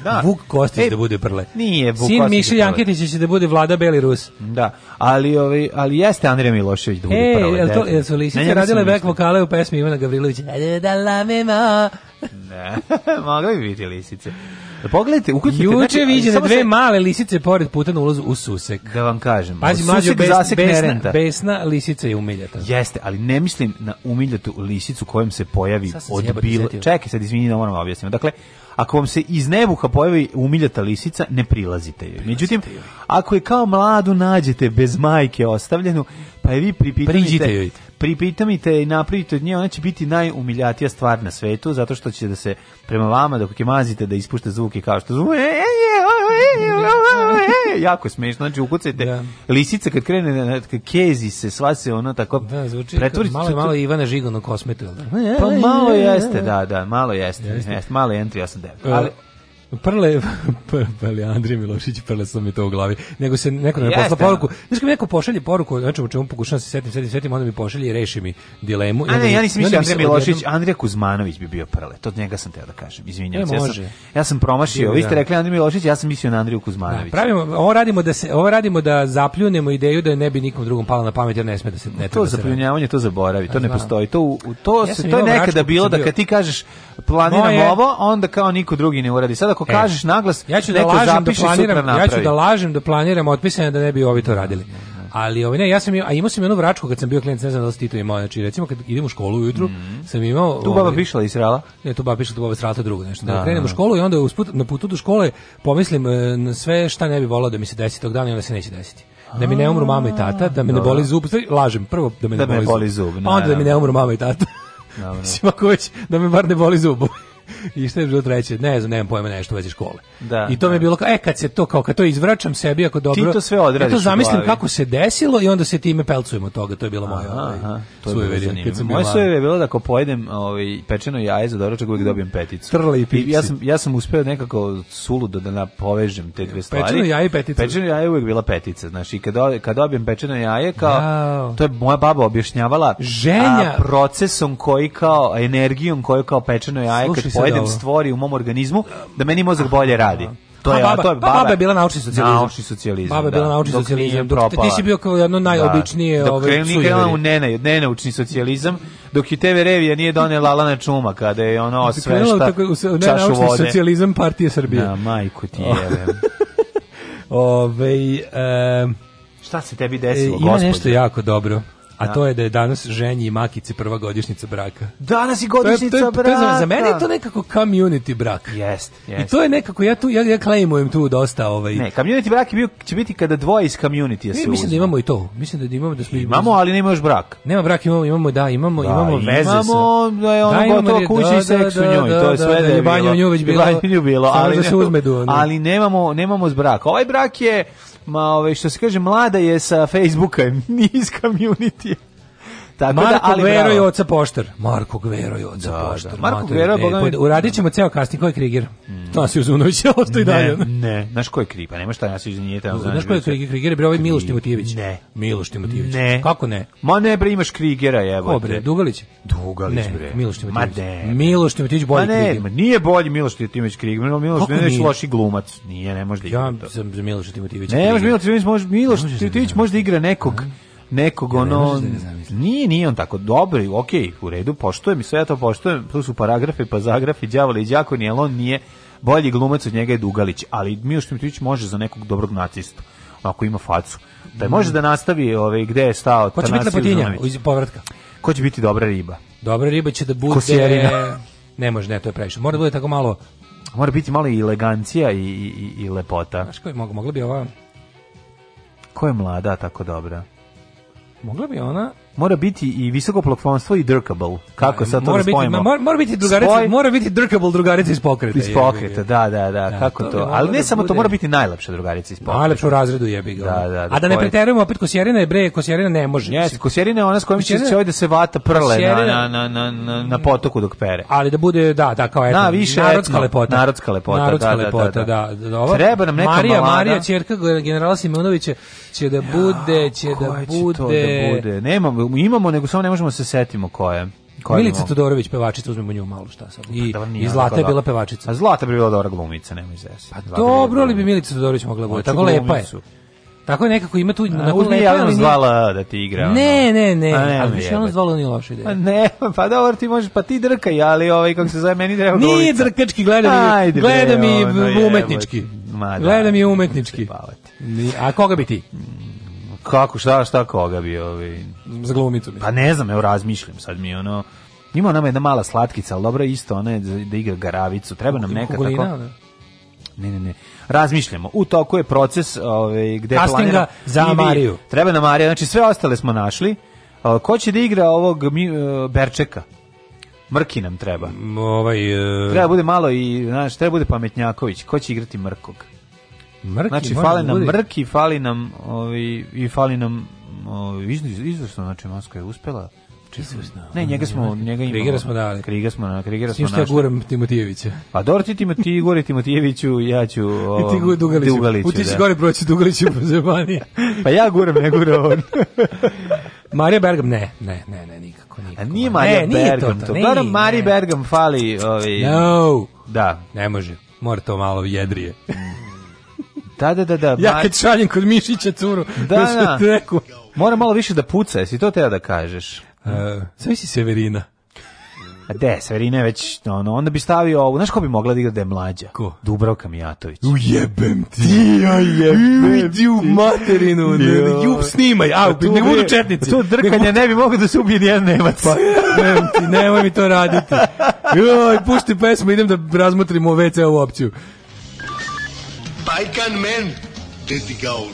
Da. Vuk Kostić E, da bude Prle. Nije Vuk Sin Kostić Miše je Prle. Janketić će da bude Vlada Beli Rus. Da, ali, ovi, ali jeste Andrija Milošević da bude E, prle, jel to, definitivno. jel su Na lisice njega sam radile back mislio. vokale u pesmi Ivana Gavrilovića? Da la me ma. Ne, [laughs] mogli bi biti lisice. [laughs] Pogledajte, ukucite. Juče viđene samo dve se- male lisice pored puta na ulazu u Susek. Da vam kažem. Pazi, o, mlađo, susek bes, zasek ne besna, renta. besna lisica je umiljata. Jeste, ali ne mislim na umiljatu lisicu kojom se pojavi Sad sam se od jebote bilo... setio. Čekaj, sad izvini da moram objasniti. Dakle, ako vam se iz nebuha pojavi umiljata lisica, ne prilazite joj. Međutim, ako je kao mladu nađete bez majke ostavljenu, pa je vi Priđite pripitamite... joj. Pripitamite je i napravite od nje, ona će biti najumiljatija stvar na svetu, zato što će da se prema vama, dok je mazite, da ispušta zvuke kao što E, zvuke, e, jako je smešno, znači ukucajte lisica kad krene, na- kad kezi se, sva se ona tako Da, zvuči pretvori- kao- malo je malo Ivana Žigon u kosmetu. jel da? Pa malo jeste, da, da, malo jeste, jeste, malo je entry 89. Pa, Ali, E, Prle, [laughs] pr- prle, Andrije Milošić, prle sam mi to u glavi. Nego se neko ne Jeste, posla ono. poruku. Znaš kad mi neko pošalje poruku, znači u čemu pokušavam da se setim, setim, setim, onda mi pošalje i reši mi dilemu. i a onda ne, mi- ja nisam i onda mislio mi se Andrija Milošić, odjednom- Andrija Kuzmanović bi bio prle, to njega sam teo da kažem, izvinjavam E, se, ja sam, može. ja sam promašio, vi ste Da. rekli Andrija Milošić, ja sam mislio na Andriju Da, Kuzmanović. pravimo, ovo radimo da se ovo radimo da zapljunemo ideju da je ne bi nikom drugom pala na pamet jer ne sme da se ne to treba da se radi. zapljunjavanje, to zaboravi, to ne Znam. postoji. To, u- u- to, Ja se, sam to je imao mračku nekada kad bilo sam da bio- kad ti kažeš planiram Moje- ovo, onda kao niko drugi ne uradi. Sad ako E, kažeš naglas, ja ću da neko lažem da zapiše, sutra planiram, ja ću napravi. da lažem da planiram otpisane da ne bi ovi to radili. Ali ovaj ne, ja sam imao, a imao sam i onu vračku kad sam bio klijent, ne znam da li si ti to imao, znači recimo kad idem u školu ujutru, sam imao Mhm. ovaj, Tu baba pišla i srala? Ne, tu baba pišla, tu baba srala, E, to drugo nešto. Da, Da, krenem da. u školu i onda usput, na putu do škole pomislim e, na sve šta ne bi volao da mi se desi tog dana i onda se neće desiti. Da mi ne umru mama i tata, da me ne Dobro. boli zub, stvari, lažem, prvo da me ne, Da me boli zub, pa onda da mi ne naravno. umru mama i tata. Dobro. [laughs] Mislim, ako već, da me bar ne boli zubu. [laughs] I šta je bilo treće? Ne znam, nemam pojma nešto u vezi škole. Da, I to mi je bilo kao, e, kad se to, kao kad to izvraćam sebi, ako dobro... to sve odradiš Ja to u zamislim glavi. kako se desilo i onda se time pelcujem od toga. To je bilo moje. ovaj, Aha, to je bilo sujeverje, kad zanimljivo. sam bio Moje mlad. sujeve je bilo da ako pojedem ovaj, pečeno jaje za doručak uvijek dobijem peticu. Mm. Trle i pipsi. Ja sam, ja sam uspeo nekako suludo da na- povežem te dve stvari. Pečeno jaje i peticu. Pečeno jaje je uvijek bila petica. Znači, kad, do- kad dobijem pečeno jaje, kao, Jao. to je moja baba objašnjavala Ženja. a, procesom koji kao, energijom koju kao pečeno jaje Slušaj kad sad pojedem ovo. stvori u mom organizmu, da meni mozak bolje radi. To je, A baba- to je, pa baba je bila naučni socijalizam. Naučni socijalizam, Baba je da. bila naučni Dok nije socijalizam, dok- ti propala. si bio kao jedno najobičnije, Da. Dok ovaj, krenu- nije sujeverje. krenula u nena, nenaučni socijalizam, dok je TV revija nije donela Alana Čuma, kada je ono sve Krenula u šta tako- u se- u čašu nenaučni vode. socijalizam partije Srbije. Na majku [laughs] ti jevem. Ovej, em, Šta se tebi e, desilo, ima gospod? nešto jako dobro. A Da. to je da je danas ženji i makici prva godišnjica braka. Danas i To je- godišnjica to je- to je za- braka. Za mene je to nekako community brak. Jest, I jest. to je nekako, ja tu, ja, ja klejmujem tu dosta ovaj. Ne, community brak je bio, će biti kada dvoje iz community Mi- ja se mislim da uzmu. imamo i to. Mislim da imamo da smo Imamo, ali nema još brak. Nema brak, imamo, imamo da, imamo, Da, imamo veze sa. imamo, da je ono gotovo kuća i seks u njoj, to je sve da je Ljubanje u nju već bilo. Ljubanje u nju bilo, samo ali, da se ne- uzme do. ono. ali nemamo, nemamo s braka. Ovaj brak je, ma, ovaj, što se kaže, mlada je sa Facebooka, [laughs] nije iz community. Tako da, Marko ali Gvero bravo. i oca Poštar. Marko Gvero i oca Da, Poštar. da. Marko Materi Gvero je, Bey. boga mi- Pa, Uradit ćemo ceo kasni koji Krigir. To nas je [laughs] uzunović, ostaje dalje. Mm. Ne, ne, znaš ko je kripa, nema šta, ja se izvinjenje tamo. Znaš koji je Krigir? Krigir je bio ovaj Miloš Timotijević. Ne. Miloš Timotijević. Ne. Kako ne? Ma ne, bre, imaš Krigera, jebote. Ko bre, Dugalić? Dugalić, Ne, bre. Miloš Ma Timotijević. ne. Miloš Timotijević Ma bolji ne, Krigir. ma nije bolji Miloš Timotić Krigman, Miloš Kako Timotić nije? loši glumac. Nije, ne može da igra Ja to. sam za Miloša Timotijevića. Ne, Krigir. može Miloš Timotić, može Miloš Timotić može da igra nekog nekog ono nije nije on tako dobro okej u redu poštujem i sve ja to poštujem tu su paragrafi pa zagrafi đavoli i đakoni ali on nije bolji glumac od njega je Dugalić ali Miloš Timotić može za nekog dobrog nacistu ako ima facu da može da nastavi ovaj gde je stao Ko će biti Tanasije lepotinja Uzanović. iz povratka? ko će biti dobra riba Dobra riba će da bude... Kosjerina. Ne može, ne, to je previše. Mora da bude tako malo... mora biti malo i elegancija i, i, i- i lepota Znaš koji mogla bi ova... ko je mlada a tako dobra Mogla bi ona... mora biti i visoko plafonstveno i drkable. Kako sad to mora da biti, spojimo? ma, mora, mora biti drugarica, Spoj- mora biti drkable drugarica iz pokreta. iz jebi ga. pokreta, da, da, da, kako to to. bi moglo Ali ne da samo to, bude. mora biti najlepša drugarica iz pokreta. Najlepša u Pa, razredu jebi ga. ono. Da, da, A da ne to je- preterujemo opet Kosjerina je bre, Kosjerina ne može. Jeste, Kosjerina je ona s kojom će Kosjerina- se ovaj da se vata prle na, Kosjerina- na, na, na, na, na potoku dok pere. Ali da bude, da, da, kao etno, Da, više narodska etno, lepota. narodska lepota, Narodska da, da, lepota, da, da. da. da, ova- Treba nam neka Marija, balada. Marija, čerka generala Simonovića će da bude, će da Koja će bude. to da bude? Nemamo, imamo, nego samo ne možemo da se setimo koja je. Koja je Milica imamo. Todorović, pevačica, uzmemo nju malo šta sad. I, Da vam nije i Zlata je onako Pa bila da- pevačica. A Zlata bi bila dobra glumica, nemoj zesi. Pa Dobro li bi Milica Todorović mogla bude? Hoću Tako lepa je. Znači glumicu. Tako je nekako ima tu... onako Uzmi lepa je, javno ali nije- zvala da ti igra. ono. Ne, ne, ne, A ali nemoj više ono jebati. zvala nije loša ideja. Pa ne, pa dobro ti možeš, pa ti drkaj, ali ovaj, kako se zove, meni treba glumica. Nije drkački, gleda mi, Ajde, bre, gleda mi ono, b- jebote. umetnički. Ma da. Gleda mi umetnički. Ni- A koga bi ti? Kako, šta, šta koga bi ovaj... Za glumicu mi. Pa ne znam, evo razmišljam, sad mi je ono... Ima nama jedna mala slatkica, ali dobro je isto, ona je za- da igra garavicu, treba nam neka Kugolina, tako... ne? Ne, ne, ne. Razmišljamo. U toku je proces ovaj gde Castinga planiramo- za I vi- Mariju. Treba nam Marija, znači sve ostale smo našli. A, Ko će da igra ovog mi, e, Berčeka? Mrki nam treba. Ovaj, e, Treba bude malo i, znaš, treba bude Pametnjaković. Ko će igrati Mrkog? Mrki, znači, može fali da nam bude. Mrki, fali nam ovaj, i fali nam ovaj, izli- izvrsno, znači, Moskva je uspela. Znači, Ne, njega smo, njega imamo. Krigera smo dali. Krigera smo, na, Krigera S tim smo što ja našli. guram Timotijevića. [laughs] Pa dobro ti Timo, ti Igor i Timotijeviću, ja ću... I ti gu- Dugaliću. Dugaliću, U ti si da. gore proći Dugaliću po Zebanije. Pa ja guram, ne gura on. [laughs] Marija Bergam, ne, ne, ne, ne, nikako, nikako. A nije Marija Ne, nije to Bergam. to, To, to, ne, Dobro, ne. Mari Bergam fali... Ovaj, No. Da. Ne može. Mora to malo jedrije. [laughs] Da, da, da, da. Ja Mar- kad šaljem kod Mišića curu, Da, da, sam da. ti rekao, Mora malo više da puca, jesi to teo da kažeš? Uh, sve si Severina. A de, Severina je već, ono, onda bi stavio ovu, znaš ko bi mogla da igra da je mlađa? Ko? Dubravka Mijatović. Ujebem ti. Ja jebem ti. u materinu. Ne, ne, jub snimaj. A, tu ne budu bre, četnici. To drkanje ne bi moglo da se ubije nijedan Nemac. Pa, jebem ti, nemoj mi to raditi. Joj, pušti pesmu, idem da razmotrimo WC ovu opciju. Balkan men, deti gaul.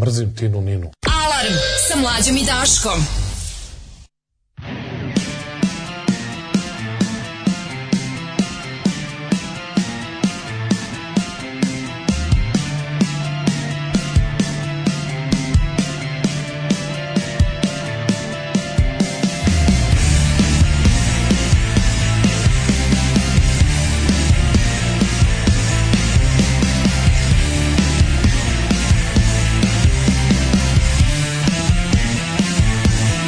Mrzim Tinu Ninu. Alarm sa mlađom i Daškom. Thank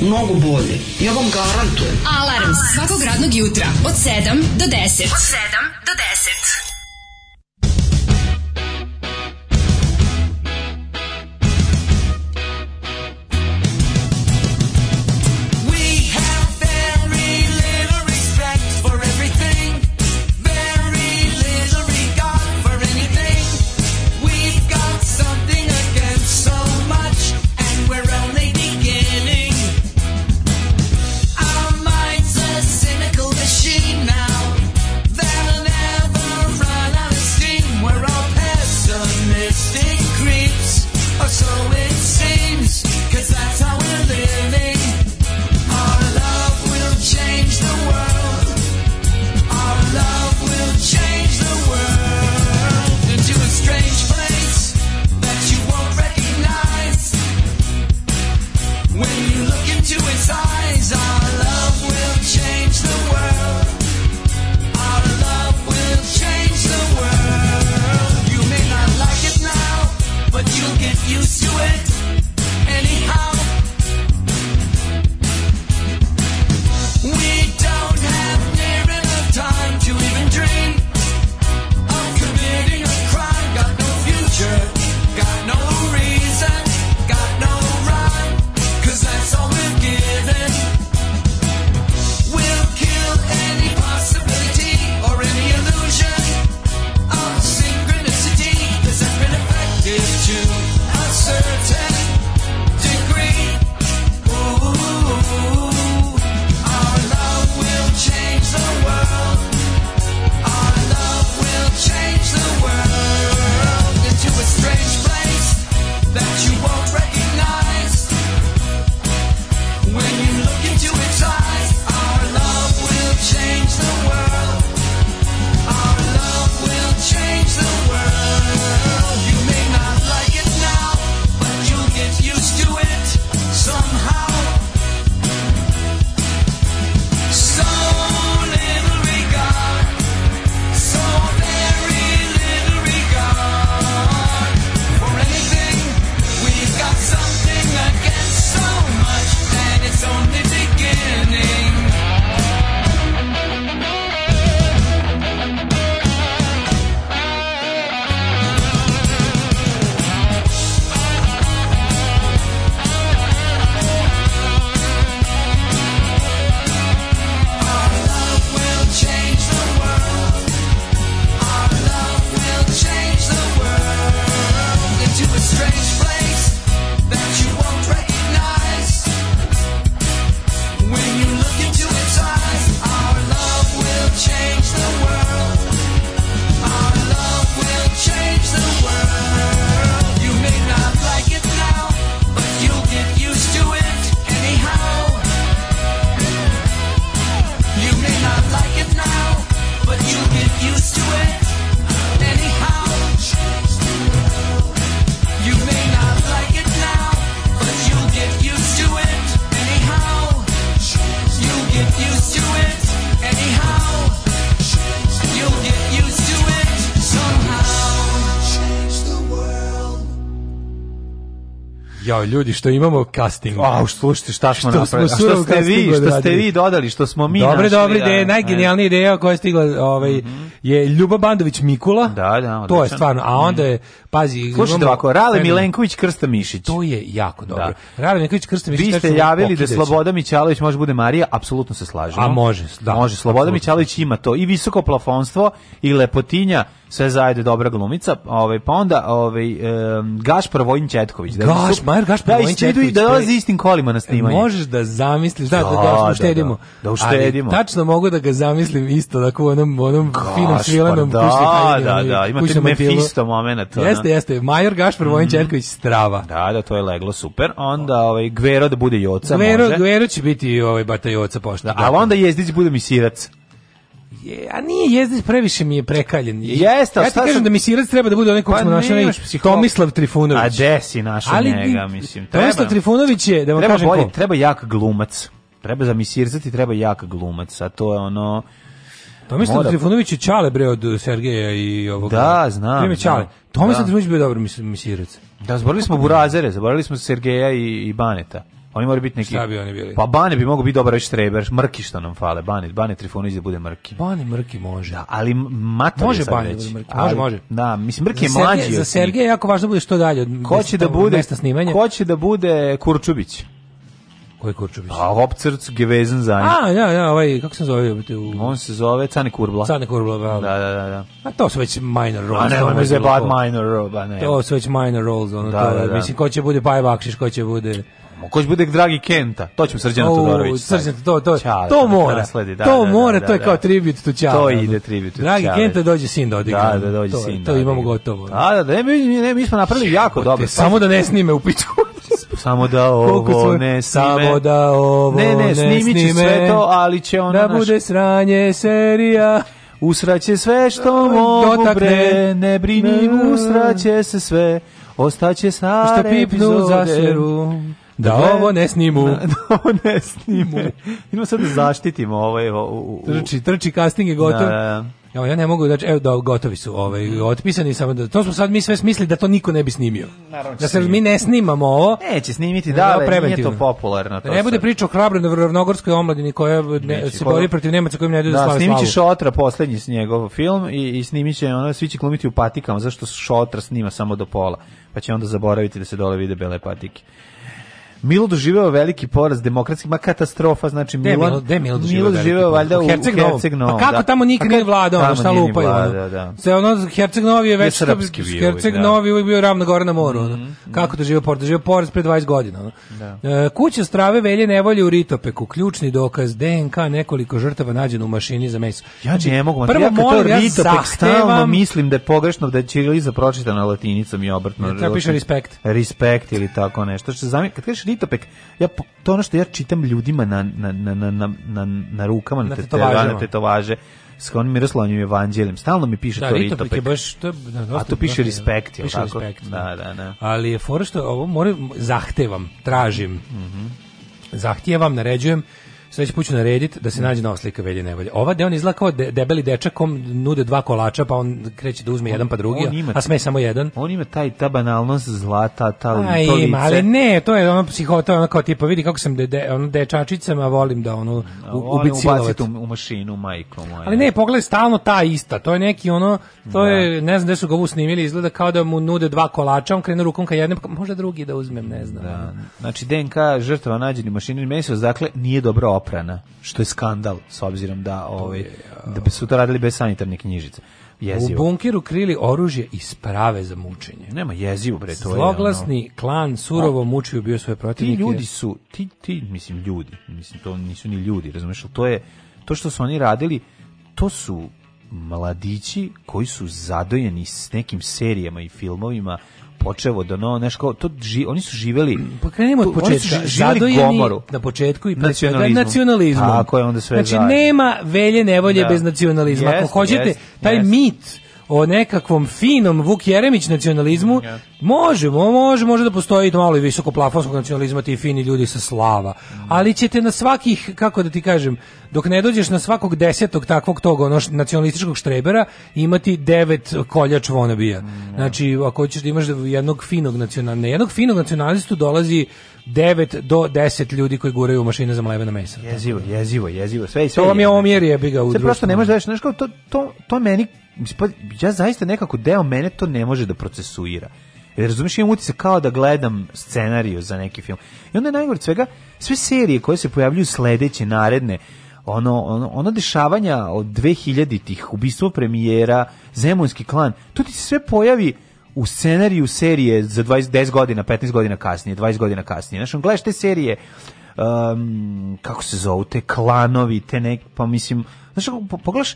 mnogo bolje. Ja vam garantujem. Alarm svakog radnog jutra od 7 do 10. Od 7 do 10. We have very little respect for everything, very little regard for anything. We've got something against so much, and we're only beginning. Our mind's a cynical machine now. They'll never run out of steam. We're all pessimistic creeps, or so it seems, 'cause that's how we're living. Our love will change the world. Our love will change the world into a strange place that you won't recognize. When you look into its eyes, our love will change the world. Our love will change the world. You may not like it now, but you'll get used to it anyhow. We don't have near enough time to even dream of committing a crime. Got no future, got no reason, got no rhyme, cause that's all we're given. We'll kill any possibility or any illusion of synchronicity, cause that's been effective to a certain degree. Ooh. Our love will change the world. Our love will change the world into a strange place that you won't recognize. When you look into its eyes, our love will change the world. Our love will change the world. You may not like it now, but you'll get used to it somehow. So little regard, so very little regard for anything. We've got something against so much, and it's only beginning. Our love will change the world. Our love will change the world into a strange place that you won't recognize. When you look into its eyes, our love will change the world. Our love will change the world. You may not like it now, but you'll get used to it anyhow. You may not like it now, but you'll get used to it anyhow. You may not like it now, but you'll get used to it anyhow. You'll get used to it anyhow. You'll get used to it somehow. Jao, ljudi, što imamo casting. Au, pa, slušajte, šta smo napravili. A surovo što ste vi, casting što ste odradili. vi dodali, što smo mi Dobre, našli. dobre da, ideje, najgenijalnija ideja koja je stigla ovaj, je Ljuba Bandović Mikula. Da, da, To odličan. je stvarno, a onda je, pazi... Slušajte imamo- ovako, Rale Ne, Milenković Krsta Mišić. To je jako dobro. Rale Milenković Krsta Mišić, Vi tačno ste javili da okidaće. Sloboda Mićalović može bude Marija, apsolutno se slažemo. A može, da. Može, Sloboda Apsolutno. Mićalović ima to i visoko plafonstvo i lepotinja sve zajedno dobra glumica, ovaj pa onda ovaj em, Gašpar Vojin Četković. Da Gaš, su- Majer Gašpar da, Vojin E, isto idu i Četković, Da to je- dolazi istim kolima na snimanje. Možeš da zamisliš, da, da, da, Da, da, uštedimo. da, da uštedimo. Ali tačno mogu da ga zamislim isto, tako u onom, onom finom Gašpar, svilenom da, kućnom haljinu, da, ono, da, ima taj kućnom motivu. Mephisto momenat, ono. Jeste, jeste. Major Gašpar Vojin Mhm. Četković, strava. Da, da, to je leglo super. Onda ovaj Gvero da bude Joca, Gvero, može. Gvero će biti ovaj batajoca pošto. Da, ali onda Jezdić bude mi sirac. Je, a nije Jezdić previše mi je prekaljen. Jeste, ja ali ti šta kažem sam- da mi sirac treba da bude onaj kog Pa smo našli, onaj nemaš psiholo- Tomislav Trifunović. A gde si našao Ali, njega, di- mislim. Tomislav Trifunović je, da vam treba kažem bolje, ko. treba jak glumac. Treba za misirzati, treba jak glumac, a to je ono... Tomislav Mora- Trifunović je Čale bre od Sergeja i ovog. Da, znam, Prime znam. Čale. Tomislav Da. Trifunović bio dobar mis- misirac. Da, zaboravili smo Burazere, zaboravili smo Sergeja i, i Baneta. Oni moraju biti neki... Šta bi oni bili? Pa Bane bi mogao biti dobar već treber, Mrki što nam fale, Bane, Bane Trifunović da bude Mrki. Bane Pa Mrki može. Ali Matar Može je sad Bane da već. bude Mrki, može, Ali- može. Da, mislim, Mrki je Za Sergeja- mlađi. Za od njih. Sergeja je jako važno da bude što dalje od Ko će da mesta- bude mesta snimanja. Ko će da bude Kurčubić? Koji Kurčubić? A Hopcrc Gevezan za njim. A, ja, ja, ovaj kako se zove, brate, u On se zove Cane Kurbla. Cane Kurbla, bravo. Da, da, da. da. A to su već minor roles. A ne, to ono je je za bilo Bad ko. Minor Roba, ne. To su već minor roles, ono Da, to, da, je, da. mislim, ko će bude Paje Bakšiš, ko će bude... Ko će bude dragi Kenta? To ćemo Srđana Au, Todorović. Srđan, to, to, Ćale, to da mora, nasledi, da, to da, da, mora, da, to je da. kao tribut to Ćale. To ono. ide tribut to Dragi Ćale. Kenta dođe sin da odigra. Da, da, dođe to, sin To da imamo odigra. gotovo. ono. Da, da, da, ne, mi, ne, mi smo napravili jako dobro. Samo da ne snime u pičku. Samo [laughs] da Koliko ovo su- ne snime. Samo da ovo ne, ne ne, snimit snime. će sve to, ali će ono Da naš- bude sranje serija. Usraće sve što mogu dotakne. bre, ne brini, usraće se sve, ostaće Što stare pipnu epizode. za seru. Da Dakle, ovo ne snimu. [laughs] Da, da ovo ne snimu. Idemo sad da zaštitimo ovaj... o- u- u- Trči, trči, casting je gotov. Da, da, Evo, ja ne mogu da evo da gotovi su, ovaj otpisani samo da to smo sad mi sve smislili da to niko ne bi snimio. Naravno će da se snimiti. mi ne snimamo ovo. Neće snimiti, Nego da, ovo ali nije preventivno. to popularno. To Da ne bude sad. priča o hrabroj ravnogorskoj omladini koja ne, Neće. se bori protiv Nemaca kojim ne daju da, Da, slave snimit će slavu. Šotra poslednji s njegov film i, i snimit će ono, svi će glumiti u patikama, zašto Šotra snima samo do pola, pa će onda zaboraviti da se dole vide bele patike. Milo doživeo veliki poraz demokratski, ma katastrofa, znači Gde je Milan, Milo- gde je Milo doživeo Milo veliki doživeo poraz? valjda U u Herceg Herceg Novom. Novom, Pa kako da. tamo nikad Pa nije kako- vladao, ono, tamo šta nije ni lupaju, ono. vladao, da. Se ono Herceg Novi je Je već srpski bio uvijek, Herceg da. Mhm, Novi je uvijek bio ravna gora na moru. ono. Kako to živo poraz? Živo poraz pre 20 godina. ono. E, kuća strave velje nevolje u Ritopeku. Ključni dokaz DNK nekoliko žrtava nađeno u mašini za meso. Ja ne mogu, Znači, prvo prvo ja molim, molim, ja ja stalno zahtevam- mislim da je pogrešno da je Čiriliza pročitana latinicom i obratno. Ne, treba piše respekt. Respekt ili tako nešto. Što zamij, kad kažeš Ritopek, ja, po- to je ono što ja čitam ljudima na, na, na, na, na, na, na rukama, na, Na na tetovaže, tetovažama. na tetovaže s onim Miroslavnim evanđeljem. Stalno mi piše Da, to Ritopek je Ritopek. baš- to je- da, dosta- A to dosta- piše respekt, je li piše tako? respekt, Da, da, da. Ali je fora što ovo moram, zahtavam, tražim, Mhm. zahtijevam, naređujem, sledeći put ću narediti Mhm. da se nađe nova slika Velje Nevolje. Ova gde on izgleda kao de, debeli dečak kom nude dva kolača, pa on kreće da uzme jedan pa drugi, on ima- a sme samo jedan. On ima taj, ta banalnost zlata, ta, A to lice. ima, ali ne, to je ono psiho, to je ono kao tipa, vidi kako sam de, de, ono dečačicama, volim da ono A u, on je ubit ubaciti silovac. u, u mašinu, majko moja. Ali ne, pogledaj, stalno ta ista. To je neki ono, to je, ne znam gde su ga ovu snimili, izgleda kao da mu nude dva kolača, on krene rukom ka jednom, pa možda drugi da uzmem, ne znam. Da. Znači, DNK žrtava nađeni u mašini meso, dakle, nije dobro oprana, što je skandal, s obzirom da, ovaj, da bi su to radili bez sanitarne knjižice. U Jezivo. bunkiru krili oružje i sprave za mučenje. Nema jezivo, bre, to je ono- Zloglasni klan surovo mučio i bio svoje ti protivnike. ljudi su, ti, ti, mislim, ljudi, mislim, to nisu ni ljudi, razumiješ, to je, to što su oni radili, to su mladići koji su zadojeni s nekim serijama i filmovima, počevo do no, znaš, kao, to, ži- oni su živeli, Pa krenimo od tu- oni su početka. ži- živeli Zadojeni gomoru. na početku i pre svega Nacionalizmom. nacionalizmom. Tako je, onda sve Znači zajedno. nema velje nevolje Da. bez nacionalizma. Ako Jeste, hoćete jeste, taj jeste. mit o nekakvom finom Vuk Jeremić nacionalizmu, može, mo- može, može da postoji i malo i visoko plafonskog nacionalizma, ti fini ljudi sa slava. Ali ćete na svakih, kako da ti kažem, dok ne dođeš na svakog desetog takvog tog ono, š- nacionalističkog štrebera, imati devet koljač vonabija. Znači, ako hoćeš da imaš jednog finog nacionalista, jednog finog nacionalistu dolazi 9 do 10 ljudi koji guraju u mašine za mlevena mesa. Jezivo, jezivo, jezivo. Sve, sve To vam je omjer jebi ga u Sve prosto društvu. ne možeš da veš, znaš kao, to, to, to meni, mislim, pa, ja zaista nekako deo mene to ne može da procesuira. Jer razumiješ, imam utisak kao da gledam scenariju za neki film. I onda je najgore od svega, sve serije koje se pojavljuju sledeće, naredne, ono, ono, ono dešavanja od 2000-ih, ubistvo premijera, Zemunski klan, to ti se sve pojavi u scenariju serije za 20, 10 godina, 15 godina kasnije, 20 godina kasnije. Znaš, on gledaš te serije, um, kako se zovu, te klanovi, te nek, pa mislim, znaš, ako po- pogledaš,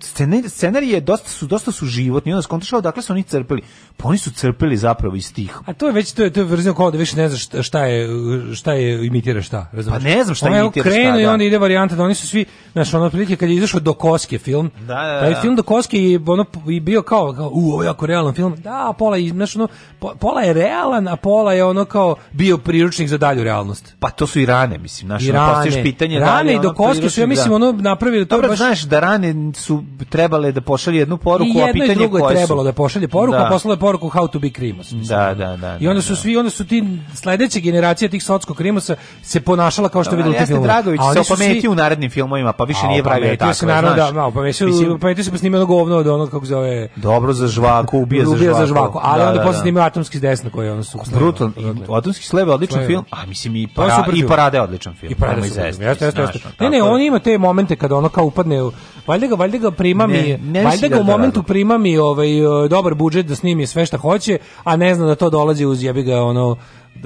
scenarij, scenarije dosta su dosta su životni, onda skontaš odakle su oni crpili. Pa oni su crpili zapravo iz tih A to je već to je to je verzija kao da više ne znaš šta- šta je šta je imitira šta, razumeš? Pa ne znam šta Ono je imitira krenu šta, i da. onda ide varijanta da oni su svi, znaš, ono otprilike kad je izašao do Koske film. Da, da, da. Taj film do Koske je ono i bio kao, kao u ovo je jako realan film. Da, pola je, znaš, ono, po- pola je realan, a pola je ono kao bio priručnik za dalju realnost. Pa to su i rane, mislim, znaš, I ono, rane. postavljaš pitanje da li Rane je i do ono koske su, ja priručnik, mislim, da. ono napravili to Dobro, baš- znaš da rane su trebale da pošalju jednu poruku, I a jedno i pitanje drugo koje je su. trebalo da pošalje poruku, Da. a poslalo je poruku how to be krimos. mislim. Da, da, da. I onda su svi, onda su ti sledeća generacija tih socko krimosa se ponašala kao što Dobro, videlo u tim jeste filmovima. Dragović A oni se su svi- opametio u narednim filmovima, pa više A, nije pravio opametio tako. se naravno, da, da, opametio, Mislim, opametio se pa snimio ono govno od onog, kako zove... Dobro za žvaku, ubija, Ubija za žvaku, ali Da, onda da, posle da. snimio Dakle. Atomski s desna koji je ono su... Brutal. I Atomski sleve je odličan Slave. film, a mislim i, To Pa je para, super i film. Parade je odličan film. I parade Nemoj su super. zezati, Jeste, jeste, znaš, jeste. ono, Ne, ne, tako da. on ima te momente kada ono kao upadne, u, valjda ga, valjda ga prima Ne, ne mi, mislim valjda da ga je u to momentu razlog. prima mi ovaj, e, dobar budžet da snimi sve šta hoće, a ne zna da to dolazi uz jebi ga ono,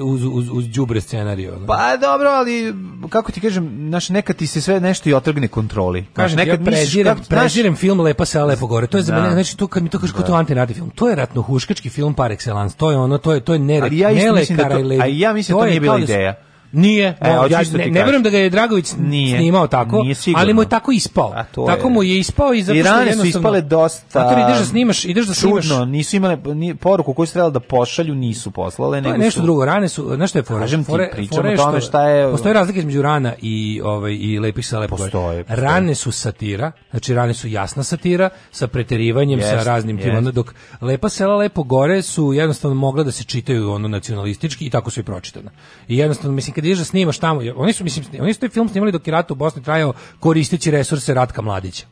uz, uz, uz đubre scenariju. ono. Pa dobro, ali kako ti kažem, naš nekad ti se sve nešto i otrgne kontroli. Znaš, Kažem, nekad ja prezirem, prezirem film Lepa se lepo gore. To je za Da. mene, znači to kad mi to kažeš kao to je antinati film. To je ratno huškački film par excellence. To je ono, to je to je nere, Ali ja isto nele mislim da to- Karajle- a ja mislim da to je nije bila kao da su- ideja. Nije, E, no, hoću ja isto ne, ti ne kažem. verujem da ga je Dragović Nije. snimao tako, Nije sigurno. ali mu je tako ispao. A to tako je- mu je ispao i zato I što rane su jednostavno- ispale dosta... Zato jer ideš da snimaš, ideš da snimaš. Čudno, nisu imale ni, poruku koju su trebali da pošalju, nisu poslale. To je nego Pa nešto su- drugo, rane su, znaš što je fora? Kažem ti, Fore- pričam fore o tome što- šta je- Postoji razlika između rana i, ovaj, i lepih sa lepog. Postoje, postoje. Rane su satira, znači rane su jasna satira, sa preterivanjem, sa Jest, raznim tim, jest. ono, dok lepa sela lepo gore su jednostavno mogla da se čitaju ono nacionalistički i tako su i pročitana. I jednostavno, mislim, kad ideš da snimaš tamo, oni su, mislim, sni- oni su taj film snimali dok je rat u Bosni trajao koristeći resurse Ratka Mladića.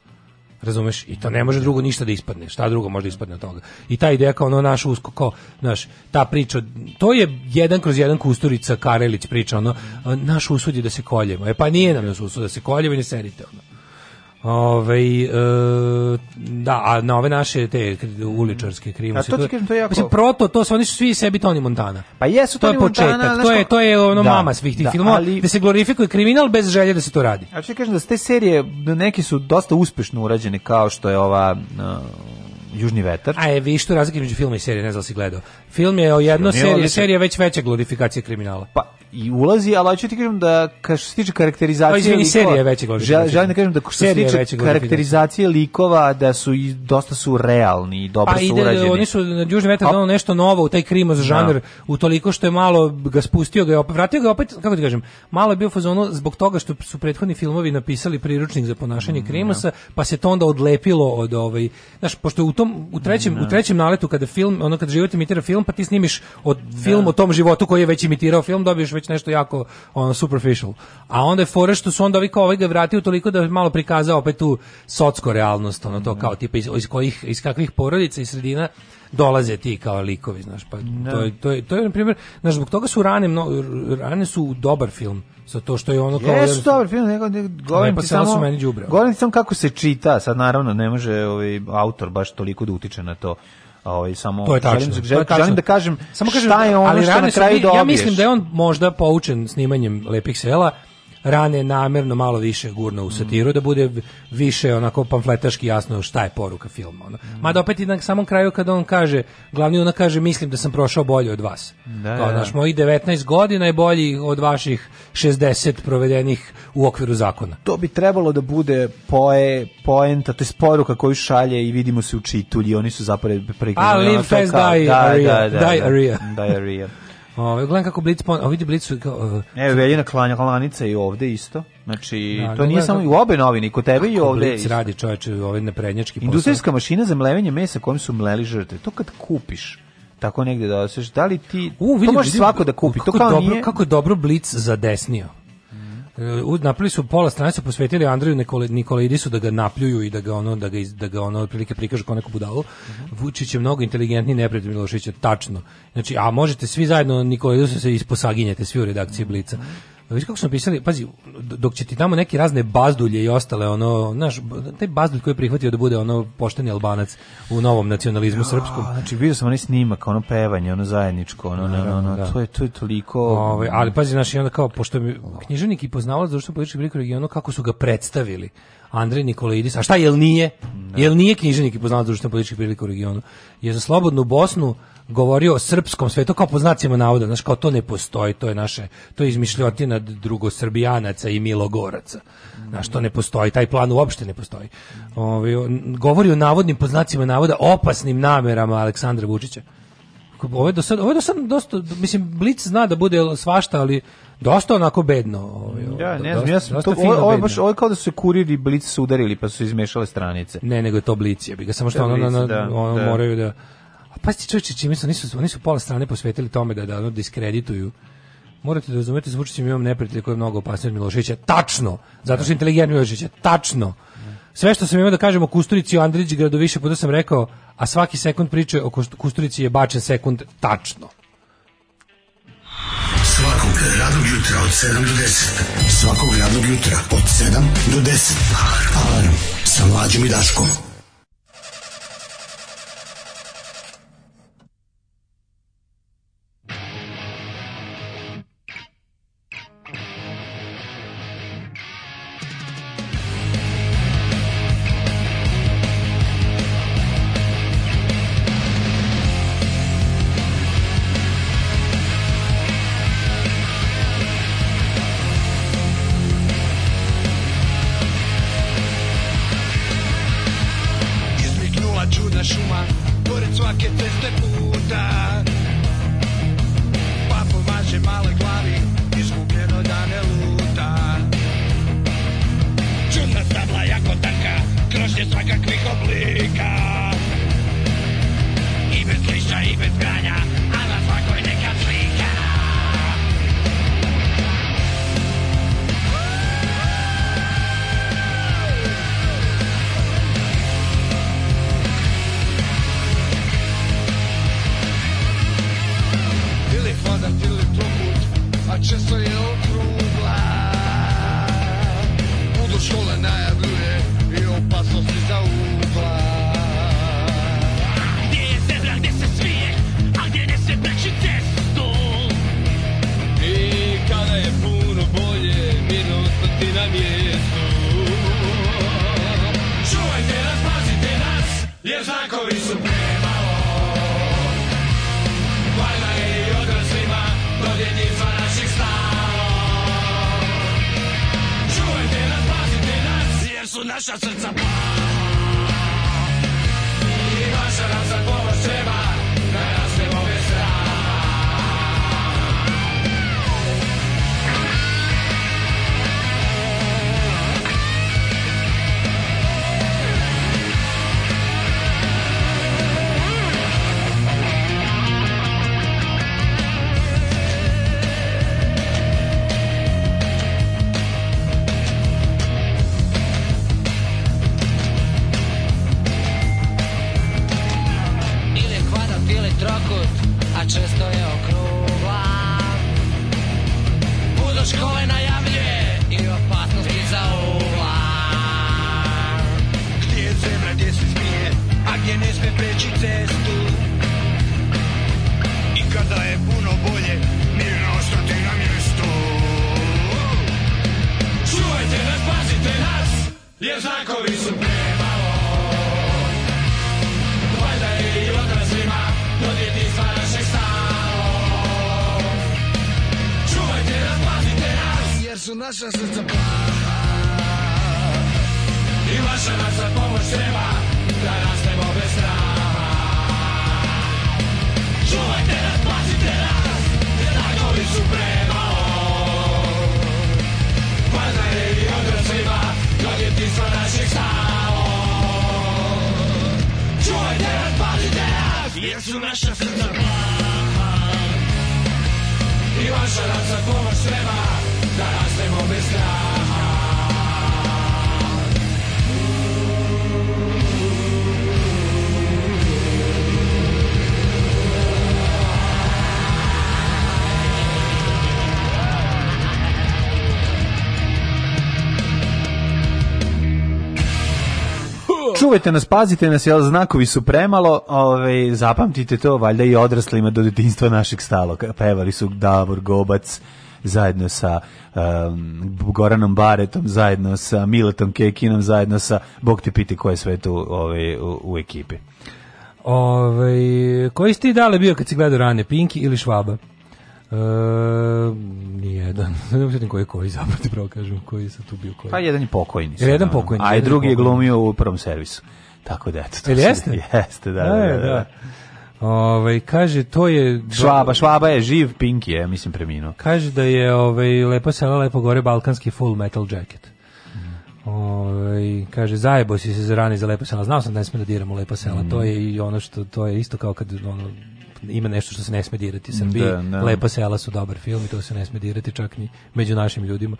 Razumeš? I to ne može drugo ništa da ispadne. Šta drugo može da ispadne od toga? I ta ideja kao ono naš usko, kao, znaš, ta priča, to je jedan kroz jedan Kusturica Karelić priča, ono, naš usud je da se koljemo. E pa nije nam naš usud da se koljemo i ne serite, ono. Ove, da, a na ove naše te uličarske krivose. A to ti kažem, to je jako- Mislim, proto, to su, oni su svi sebi Toni Montana. Pa jesu to je Tony Montana, početak, znaš to je, kako- to je ono Da, mama svih tih da, filmova, ali- da se glorifikuje kriminal bez želje da se to radi. A što kažem da su te serije, neke su dosta uspešno urađene, kao što je ova... uh, Južni vetar. A je vi što razlika između filma i serije, ne znam da li si gledao. Film je o jedno Film je serije, odličan. serija je već veća glorifikacija kriminala. Pa i ulazi, ali hoću ti kažem da ka što se tiče karakterizacije A, izvini, likova- serija je većeg Žel, glorifikacije. želim da kažem da što se Serija je tiče većeg glorifikacije. karakterizacije likova da su i dosta su realni i dobro pa su ide, urađeni. oni su na Južni vetar A- donali nešto novo u taj krimos žanr, u toliko što je malo ga spustio, ga je opet, vratio ga je opet, kako ti kažem, malo je bio u fazonu zbog toga što su prethodni filmovi napisali priručnik za ponašanje krimosa, pa se to onda odlepilo od ovaj, znaš, pošto u tom, u trećem, u trećem naletu kada film, ono kada život imitira film, pa ti snimiš od film o tom životu koji je već imitirao film, dobiješ već nešto jako ono, superficial. A onda je fora što su onda ovi kao ovaj ga vratio toliko da je malo prikazao opet tu socko realnost, ono to kao tipa iz, iz kojih, iz kakvih porodica i sredina dolaze ti kao likovi, znaš, pa to je, to je, to je, na primjer, znaš, zbog toga su rane, mno, rane su dobar film, sa to što je ono kao... Jesu dobar film, nego nego- govorim Lepa ti sela su samo meni đubre. Govorim ti samo kako se čita, sad naravno ne može ovaj autor baš toliko da utiče na to. Ovaj samo To je tačno. želim, to je želim, tačno. želim da kažem Samo kažem šta je da- ono ali što rane na su kraju bi- dobiješ. Ja mislim da je on možda poučen snimanjem lepih sela, rane namerno malo više gurno Mm. u satiru, da bude više onako pamfletaški jasno šta je poruka filma. Ono. Mm. Mada opet i na samom kraju kada on kaže, glavni ona kaže, mislim da sam prošao bolje od vas. Da, Kao, da. znaš, mojih 19 godina je bolji od vaših 60 provedenih u okviru zakona. to bi trebalo da bude poe, poenta, to je poruka koju šalje i vidimo se u čitulji, oni su zapravo prikazani. A, ono live to fast, kao- die da, area, Da, da, die da, area. Diarrhea. Ove, gledam kako Blitz, pon- a vidi Blitz su kao, uh, Evo, Veljina klanja klanica i ovde isto. Znači, Da, to ne nije gledam samo i kako- u obe novine, i kod tebe i kako ovde. Blitz isto. radi čoveče ovaj naprednjački posao. Industrijska mašina za mlevenje mesa kojim su mleli žrtve. To kad kupiš, tako negde da osješ, da li ti... to može svako da kupi. To Kako kao dobro, nije... Kako je dobro Blitz zadesnio. E, u- Napravili su pola strane su posvetili Andreju Nikole- Nikolidisu da ga napljuju i da ga ono da ga iz- da ga ono otprilike prikažu kao neku budalu. Vučić je mnogo inteligentniji neprijatelj Miloševića, tačno. Znači, a možete svi zajedno Nikolidisu se isposaginjete svi u redakciji Blica. Viš kako su napisali, pazi, dok će ti tamo neke razne bazdulje i ostale, ono, znaš, taj bazdulj koji je prihvatio da bude ono pošteni albanac u novom nacionalizmu srpskom. Znači, vidio sam onaj snimak, ono pevanje, ono zajedničko, ono, ono, ono, da. to je, to je toliko... Ovaj, ali pazi, znaš, i onda kao, pošto mi književnik i poznavalac društvo političkih prilika u regionu, kako su ga predstavili. Andrej Nikolaidis, a šta, jel nije? Jel nije književnik i poznavalac društvo političkih prilika u regionu? Je za slobodnu Bosnu govorio o srpskom svetu kao po znacima navoda, znaš, kao to ne postoji, to je naše, to je izmišljotina drugosrbijanaca i milogoraca. Znaš, to ne postoji, taj plan uopšte ne postoji. Ovaj, on govori o navodnim po znacima navoda opasnim namerama Aleksandra Vučića. Ovo je do sad, ovo je do sad dosta, mislim, Blic zna da bude svašta, ali dosta onako bedno. Ovaj, Ja, ne znam, dosta- ja sam dosta to, fino ovo, ovo je baš, bedno. ovo je kao da su se kurir i blic su udarili, pa su se izmešale stranice. Ne, nego je to Blic, jebi ga, samo što To je ono, Blic, ono, da, ono da. moraju da... A pa ti čovječe, čime su, nisu, oni su pola strane posvetili tome da, da ono, diskredituju Morate da razumete, s Vučićem imam neprijatelja koji je mnogo opasniji od Miloševića. Tačno! Zato što je inteligentni Milošević je tačno! Sve što sam imao da kažem o Kusturici i o Andrić gradu više puta sam rekao, a svaki sekund priče o Kust- Kusturici je bačen sekund tačno. Svakog radnog jutra od 7 do 10. Svakog radnog jutra od 7 do 10. Alarm sa mlađom i Daškom. izniknula čuda šuma Pored svake ceste puta Pa pomaže male glavi Izgubljeno da ne luta Čudna stabla jako tanka Krošnje svakakvih oblika I bez lišća i bez granja A na svakoj neka slika ili hladan ili trokut, a često je okrugla. Budu škole najavljuje i opasnosti za ugla. Gdje je zebra, gdje se svije, a gdje ne se preči cestu? I kada je puno bolje, mirno ostati na mjestu. Čuvajte nas, pazite nas, jer znakovi su premalo. Valjda je i odraslima do djetinjstva naših stalo. Čuvajte nas, pazite nas, jer su naša srca plava. I vaša nam za pomoć treba, da rastemo bez straha. ili kvadat ili trokut, a često je okrugla. Budo škole najavljuje i opasnosti za ugla. Gdje je zebra, gdje se smije, a gdje ne sme preći cestu. I kada je puno bolje, mirno ostati na mjestu. Čuvajte nas, pazite nas, jer znakovi su premalo. Valjda je i odraslima do djetinjstva našeg stalo. Čuvajte nas, pazite nas, jer su naša srca plaha. I vaša nam za pomoć treba Da rastemo bez straha Čuvajte nas, pazite nas Jer nagovi su premalo Važna je i odraslima Do djetinstva naših stalo Čuvajte nas, pazite nas Jer su naša srca plaha I vaša nam za pomoć treba Da rastemo bez straha čuvajte nas, pazite nas, jel znakovi su premalo, ovaj zapamtite to, valjda i odraslima do detinjstva našeg stalo. Pevali su Davor Gobac zajedno sa um, Goranom Baretom, zajedno sa Miletom Kekinom, zajedno sa Bog te piti ko je sve tu ovaj, u, u ekipi. Ovaj koji si ti dale bio kad si gledao rane, Pinki ili Švaba? E, nijedan. [laughs] Ne znam koji je koji zapravo ti pravo kažem, koji je sad tu bio koji. E, Pa jedan je pokojni. Jer jedan naravno. pokojni, A i jedan je drugi je pokojni. glumio u prvom servisu. Tako da, eto. to Jel su- jeste? [laughs] Jeste, da, da, E, da, da. Ovaj kaže to je Švaba, Švaba je živ, Pinki je, mislim, preminuo. Kaže da je ovaj lepo selo lepo gore balkanski full metal jacket. Ovaj kaže zajebo si se za rani za lepo selo. Znao sam da ne sme da diramo lepo selo. To Mhm. je i ono što to je isto kao kad ono ima nešto što se ne sme dirati u Srbiji. Da, da. Lepa sela su dobar film i to se ne sme dirati čak ni među našim ljudima.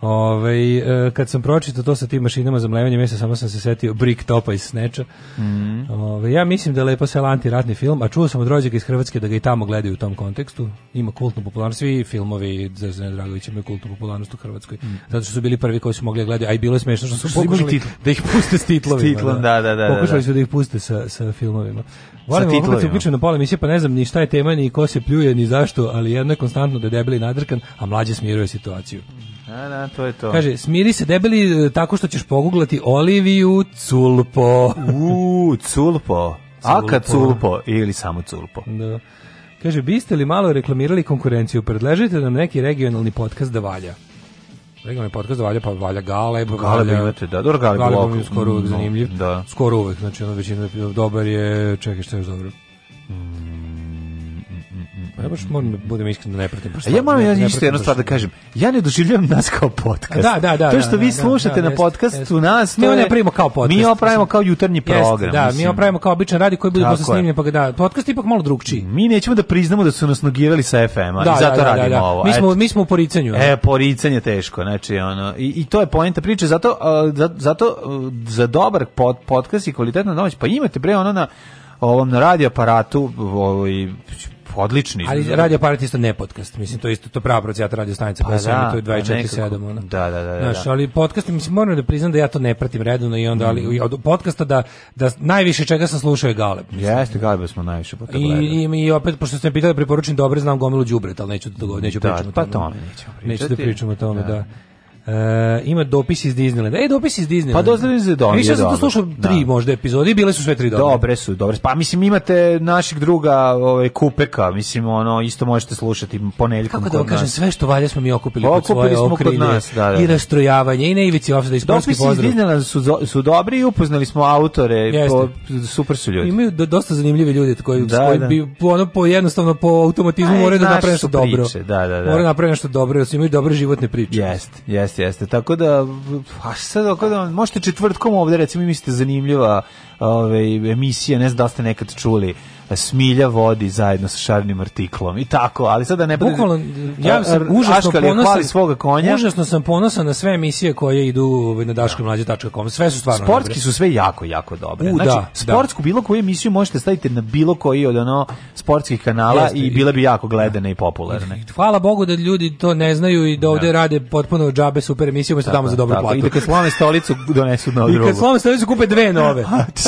Ovaj e, kad sam pročitao to sa tim mašinama za mlevanje mesa, samo sam se setio Brick Topa iz Sneča. Mhm. Ove, ja mislim da je Lepo selo antiratni film, a čuo sam od rođaka iz Hrvatske da ga i tamo gledaju u tom kontekstu. Ima kultnu popularnost, svi filmovi Zvezdana Dragovića imaju kultnu popularnost u Hrvatskoj. Zato što su bili prvi koji su mogli da gledaju, a i bilo je smešno što su Što Mhm. su imali pokušali titl. da ih puste s titlovima. S titlom, da, da, da, da, Pokušali da. su da ih puste sa, sa filmovima. Volim ovo kad se titlovima. uključuju na pola emisije, pa ne znam ni šta je tema, ni ko se pljuje, ni zašto, ali jedno je konstantno da je debeli nadrkan, a mlađe smiruje situaciju. Da, da, to je to. Kaže, smiri se debeli e, tako što ćeš poguglati Oliviju Culpo. U, Culpo. Aka Culpo ili samo Culpo. Da. Kaže, biste li malo reklamirali konkurenciju? Predlažite nam neki regionalni podcast da valja. Regionalni podcast da valja, pa valja Galeb. Galeb valja- imate, da, dobro, Galeb Galeb ovako, je skoro uvek mm, zanimljiv. da. Skoro uvek, znači ono većina je dobar je, čekaj šta je još dobro. Mm, Pa Ja baš moram da budem iskren da ne pratim. baš A mm, E, ja moram ne- ja ne isto pratim jednu baš. stvar da kažem. Ja ne doživljavam nas kao podcast. Da, da, da, To što da, vi da, slušate da, na jeste, podcastu jeste. nas, to mi ovo ne je- pravimo kao podcast. Mi ovo pravimo kao jutarnji Jeste, program. Da, mi mislim. ovo pravimo kao običan radi koji bude Tako posle je. snimljen, pa ga da. Podcast je ipak malo drugčiji. Mi nećemo da priznamo da su nas nogirali sa FM-a Da, i zato da, da, da, radimo da. ovo. Mi smo- eto. mi smo u poricanju, ono. E, poricanje teško, znači ono i, i to je poenta priče, zato a, za- zato a, za dobar pod, podcast i kvalitetna noć, pa imate bre ono na ovom na radio aparatu, ovaj odlični. Ali radio aparat isto ne podcast, mislim to je isto to je prava procjata radio stanica koja Pa se emituje da, pa 24/7 nekako. ona. Da, da, da, da, ono. Znaš, da. ali podcast mislim moram da priznam da ja to ne pratim redovno i onda Mm. ali i od podcasta da da najviše čega sam slušao je Galeb. Jeste, Galeba smo najviše puta I, gledali. i, I opet, pošto ste me pitali, preporučujem dobre, znam gomilu đubreta, ali neću da, to, neću Da, pričamo pa o tome. tome nećemo Neću da pričati. pričamo o tome, Da. da. E, ima dopis iz Disneylanda. E, dopis iz Disneylanda. Pa dozvolim se da Više sam to slušao tri možda epizode i bile su sve tri dobre. Dobre su, dobre. su. Pa mislim imate našeg druga ovaj Kupeka, mislim ono isto možete slušati ponedeljkom Kako da vam kod nas. kažem, sve što valja smo mi okupili Okupili kod svoje smo kod okrilje. nas, da, da. I rastrojavanje, i na ivici ofsada, i sportski Dopisi iz pozdrav. Disneylanda su, zo- su dobri i upoznali smo autore, Jeste. po, super su ljudi. Imaju do- dosta zanimljive ljude koji, Da, koji da. bi ono po jednostavno po automatizmu Pa, moraju da znaš naprave što nešto dobro. priče, da, da, da. Moraju da naprave nešto dobro, jer su imaju dobre životne priče. Jeste, jeste, jeste. Tako da, a sad, ako da, možete četvrtkom ovde, recimo, mislite zanimljiva ove, emisija, ne znam da li ste nekad čuli, Smilja vodi zajedno sa šarnim artiklom i tako, ali sada ne bude... Bukvalno, ja sam A- a- užasno Aškal je ponosan. hvali svoga konja. Užasno sam ponosan na sve emisije koje idu ovaj, na daškomlađe.com. Sve su stvarno Sportski dobre. su sve jako, jako dobre. U, znači, da, sportsku bilo koju emisiju možete staviti na bilo koji od ono sportskih kanala Jeste, i i- bile bi jako gledane i popularne. Hvala Bogu da ljudi to ne znaju i da ovde Da. rade potpuno džabe super emisije, umjesto tamo za dobru Tako, platu. I da kad slome stolicu donesu na I drugu. kad slome stolicu kupe dve nove.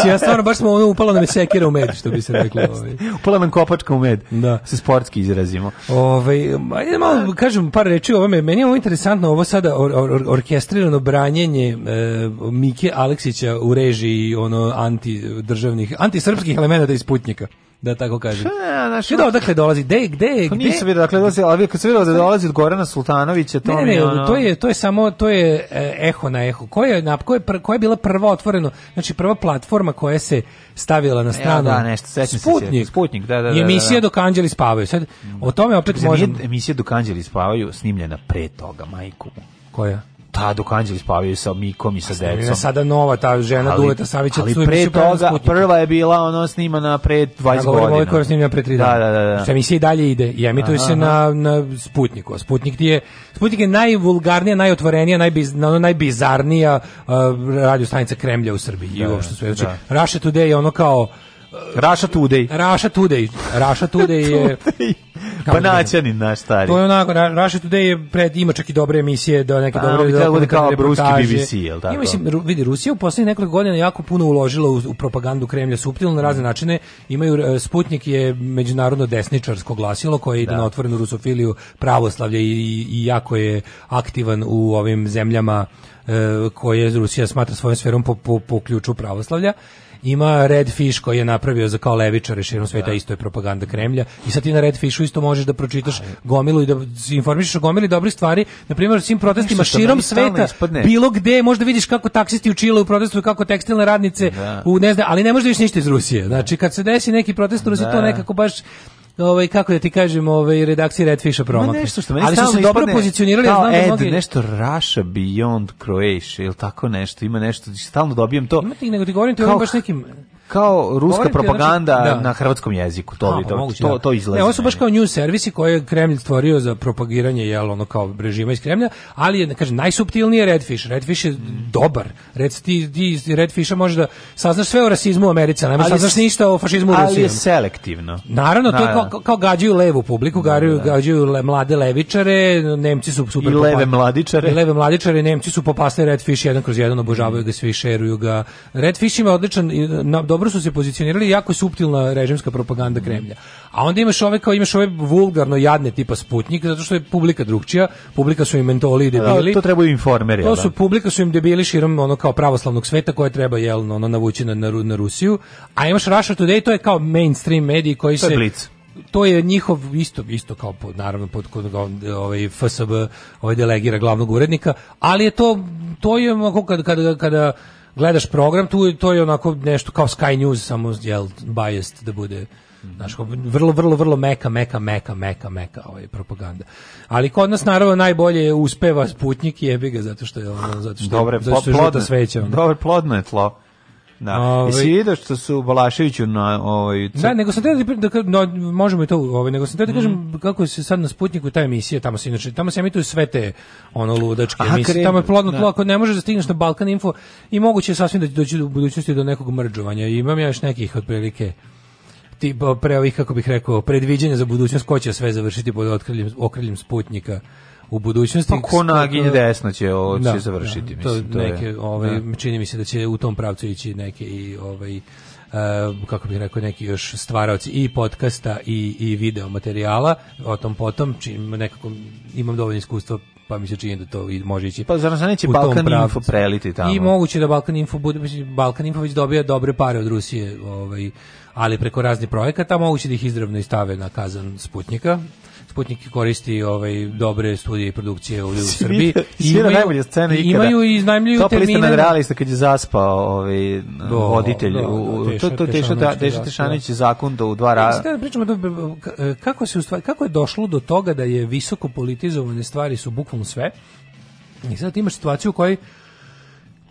ja stvarno baš smo ono upala nam je sekira u med, što bi se reklo. Ovaj. Upala nam kopačka u med. Da. Se sportski izrazimo. Ovaj ajde malo kažem par reči o ovome. Meni je ovo interesantno ovo sada or, or- or- orkestrirano branjenje e, Mike Aleksića u režiji ono anti državnih antisrpskih elemenata iz Putnjika, da tako kažem. E, znaš, Gde da odakle dolazi? Gde gde Pa gde? nisam vidio, dakle, dolazi, ali kad sam vidio da dolazi od Gorana Sultanovića, to Ne, ne, mi ne, je ono... to je to je samo to je e, eho na eho. Koja je na koja je, pr- koja je bila prva otvoreno, znači prva platforma koja se stavila na stranu. da, nešto, sećam se Sputnik. se, Sputnik, da, da, da, I emisija da, da. dok anđeli spavaju. Sad o tome opet Mislim, možemo nije emisija dok anđeli spavaju snimljena pre toga, majku. mu. Koja? Ta dok anđeli spavaju sa Mikom i sa Ima decom. sada nova ta žena Duleta Savića ali tu pre emisiju pravila na toga, Sputniku. prva je bila ono snimana pre 20 Ja govorim godina. ovaj koja je snimljena pre 3 Da, dana. da, da. da. Što emisija i dalje ide i emituje Aha, se na, na Sputniku. A Sputnik ti je, Sputnik je najvulgarnija, najotvorenija, najbiz, na- ono najbizarnija uh, radio stanica Kremlja u Srbiji i Da, uopšte sve. Znači, da. Russia Today je ono kao Raša Tudej. [laughs] Raša Today. Raša Today je... Banaćanin Pa naš stari. To je onako, Ra- Russia Today je pred, ima čak i dobre emisije, da neke A, dobre ono bi trebalo da bude kao dokumentarne ruski reportaže. BBC, jel tako? Ima, mislim, Ru- vidi, Rusija u poslednjih nekoliko godina jako puno uložila u, u propagandu Kremlja suptilno na Mm. razne načine. Imaju, e, Sputnik je međunarodno desničarsko glasilo koje ide na otvorenu rusofiliju pravoslavlje i, i jako je aktivan u ovim zemljama e, koje Rusija smatra svojom sferom po, po, po ključu pravoslavlja. Ima Red Fish koji je napravio za kao levičare širom sveta, isto je propaganda Kremlja. I sad ti na Red Fishu isto možeš da pročitaš gomilu i da se informišeš o gomili dobrih stvari. Na primjer, o svim protestima Nešto što širom meni stalno sveta, ispadne. bilo gde, možda vidiš kako taksisti u Čileu protestuju, kako tekstilne radnice Da. u ne znam, ali ne možeš da vidiš ništa iz Rusije. Znači, kad se desi neki protest u Rusiji, Da. to nekako baš ovaj kako da ti kažem, ovaj redakcija Redfisha Ima promakne. nešto što meni ali su se stalno dobro ispadne pozicionirali, ja kao znam da Ed, mnogi nešto Russia Beyond Croatia ili tako nešto, ima nešto, znači, stalno dobijem to. Ima ti, nego ti govorim ti o Kao- ovim baš nekim kao ruska Govorim ti, znači, propaganda da. na hrvatskom jeziku, to, bi- A, to, moguće, to, da. to izlazi. Ne, ovo su baš kao news servisi koje je Kremlj stvorio za propagiranje jel, ono kao režima iz Kremlja, ali je, kažem, najsuptilnije Redfish. Redfish je dobar. Red, ti, ti iz Redfisha možeš da saznaš sve o rasizmu u Americi, ali ne možeš Ali saznaš je- ništa o fašizmu u Rusiji. ono. Ali je selektivno. Naravno, to je Da, da. kao, kao gađaju levu publiku, gađaju, gađaju le, mlade levičare, Nemci su super I popa- leve mladičare. I leve mladičare, Nemci su popasli Redfish jedan kroz jedan, obožavaju ga svi, šeruju ga. Redfish ima odličan, i, na, dobro su se pozicionirali, jako je suptilna režimska propaganda Kremlja. A onda imaš ove, kao imaš ove vulgarno jadne tipa Sputnik, zato što je publika drugčija, publika su i mentoli i debili. Da, to trebaju informeri. jel To da? su publika su im debili širom ono kao pravoslavnog sveta koje treba jelno ono navući na, na, Ru- na Rusiju. A imaš Russia Today, to je kao mainstream mediji koji To se je Blitz. to je njihov isto isto kao pod naravno pod kod ga- ovaj FSB ovaj delegira glavnog urednika, ali je to to je onako kada kada kada gledaš program tu je- to je onako nešto kao Sky News samo jel biased da bude Znaš, kao vrlo, vrlo, vrlo meka, meka, meka, meka, meka ovaj, propaganda. Ali kod nas, naravno, najbolje uspeva Sputnik i jebi ga, zato što je ono, zato što, Dobre, zato što je plodno- žuta sveća. ono. Dobro, plodno je tlo. Da. Ovaj- Jesi vidio što su Balaševiću na ovaj, ovoj... cr- Da, nego sam teo da, pri- da ka- no, možemo i to, ovaj, nego sam teo da Mhm. kažem kako se sad na Sputniku ta emisija, tamo se inače, tamo se emituju sve te ono ludačke Aha, emisije, krenu, tamo je plodno da. tlo, ako ne možeš da stigneš na Balkan Info i moguće je sasvim da će doći u budućnosti do nekog mrđovanja. Imam ja još nekih otprilike tipa pre ovih, kako bih rekao, predviđanja za budućnost, ko će sve završiti pod otkriljem, okriljem Sputnika u budućnosti. Pa ko naginje desno će, ovo će Da, završiti, da, mislim, to to je- [laughs] neke, ovaj, da. čini mi se da će u tom pravcu ići neke i ovaj e, kako bih rekao neki još stvaraoci i podcasta i i video materijala o tom potom čim nekako imam dovoljno iskustva pa mi se čini da to i može ići Pa zar nas neće u tom Balkan pravcu. Info preliti tamo? i moguće da Balkan Info bude mislim, Balkan Info već dobija dobre pare od Rusije ovaj ali preko raznih projekata moguće da ih izravno i stave na kazan Sputnika Sputnik koristi ovaj dobre studije i produkcije ovdje u Srbiji i Svira imaju- najbolje scene i ikada. imaju i iznajmljuju Top lista termine nad realista kad je zaspao ovaj, voditelj. da, u- da, to, to Teša Teša Tešanović, Teša da, Tešanović da. je zakon do u dva Ja, ra... sad da pričamo da, k- kako se u stvari, kako je došlo do toga da je visoko politizovane stvari su bukvalno sve. I sad imaš situaciju u kojoj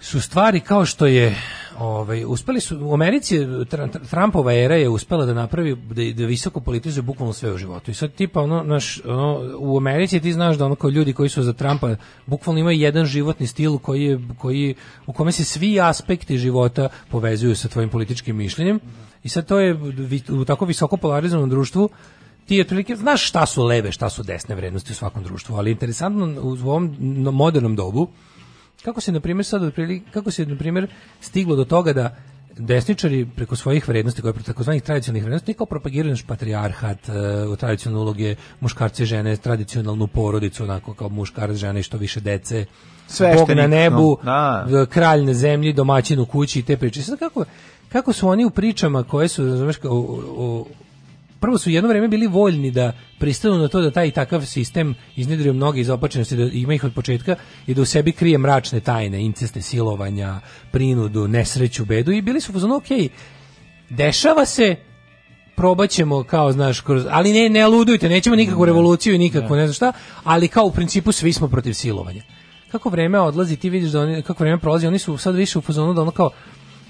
su stvari kao što je ovaj uspeli su u Americi je Tr- Tr- Trumpova era je uspela da napravi da, da visoko politizuje bukvalno sve u životu. I sad tipa ono naš ono, u Americi ti znaš da ono kao ljudi koji su za Trumpa bukvalno imaju jedan životni stil koji je koji u kome se svi aspekti života povezuju sa tvojim političkim mišljenjem. I sad to je vi- u tako visoko polarizovanom društvu ti otprilike znaš šta su leve, šta su desne vrednosti u svakom društvu, ali interesantno u ovom n- modernom dobu kako se na primjer sad otprilike kako se na primjer stiglo do toga da desničari preko svojih vrednosti, koje takozvanih tradicionalnih vrednosti, kao propagiraju naš patrijarhat, e, u tradicionalne uloge muškarce i žene, tradicionalnu porodicu, onako kao muškarac, žene i što više dece, Sveštenik, Bog na nebu, no, da. d- kralj na zemlji, domaćin u kući i te priče. Sad kako, kako su oni u pričama koje su, razumeš, kao, o- o- prvo su jedno vrijeme bili voljni da pristanu na to da taj i takav sistem iznedrio mnoge izopačenosti, da ima ih od početka i da u sebi krije mračne tajne, inceste, silovanja, prinudu, nesreću, bedu i bili su fuzon, ok, dešava se, probat ćemo kao znaš kroz ali ne ne ludujte nećemo nikakvu revoluciju i nikakvu ne znam šta ali kao u principu svi smo protiv silovanja kako vreme odlazi ti vidiš da oni kako vreme prolazi oni su sad više u fazonu da ono kao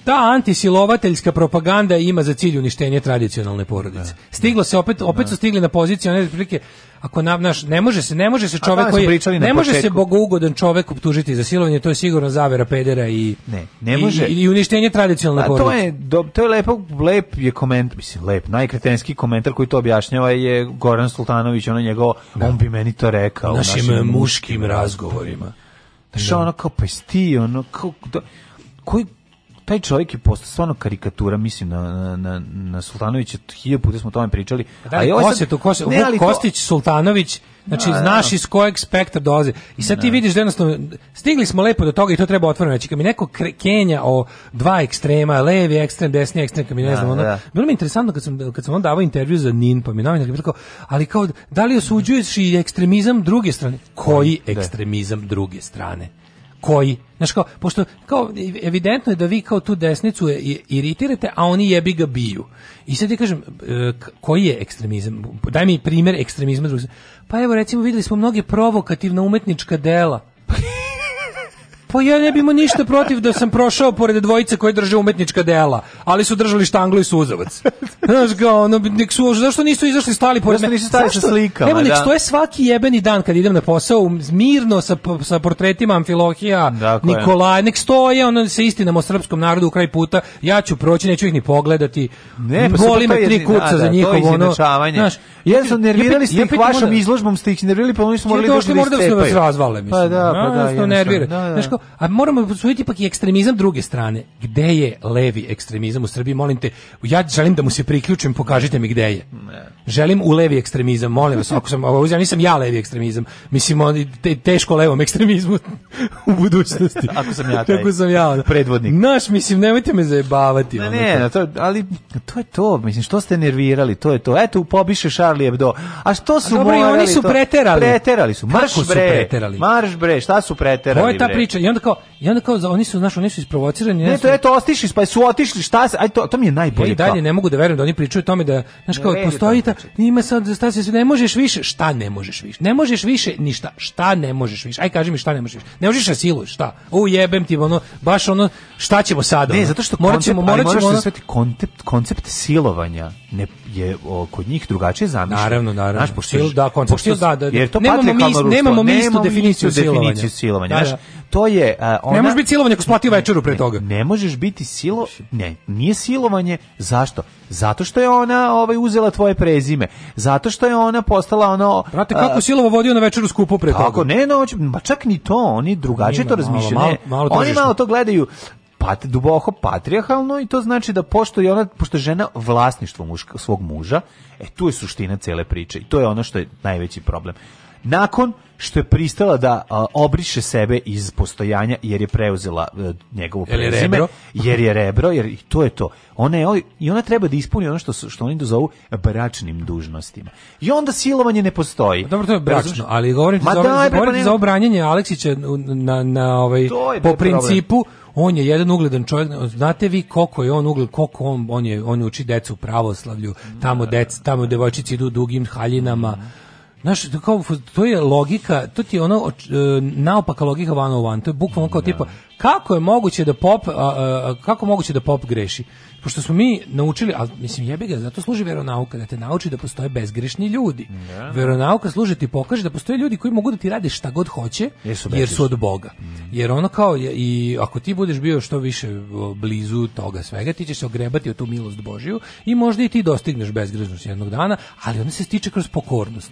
Ta antisilovateljska propaganda ima za cilj uništenje tradicionalne porodice. Stiglo se opet opet su stigli na poziciju one prilike ako nam naš ne može se ne može se A čovek danas smo koji pričali na ne može se početku. bogougodan čovek optužiti za silovanje, to je sigurno zavera pedera i Ne, ne može. i, i uništenje tradicionalne A to porodice. je, do, to je lepo, lep je koment, mislim, lep, najkretenski komentar koji to objašnjava je Goran Sultanović, ono njegovo, on bi meni to rekao. u Našim muškim razgovorima. Znaš, ono kao, pa jesi ti, ono, kao, da, koji, taj čovjek je postao stvarno karikatura, mislim, na, na, na, na Sultanovića, hilje puta smo o tome pričali. Da li i ovaj sad- Kosetu, Kose- Ne, Vuk ali to- Kostić, Sultanović, znači Da, da. znaš iz kojeg spektra dolazi. I sad ti vidiš da jednostavno, stigli smo lepo do toga i to treba otvoreno reći. Kad mi neko kre- kenja o dva ekstrema, levi ekstrem, desni ekstrem, kad mi ne Da, znam, ono, da. bilo mi je interesantno kad sam, kad sam on davao intervju za NIN, pa mi novinar je rekao, ali kao, da li osuđuješ i ekstremizam druge strane? Koji Da. ekstremizam druge strane? Koji? Znaš kao, pošto kao, evidentno je da vi kao tu desnicu je- i- iritirate, a oni jebi ga biju. I sad ti kažem, e, k- koji je ekstremizam? Daj mi primjer ekstremizma druge strane. Pa evo recimo videli smo mnoge provokativna umetnička dela. Pa ja ne bi imao ništa protiv da sam prošao pored dvojice koje drže umetnička dela, ali su držali štanglu i [laughs] suzavac. Znaš ga, ono, nek su, zašto nisu izašli stali pored Zašto mene? nisu stali sa slikama, Evo, nek da. stoje svaki jebeni dan kad idem na posao, mirno sa, p- sa portretima Amfilohija, je. Nikolaja, nek stoje, ono, sa istinom o srpskom narodu u kraj puta, ja ću proći, neću ih ni pogledati, Ne, pa sad boli to me je- tri da, kuca za da, to je njihov, ono, izjednačavanje. znaš, Jedan su nervirali ste ja ih pitam vašom onda- izložbom, ste ih nervirali, pa oni su morali Morali došli dođu da možda da su nas istepaju. razvale, mislim. Pa da, pa da. jednostavno jednostavno, nervira. da, da. Znaš kao, a moramo posuditi ipak i ekstremizam druge strane. Gde je levi ekstremizam u Srbiji? Molim te, ja želim da mu se priključim, pokažite mi gde je. Želim u levi ekstremizam, molim vas, ako sam, ovo, ja nisam ja levi ekstremizam, mislim, on, te, teško levom ekstremizmu [laughs] u budućnosti. Ako sam ja taj Ako sam ja, ono. predvodnik. Naš, mislim, nemojte me zajebavati. Ne, ono. ne, na to, ali to je to, mislim, što ste nervirali, to je to. Eto, pobiše Charlie Hebdo. A što su A dobro, i morali oni su to? preterali. Preterali su, marš Kako su bre, preterali? marš bre, šta su preterali To je ta bre? priča. I onda kao, i onda kao za- oni su, znaš, oni su isprovocirani. Ne, ne to eto, ostišli, pa su otišli, šta se, aj to, to mi je Ja najbolje. Pa i kao. dalje ne mogu da verujem da oni pričaju o tome da, znaš Ne znači. kao, vredi postoji ta, ima sad, šta se, ne možeš više, šta ne možeš više, ne možeš više ništa, šta ne možeš više, aj kaži mi šta ne možeš više, ne možeš na silu, šta, u jebem ti, ono, baš ono, šta ćemo sad, Ne, ono? zato što morat ćemo, koncept, ali morat ćemo, moraš se ono- sveti koncept, koncept silovanja ne, je o, kod njih drugačije zamišljen. Naravno, naravno. Znaš, pošto, Sil- da, koncept pošto- sil- da, da, da. Jer to Nemamo mi- patrijarhalno ruštvo, nemamo mi istu nemamo definiciju silovanja. definiciju silovanja. Da, Znaš, da. to je... a, ona, ne možeš biti silovanje ako splati večeru pre toga. Ne možeš biti silo, ne, nije silovanje, zašto? Zato što je ona ovaj uzela tvoje prezime. Zato što je ona postala ono Brate, kako silovo vodio na večeru skupu pre toga? Tako, ne, noć, ma čak ni to, oni drugačije Ima to malo, razmišljaju. malo- ne. malo oni tržišno. malo to gledaju pat, duboko patrijarhalno i to znači da pošto je ona pošto je žena vlasništvo muška, svog muža, e tu je suština cele priče i to je ono što je najveći problem. Nakon što je pristala da a, obriše sebe iz postojanja jer je preuzela e, njegovo Jer je prezime, rebro. jer je rebro, jer i to je to. Ona je, oj- I ona treba da ispuni ono što, su- što oni zovu bračnim dužnostima. I onda silovanje ne postoji. Pa Dobro, to je bračno, Razumeš? ali govorim ti Pa Ma za, daj, ovaj- bre, pa govorim ti ne- za obranjenje Aleksića na, na, na ovaj, To je po bre problem. principu, on je jedan ugledan čovjek, znate vi koliko je on ugled, koliko on, on, je, on uči decu u pravoslavlju, tamo, dec, tamo devojčici idu dugim haljinama, Znaš, to kao, to je logika, to ti je ono oč- e, naopaka logika van one, to je bukvalno kao tipa, kako je moguće da pop, a, a, a, kako moguće da pop greši? Pošto smo mi naučili, a mislim jebi ga, zato služi veronauka, da te nauči da postoje bezgrešni ljudi. Veronauka služi da ti pokaže da postoje ljudi koji mogu da ti rade šta god hoće, Jer su jer su bezgrešni. od Boga. Jer ono kao, je- i ako ti budeš bio što više o, blizu toga svega, ti ćeš se ogrebati o tu milost Božiju i možda i ti dostigneš bezgrešnost jednog dana, ali ona se stiče kroz pokornost.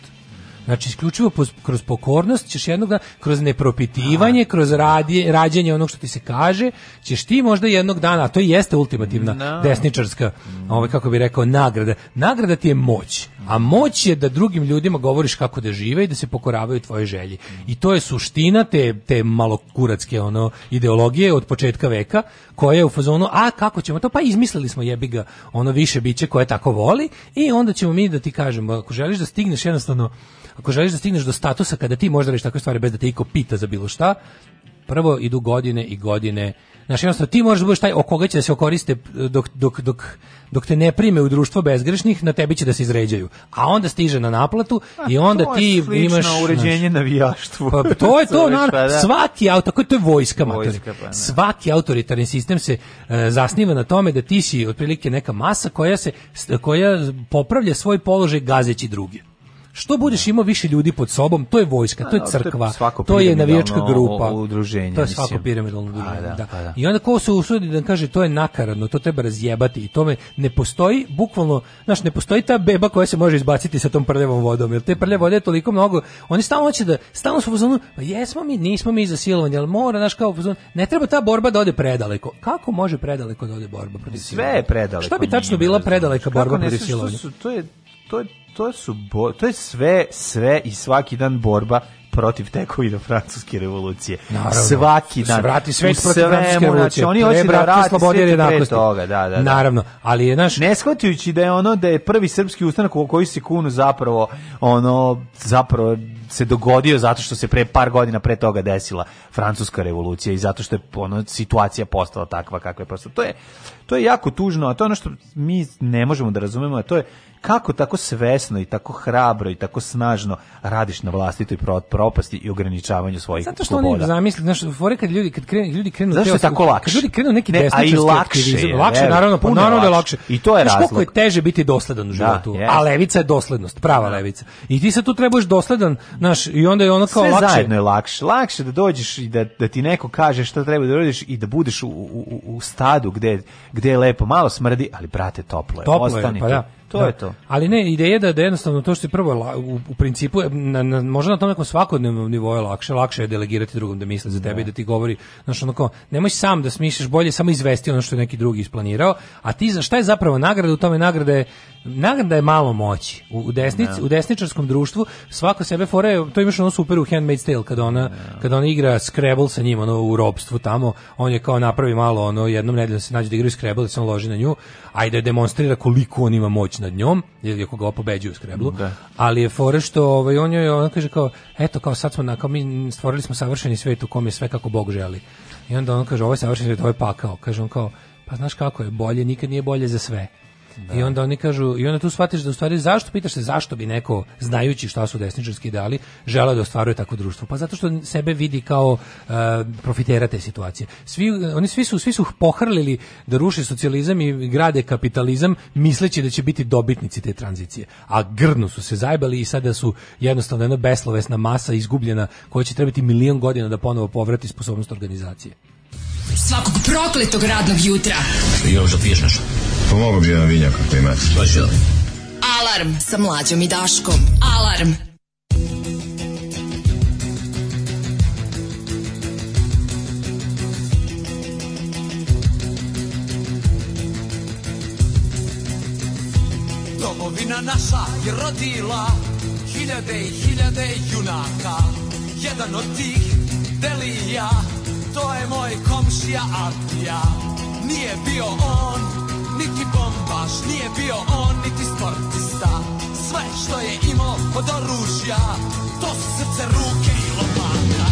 Znači, isključivo poz- kroz pokornost ćeš jednog dana, kroz nepropitivanje, kroz radje, rađenje onog što ti se kaže, ćeš ti možda jednog dana, a to i jeste ultimativna desničarska, ovaj, kako bi rekao, nagrada. Nagrada ti je moć, a moć je da drugim ljudima govoriš kako da žive i da se pokoravaju tvoje želji. I to je suština te, te malokuratske ono, ideologije od početka veka, koja je u fazonu, a kako ćemo to? Pa izmislili smo jebi ga ono više biće koje tako voli i onda ćemo mi da ti kažemo, ako želiš da stigneš jednostavno ako želiš da stigneš do statusa kada ti možeš da radiš takve stvari bez da te iko pita za bilo šta, prvo idu godine i godine. Znaš, jednostavno, ti možeš da budeš taj o koga će da se okoriste dok, dok, dok, dok te ne prime u društvo bezgrešnih, na tebi će da se izređaju. A onda stiže na naplatu i onda Pa, to je ti slično imaš... uređenje navijaštvu. Pa, to je to, [laughs] Zoveš, naravno. pa da. Svaki auto, tako je to je vojska, matori. Vojska, pa da. Svaki autoritarni sistem se e, zasniva na tome da ti si otprilike neka masa koja se koja popravlja svoj položaj gazeći druge. Što budeš imao više ljudi pod sobom, to je vojska, to je A, Pa, da, to je crkva, svako to je piramidalno navijačka grupa, udruženje, to je svako mislim. piramidalno udruženje. A, da, da. a, da. I onda ko se usudi da kaže to je nakaradno, to treba razjebati i tome ne postoji bukvalno, znaš, ne postoji ta beba koja se može izbaciti sa tom prljavom vodom, jer te prljave vode je toliko mnogo, oni stalno hoće da, stalno su u fazonu, pa jesmo mi, nismo mi za silovanje, ali mora, znaš, kao u fazonu, ne treba ta borba da ode predaleko. Kako može predaleko da ode borba protiv Sve je predaleko. Šta bi tačno njima, bila razumeš? predaleka Kako borba ne protiv znaš što silovanja? su- To je, to, je- to su bo- to je sve, sve i svaki dan borba protiv tekovina francuske revolucije. Naravno. Svaki dan. Vrati svet U protiv svemu, francuske revolucije. Znači, oni hoće da Prebrate vrate slobode i svet i pre jednakosti. toga. Da, da, da. Naravno, ali je naš... Ne shvatajući da je ono da je prvi srpski ustanak u koji se kunu zapravo ono zapravo se dogodio zato što se pre par godina pre toga desila francuska revolucija i zato što je ono situacija postala takva kakva je postala. To je to je jako tužno, a to je ono što mi ne možemo da razumemo, a to je kako tako svesno i tako hrabro i tako snažno radiš na vlastitoj pro- propasti i ograničavanju svojih Zato što sloboda. oni zamisli, znaš, fore kad ljudi kad krenu, ljudi krenu Zašto te je osvete- tako lakše? Kad ljudi krenu neki Ne, a i desničarski lakše je, aktivizam, lakše veruj, naravno, pa puno naravno da je lakše. lakše. I to je Znaš koliko je razlog. teže biti dosledan u Da, životu, jest. a levica je doslednost, prava levica. I ti sad tu trebaš dosledan, znaš, i onda je ono kao sve lakše. zajedno je lakše. Lakše da dođeš i da, da ti neko kaže šta treba da radiš i da budeš u, u, u- u stadu gde, gde je lepo, malo smrdi, ali brate, toplo je. Toplo je, Ostani pa tu. da. To Da. je to. Ali ne, ideja je da, da jednostavno to što je prvo la- u, u principu, je na, na, možda na tom nekom svakodnevnom nivou je lakše, lakše je delegirati drugom da misle za tebe i da ti govori, znaš ono kao, nemoj sam da smišljaš bolje, samo izvesti ono što je neki drugi isplanirao, a ti za šta je zapravo nagrada u tome nagrada je nagrada je malo moći. U, u desnici, Da. u desničarskom društvu svako sebe fore, to imaš ono super u Handmaid's Tale kada ona kada ona igra Scrabble sa njim ono u ropstvu tamo, on je kao napravi malo ono jednom nedeljom se nađe da igraju Scrabble i se on loži na nju, ajde demonstrira koliko on ima moć nad njom, jer je koga pobeđuje u Scrabble. Da. Ali je fore što ovaj on joj ona kaže kao eto kao sad smo na kao mi stvorili smo savršeni svet u kom je sve kako Bog želi. I onda on kaže ovo je savršeni svet, ovo je pakao. Kaže on kao pa znaš kako je bolje, nikad nije bolje za sve. I onda oni kažu, i onda tu shvatiš da u stvari zašto pitaš se zašto bi neko znajući šta su desničarski ideali želeo da ostvaruje takvo društvo? Pa zato što sebe vidi kao e, profitera te situacije. Svi e, oni svi su svi su pohrlili da ruše socijalizam i grade kapitalizam misleći da će biti dobitnici te tranzicije. A grdno su se zajbali i sada su jednostavno jedna beslovesna masa izgubljena koja će trebati milion godina da ponovo povrati sposobnost organizacije. Svakog prokletog radnog jutra. Još da piješ nešto? Pomogu bi jedan vinjak ako imate. Pa želim. Alarm sa mlađom i Daškom. Alarm. Domovina naša je rodila hiljade i hiljade junaka. Jedan od tih deli ja, to je moj komšija Artija. Nije bio on, niti bombaš, nije bio on, niti sportista. Sve što je imao od oružja, to su srce, ruke i lopata.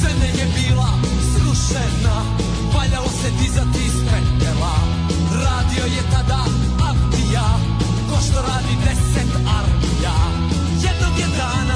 Zemlja je bila srušena, valjalo se dizati iz pepela. Radio je tada Avdija, ko što radi deset armija. Jednog je dana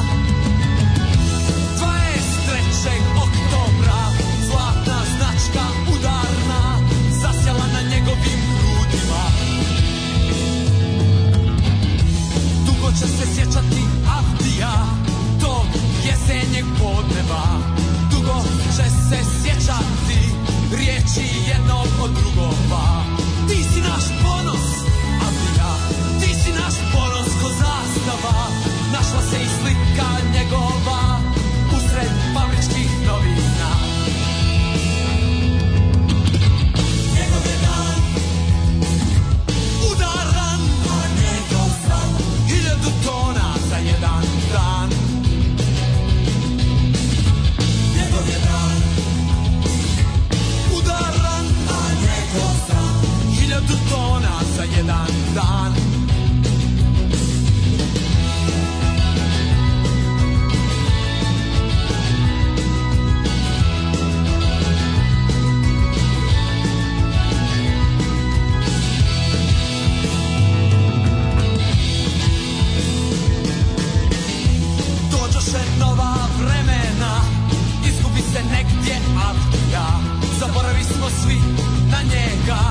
junaka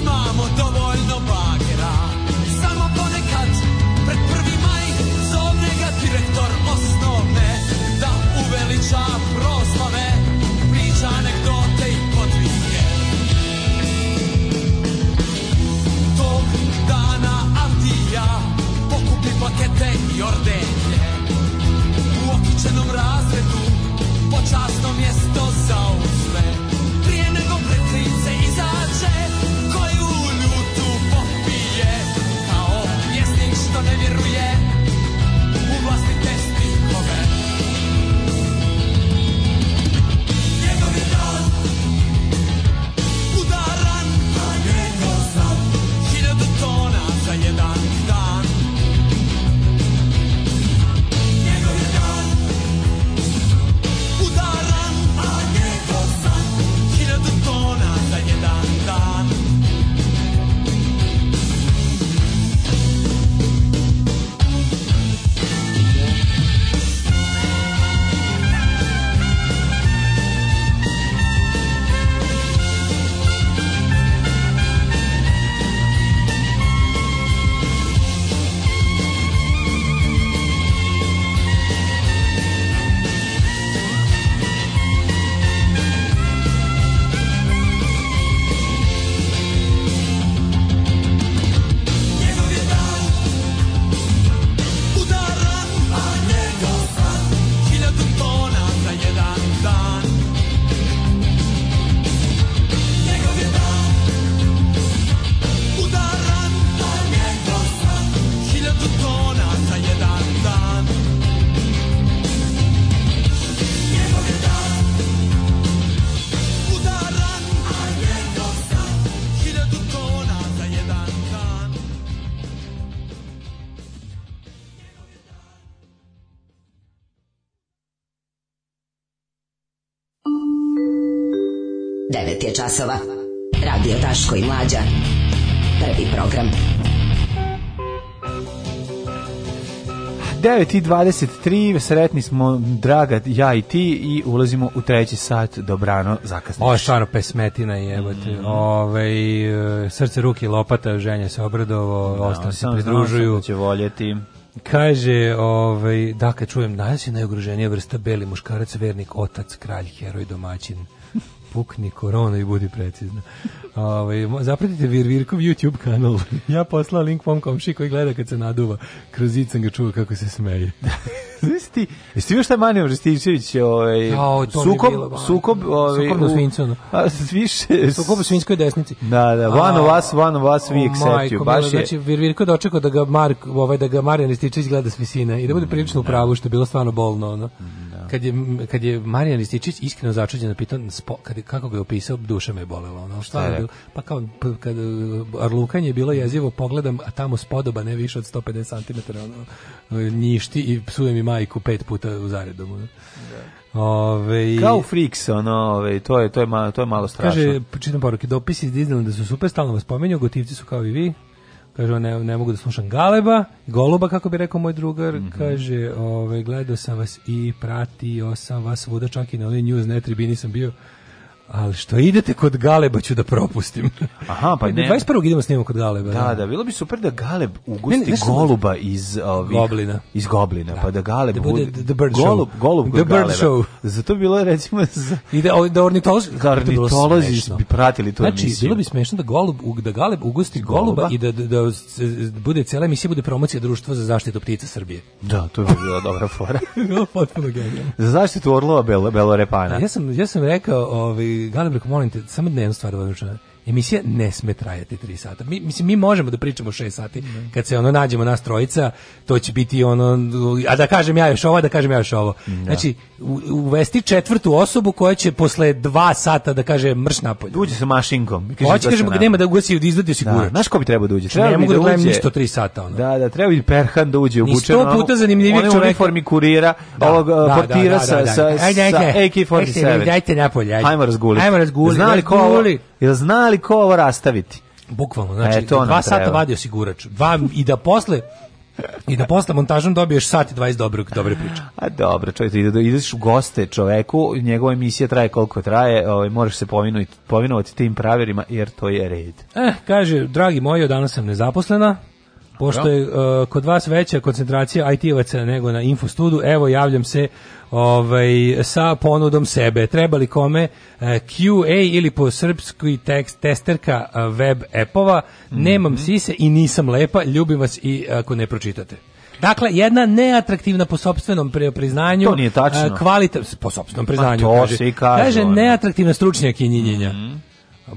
Imamo dovoljno bagera Samo ponekad pred prvi maj Zovne ga direktor osnovne Da uveliča proslave Priča anegdote i podvige Tog dana Avdija Pokupi pakete i ordenje U okičenom razredu Počasno mjesto zauzme Prije nego pretlice izađe Koju ljutu popije Kao pjesnik što ne vjeruje U vlastite stihove Njegov je dan Udaran A njegov sam Hiljadu tona za jedan dan Njegov je dan Udaran A njegov san Hiljadu tona za jedan dan Njegov je dan Udaran A njegov san Hiljadu tona za jedan dan Njegov je dan Udaran A njegov san Hiljadu tona za jedan dan Njegov je dan Udaran A njegov san Hiljadu tona za jedan dan Devet je časova. Radio Daško i Mlađa. Prvi program. 9.23, sretni smo, draga, ja i ti, i ulazimo u treći sat, dobrano, zakasnije. Ovo je stvarno pesmetina i jebote. Mm Ovaj, e, srce, ruke, i lopata, ženja se obradovo, ostali se sam znao sam pridružuju. da će voljeti. Kaže, ovaj, da, kad čujem najveća i najugroženija vrsta beli muškarac, vernik, otac, kralj, heroj, [laughs] domaćin. Pukni korona i budi precizna. Ovaj, mo- zapratite Virvirkov YouTube kanal. [laughs] ja poslao link mom komši koji gleda kad se naduva. Kroz zid sam ga čuo kako se smeje. [laughs] [laughs] Znaš ti, jesi ti još taj Manio Rističević, ovaj, Jao, to mi je sukob, bilo, ba. sukob, ovaj, Sukob na u- svincu, ono. [laughs] A, s- više, Sukob u svinjskoj desnici. Da, da, one A, of us, one of us, we o, accept you, majko baš mila, je. Znači, Virvirko je dočekao da ga, Mark, ovaj, da ga Marijan Rističević gleda s visine i Mm, da bude prilično u pravu, što je bilo stvarno bolno. Ono. Kad, je, kad je Marijan Rističević iskreno začuđen pitan spo, kad, je- kako ga je opisao, duša me je bolela. Ono, Stvarno je bilo- pa kao, p- kad uh, Arlukan je bilo jezivo, pogledam, a tamo spodoba ne više od 150 cm ono, njišti i psuje mi majku pet puta u zaredom. Ono. Ove, Kao u Freaks, ono, ovaj, to je, to je, malo, to je malo strašno. Kaže, čitam poruke, dopisi iz Disneylanda su super, stalno vas pomenju, gotivci su kao i vi. Kaže, ne, ne mogu da slušam Galeba, Goluba, kako bi rekao moj drugar. Mhm. Kaže, ove, gledao sam vas i pratio sam vas svuda, čak i na onoj news, ne tribini sam bio. Ali što idete kod Galeba ću da [laughs] propustim. Aha, pa ne. 21. idemo snimamo kod Galeba. Da, da, bilo bi super da Galeb ugusti Ne, ne, ne, ne. goluba iz ovih, Goblina. Iz goblina, pa da Galeb Da bude bude- The Bird Show. golub, Golub kod The Bird Galeba. Show. Zato bi bilo recimo za I da, da ornitolozi, Da ornitolozi bi pratili tu znači, emisiju. bilo bi smešno da, golub, da Galeb ugosti goluba, Goluba. i da, da, da se- bude cijela emisija, bude promocija društva za zaštitu ptica Srbije. Da, to bi bila dobra fora. [laughs] Bilo potpuno genijalno. za zaštitu orlova belo, belorepana. Ja sam, ja sam rekao, ovaj, Galeb, rekao, molim te, samo da jednu stvar da vam rečem. Emisija ne sme trajati tri sata. Mi, mislim, mi možemo da pričamo šest sati. Kad se ono nađemo nas trojica, to će biti ono, a da kažem ja još ovo, a da kažem ja još ovo. Znači, u- uvesti četvrtu osobu koja će posle dva sata da kaže mrš napolje. Uđe sa mašinkom. i kaže Hoće da kažemo se da nema da ugasi od izvadi Da, sigurno. znaš ko bi trebao da uđe? ne Treba bi mogu da gledam uđe- ništa tri sata ono. Da, da, treba bi Perhan da uđe u ono, Ni sto puta zanimljivijeg čoveka. uniformi kurira, ovog eh, portira sa, sa, Ajde, sa ajde. Ajde, AK-47. Dajte napolje, ajde. Ajmo razguliti. Ajmo razguliti. Znali ko ovo, razguli. jel znali ko ovo rastaviti? Bukvalno, znači E, to nam dva sata treba. vadi osigurač. Dva, I da posle I da posle montažom dobiješ sat i 20 dobrog, dobre priče. A dobro, čovjek, ide, ideš u goste čoveku, njegova emisija traje koliko traje, ovaj, moraš se povinuti, povinovati tim pravilima, jer to je red. Eh, kaže, dragi moji, od danas sam nezaposlena, pošto je e, kod vas veća koncentracija IT-ovaca nego na infostudu, evo javljam se ovaj, sa ponudom sebe. Treba li kome e, QA ili po srpskoj tekst testerka e, web epova, nemam Mhm. sise i nisam lepa, ljubim vas i eh, ako ne pročitate. Dakle, jedna neatraktivna po sopstvenom pre- priznanju. To nije tačno. e, kvalita- po sopstvenom priznanju. Pa to kaže, svi kažu, Kaže, ono. Mhm. neatraktivna stručnjak i njinjenja.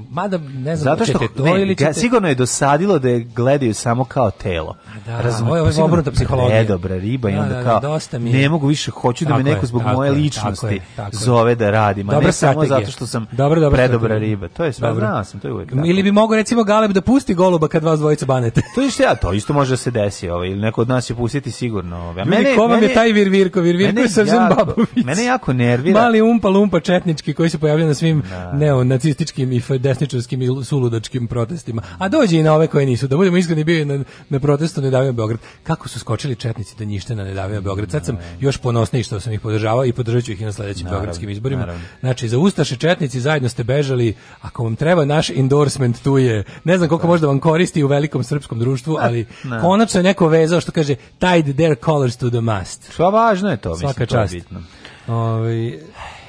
Mada, ne znam, Zato što ćete to ne, ili ga- ćete... sigurno je dosadilo da je gledaju samo kao telo. Da, Razumeš? Pa ovo je- ovo je Sigurno obrnuta psihologija. Predobra riba i Da, onda da, kao da, dosta mi je. ne mogu više, hoću da me Tako je, neko zbog tako moje je, tako ličnosti je, tako je. zove da radim, a Dobra ne samo strategija. zato što sam Dobra, dobra predobra strategija. riba. To je sve, Dobro. znao sam, to je uvijek. Ili bi mogao recimo Galeb da pusti goluba kad vas dvojica banete. To je što ja, to isto može da se desi, ovaj, ili neko od nas će pustiti sigurno. Ovaj. A Ljudi, ko vam je taj Virvirko? Virvirko mene je Srđan jako- Babović. Mene jako nervira. Mali umpa lumpa četnički koji se pojavlja na svim neonacističkim i f- desničarskim i suludačkim protestima. A dođe i na ove koje nisu. Da budemo iskreni, bio je na, na protestu Ne davimo Beograd. Kako su skočili četnici da njište na Ne davimo Beograd? Sad sam još ponosniji što sam ih podržavao i podržat ću ih i na sledećim Naravno, beogradskim izborima. naravno. Znači, za Ustaše četnici zajedno ste bežali. Ako vam treba, naš endorsement tu je. Ne znam koliko može da vam koristi u velikom srpskom društvu, ali ne. konačno je neko vezao što kaže tied their colors to the mast. Što važno je to, mislim, Svaka to je čast. bitno. Ovaj,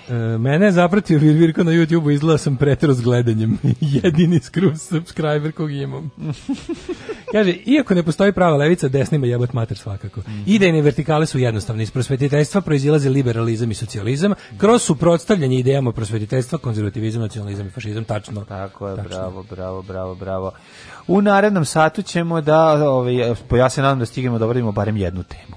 e, mene je zapratio Virvirko na YouTube-u, izgleda sam pretero s gledanjem. [laughs] Jedini skrup subscriber kog [laughs] imam. Kaže, iako ne postoji prava levica, desnima jebat mater svakako. Idejne vertikale su jednostavne. Iz prosvetiteljstva proizilaze liberalizam i socijalizam, kroz suprotstavljanje idejama prosvetiteljstva, konzervativizam, nacionalizam i fašizam, tačno. Tako je, bravo, bravo, bravo, bravo. U narednom satu ćemo da, ovaj, ja se nadam da stignemo da obradimo barem jednu temu.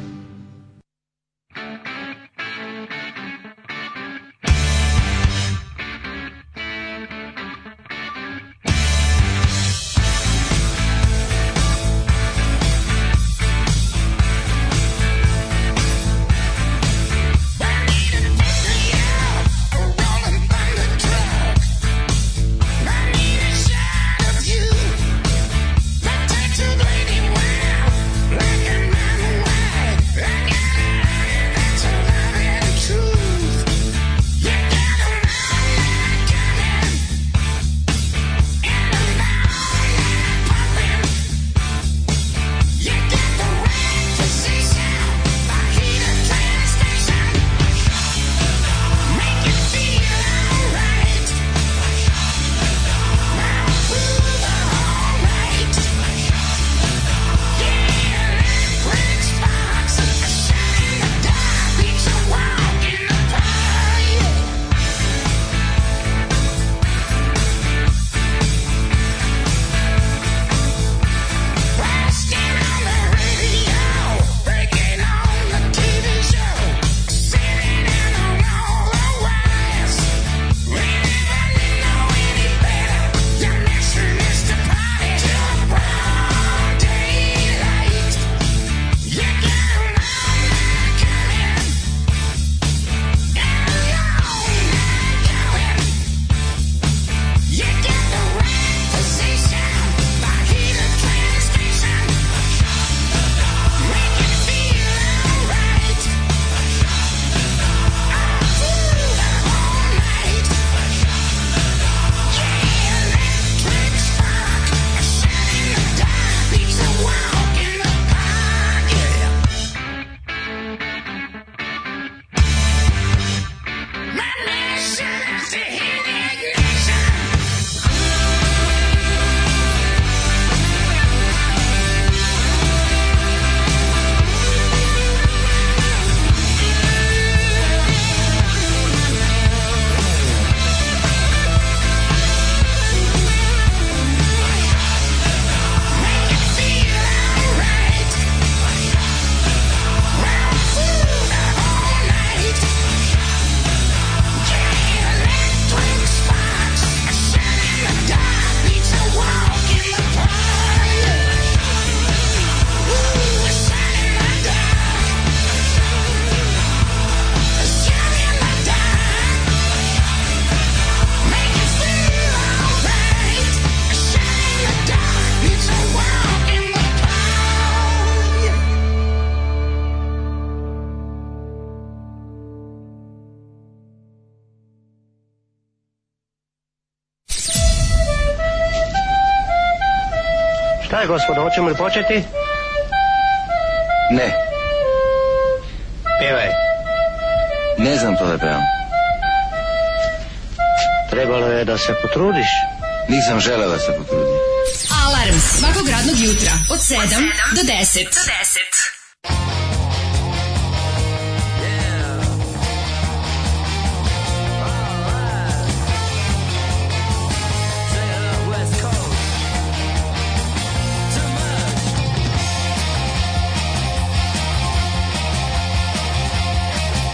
Black and I'm away. Šta je, gospodo, hoćemo li početi? Ne, Pevaj. ne znam to da pevam. Trebalo je da se potrudiš. Nisam želeo da se potrudim. Alarm svakog radnog jutra od 7 do 10. Do 10.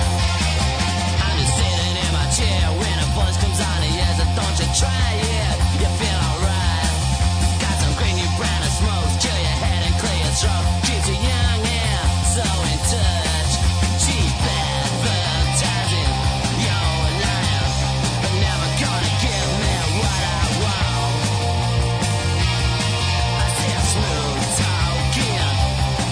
I'm just sitting in my chair when a voice comes on and yells, "Don't you try it? You feel alright." Got some green new brand of smokes, kill your head and clear your throat. She's so young and so in touch. She's advertising your life, but never gonna give me what I want. I see a smooth talking,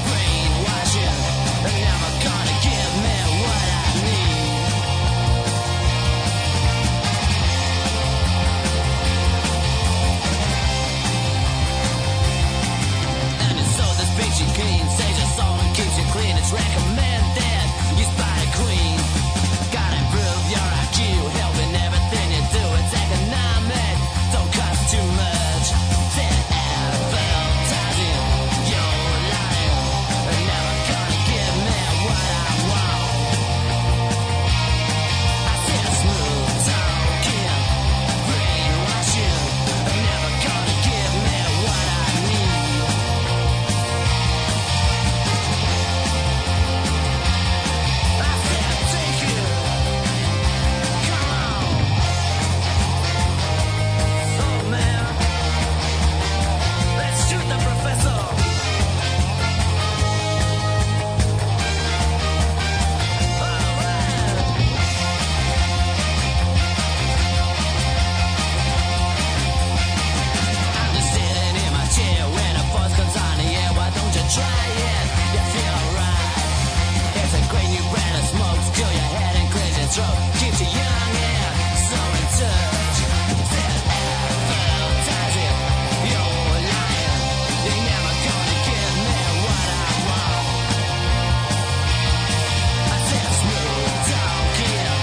brainwashing, but never gonna give me what I need. And it's so this picture clean Saves your soul and keeps you clean It's recommended you spy a queen Gotta improve your IQ Helping everything you do It's economic Don't cost too much Then advertising Your life And never gonna give me what I want I see a smooth talking Brainwashing And never gonna give me what I need Let's shoot the professor. I'm just sitting in my chair when a voice comes on. Yeah, why don't you try it? You feel alright. It's a great new brand of smokes. Kill your head and cleanse your throat. Keeps you young and so in touch. That advertising, you're lying. You're never gonna give me what I want. I said smooth talking,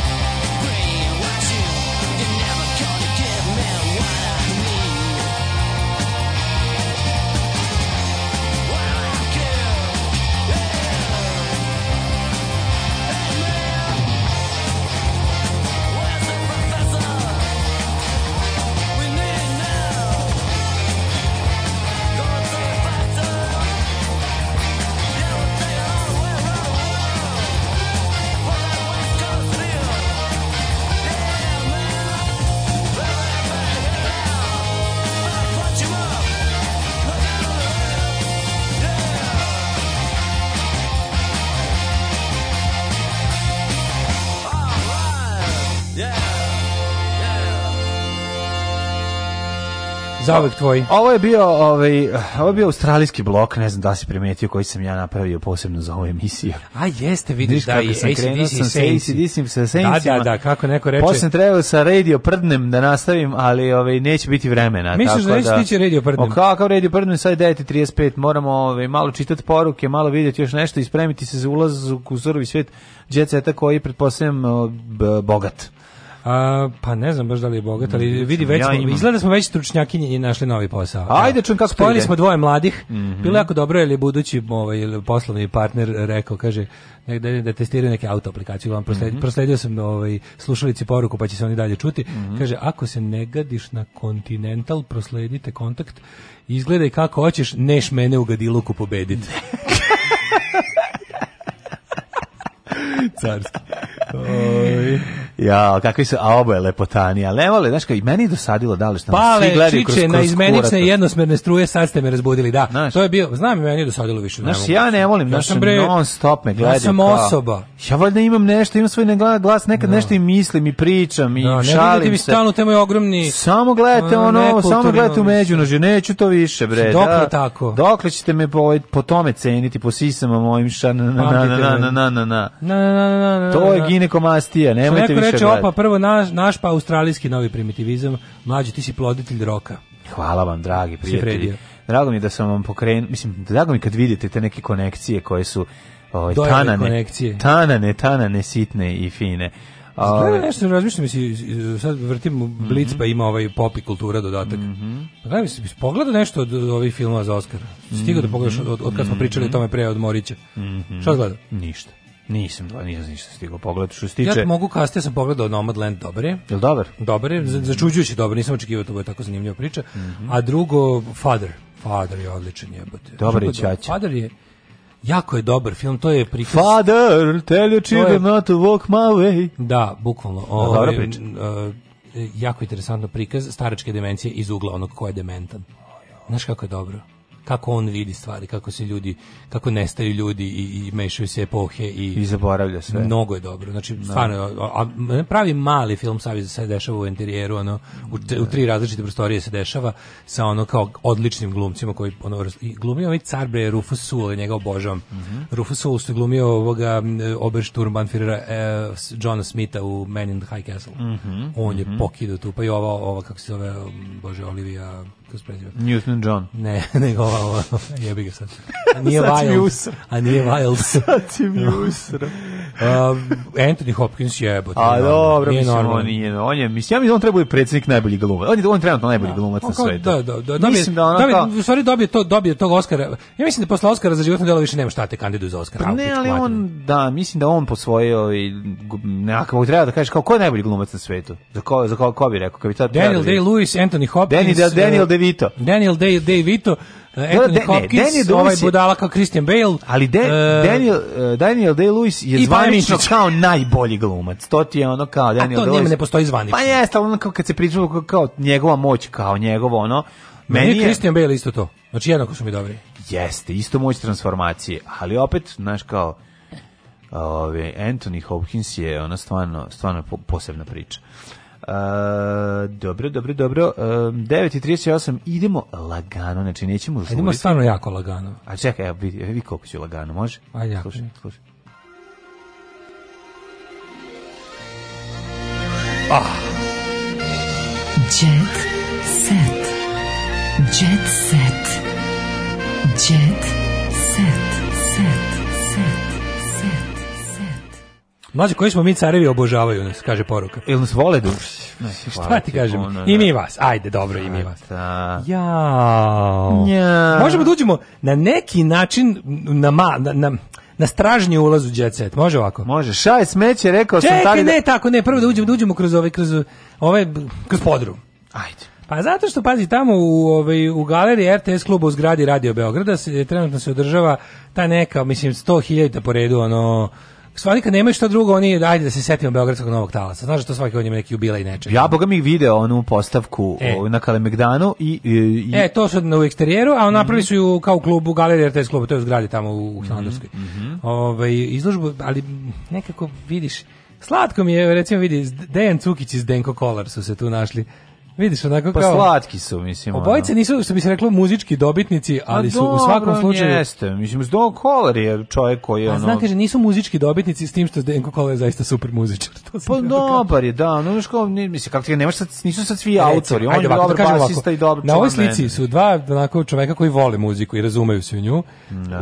brainwashing. You're never gonna give me what I need. Zauvek tvoji. Ovo je bio, ovaj, ovo je bio australijski blok, ne znam da li si primetio koji sam ja napravio posebno za ovu emisiju. A jeste, vidiš da kako je sam krenuo ACDC sam sa ACDC-im, sa Saintsima. Da, da, da, kako neko reče. Posle sam trebao sa radio prdnem da nastavim, ali ovaj, neće biti vremena. Misliš tako da neće stići radio prdnem? O, kakav radio prdnem, sad je 9.35, moramo ovaj, malo čitati poruke, malo vidjeti još nešto i spremiti se za ulaz u kuzurovi svijet Jet Seta koji je, pretpostavljam, o, b- bogat. A, pa ne znam baš da li je bogat, ali vidi već Mm, Ja smo, imam. izgleda smo već stručnjakinje i našli novi posao. Ajde, čujem kako to Spojili ide. smo dvoje mladih. Mhm. Bilo je jako dobro, jer je budući ovaj, poslovni partner rekao, kaže, negde da testiraju neke auto aplikaciju, vam prosled- Mhm. prosledio sam ovaj, slušalici poruku, pa će se oni dalje čuti. Mhm. Kaže, ako se ne gadiš na Continental, prosledite kontakt, izgledaj kako hoćeš, neš mene u gadiluku [laughs] pobediti. Carski. Oj. Ja, kakvi su, a oboje lepotani, ali ne vole, znaš kao, i meni je dosadilo da li što nas svi Pale gledaju kroz, čiče kroz na izmenične kurator. i jednosmerne struje, sad ste me razbudili, da. to je bio, znam i meni je dosadilo više. Znaš, mogu. ja ne volim, Ja znaš, sam, bre, non stop me gledaju. Ja sam kao- osoba. Ja valjda imam nešto, imam svoj negla- glas, nekad nešto i mislim i pričam i Da, ne gledajte šalim mi se. stalno u temoj ogromni... Samo gledajte A, ono, samo nekulturni gledajte u odnos. međunožju, neću to više, bre. Dokle da. tako? Dokle ćete me po, ovaj- po tome ceniti, po sisama mojim ša, na, na, na, Pamtite na, me. na, na, na, na. Na, na, na, na, na, To je na. ginekomastija, Što nemojte neko više reče, gledati. opa, prvo naš, naš pa australijski novi primitivizam, mlađi, ti si ploditelj roka. Hvala vam, dragi predio. prijatelji. Drago mi je da sam vam pokrenuo, mislim, drago mi je kad vidite te neke konekcije koje su ovaj, Dojave tanane, konekcije. tanane, tanane, sitne i fine. Gledaj Ovaj, nešto, razmišljam si, sad vrtim Mhm. Blic pa ima ovaj pop i kultura dodatak. Pa gledaj, si pogledao nešto od ovih filmova za Oscara? Stigao da pogledaš od, od, od kad smo pričali o tome pre od Morića. Mhm. Šta gledao? Ništa. Nisam, dva, nisam ništa stigao pogledati. Što se tiče... Ja mogu kasnije sam pogledao Nomadland, dobar je. Jel [laughs] dobar? Dobar je, za- začuđujući dobar, nisam očekivao da to bude tako zanimljiva priča. Mhm. A drugo, Father. Father je odličan jebote. Dobar je Drugo, Ćaća. Father je, jako je dobar film, to je prikaz... Father, tell your To je- children not to walk my way. Da, bukvalno. Da, dobra Ovaj, priča. m, e, jako interesantno prikaz staračke demencije iz ugla onog ko je dementan. Znaš kako je dobro? Kako on vidi stvari, kako se ljudi, kako nestaju ljudi i, i mešaju se epohe i... I zaboravlja sve. Mnogo je dobro. Znači, stvarno, a, a pravi mali film Savjez se dešava u interijeru, ono, u, te- u tri različite prostorije se dešava sa ono kao odličnim glumcima koji ono, i glumio ovaj car bre Rufus Sewell, ja njega obožavam. Mhm. Rufus Sewell što je glumio ovoga m, Obersturmbannführera e, s- Johna Smitha u Man in the High Castle. Mhm, On je mhm. pokidao tu, pa i ova, ova kako se zove, m, bože, Olivia, kako se preziva? Newton-John. Ne, [laughs] nego ova, ova, jebi ga sad. A nije [laughs] Sad si mi Wiles. usra. A nije Wiles. [laughs] Sad si mi usra. Um, Anthony Hopkins jebote. A normalno. dobro, Nije mislim, normalno. on nije, on je, mislim, ja mislim da on treba biti predsjednik najboljih glumaca. On je, on je trenutno najbolji glumac na On Pa kao- svetu. Da, da, da, dobije, mislim da ono dobije, kao, u stvari dobije, to, dobije tog Oscara. Ja mislim da posle Oscara za životno delo više nema šta te kandiduju za Oscara. Pa a, ne, pičku ali materinu. on, da, mislim da on posvojio i gu- nekako treba da kažeš kao ko je najbolji glumac na svetu? Za ko, za ko, ko bi rekao? Kad bi tad Daniel trebalo da- Day-Lewis, Anthony Hopkins. Daniel, eh, Daniel DeVito. Daniel Day, Day-Vito, eh, Da, da, Anthony ne, ne, Hopkins, Daniel Day-Lewis ovaj je- budala kao Christian Bale. Ali De, eh, Daniel, eh, Daniel Day-Lewis je i zvanično Pajmišić. kao najbolji glumac. To ti je ono kao Daniel to Day-Lewis. njemu ne postoji zvanično. Pa jeste, ali ono kao kad se pričalo kao, kao njegova moć, kao njegovo ono, Meni je Christian Bale isto to. Znači jednako su mi dobri. Jeste, isto moć transformacije, ali opet, znaš kao, ove, Anthony Hopkins je ona stvarno, stvarno po- posebna priča. E, dobro, dobro, dobro. E, 9.38, idemo lagano, znači nećemo žuriti. Idemo stvarno jako lagano. A čekaj, evo, vidi, vidi koliko ću lagano, može? Ajde, jako. Slušaj, slušaj. Ah, Jet set. Jet set. Jet set. Set. Set. Set. Set. Mlađe, koji smo mi carevi obožavaju nas, kaže poruka. Ili nas vole du? Šta ti kažemo? I mi vas. Ajde, dobro, i mi vas. Jao. Njao. Možemo da uđemo na neki način na, ma, na, na, na stražnji ulaz u Jet Set. Može ovako? Može. Šaj smeće, rekao sam Čekaj, tali da- ne, tako, ne, prvo da uđemo, da uđemo kroz ovaj, kroz ovaj, kroz podrum. Ajde. Pa zato što, pazi, tamo u, ovaj, u galeriji RTS kluba u zgradi Radio Beograda se, trenutno se održava ta neka, mislim, 100.000 po redu, ono, Stvari kad nemaju šta drugo, oni, ajde da se setimo Beogradskog novog talasa. Znaš da to svaki on ima neki jubilej nečeg. Ja boga mi video onu postavku E. o, na Kalemegdanu i, i, i- E, to su u eksterijeru, a napravili su ju kao u klubu, u galeriji RTS klubu, to je u zgradi tamo u, u Mhm, Hilandarskoj. Ovaj, izložbu, ali nekako vidiš, slatko mi je, recimo vidi, Dejan Cukić iz Denko Kolar su se tu našli. Vidiš, onako pa kao... pa slatki su, mislim. Obojice nisu, što bi se reklo, muzički dobitnici, ono. ali Pa su u dobro, svakom slučaju... Jeste, mislim, Don Kolar je čovjek koji je A ono... zna, Pa kaže, nisu muzički dobitnici s tim što Denko Kolar je zaista super muzičar. To sam pa htio da kažem. dobar je, da, ono znaš kao, ne, mislim, kako ti ga nemaš, sad, nisu sad svi Recimo, autori, on ajde je ovako, dobar da kažem basista ovako. i dobar Na ovoj član benda. slici su dva onako čoveka koji vole muziku i razumeju se u nju,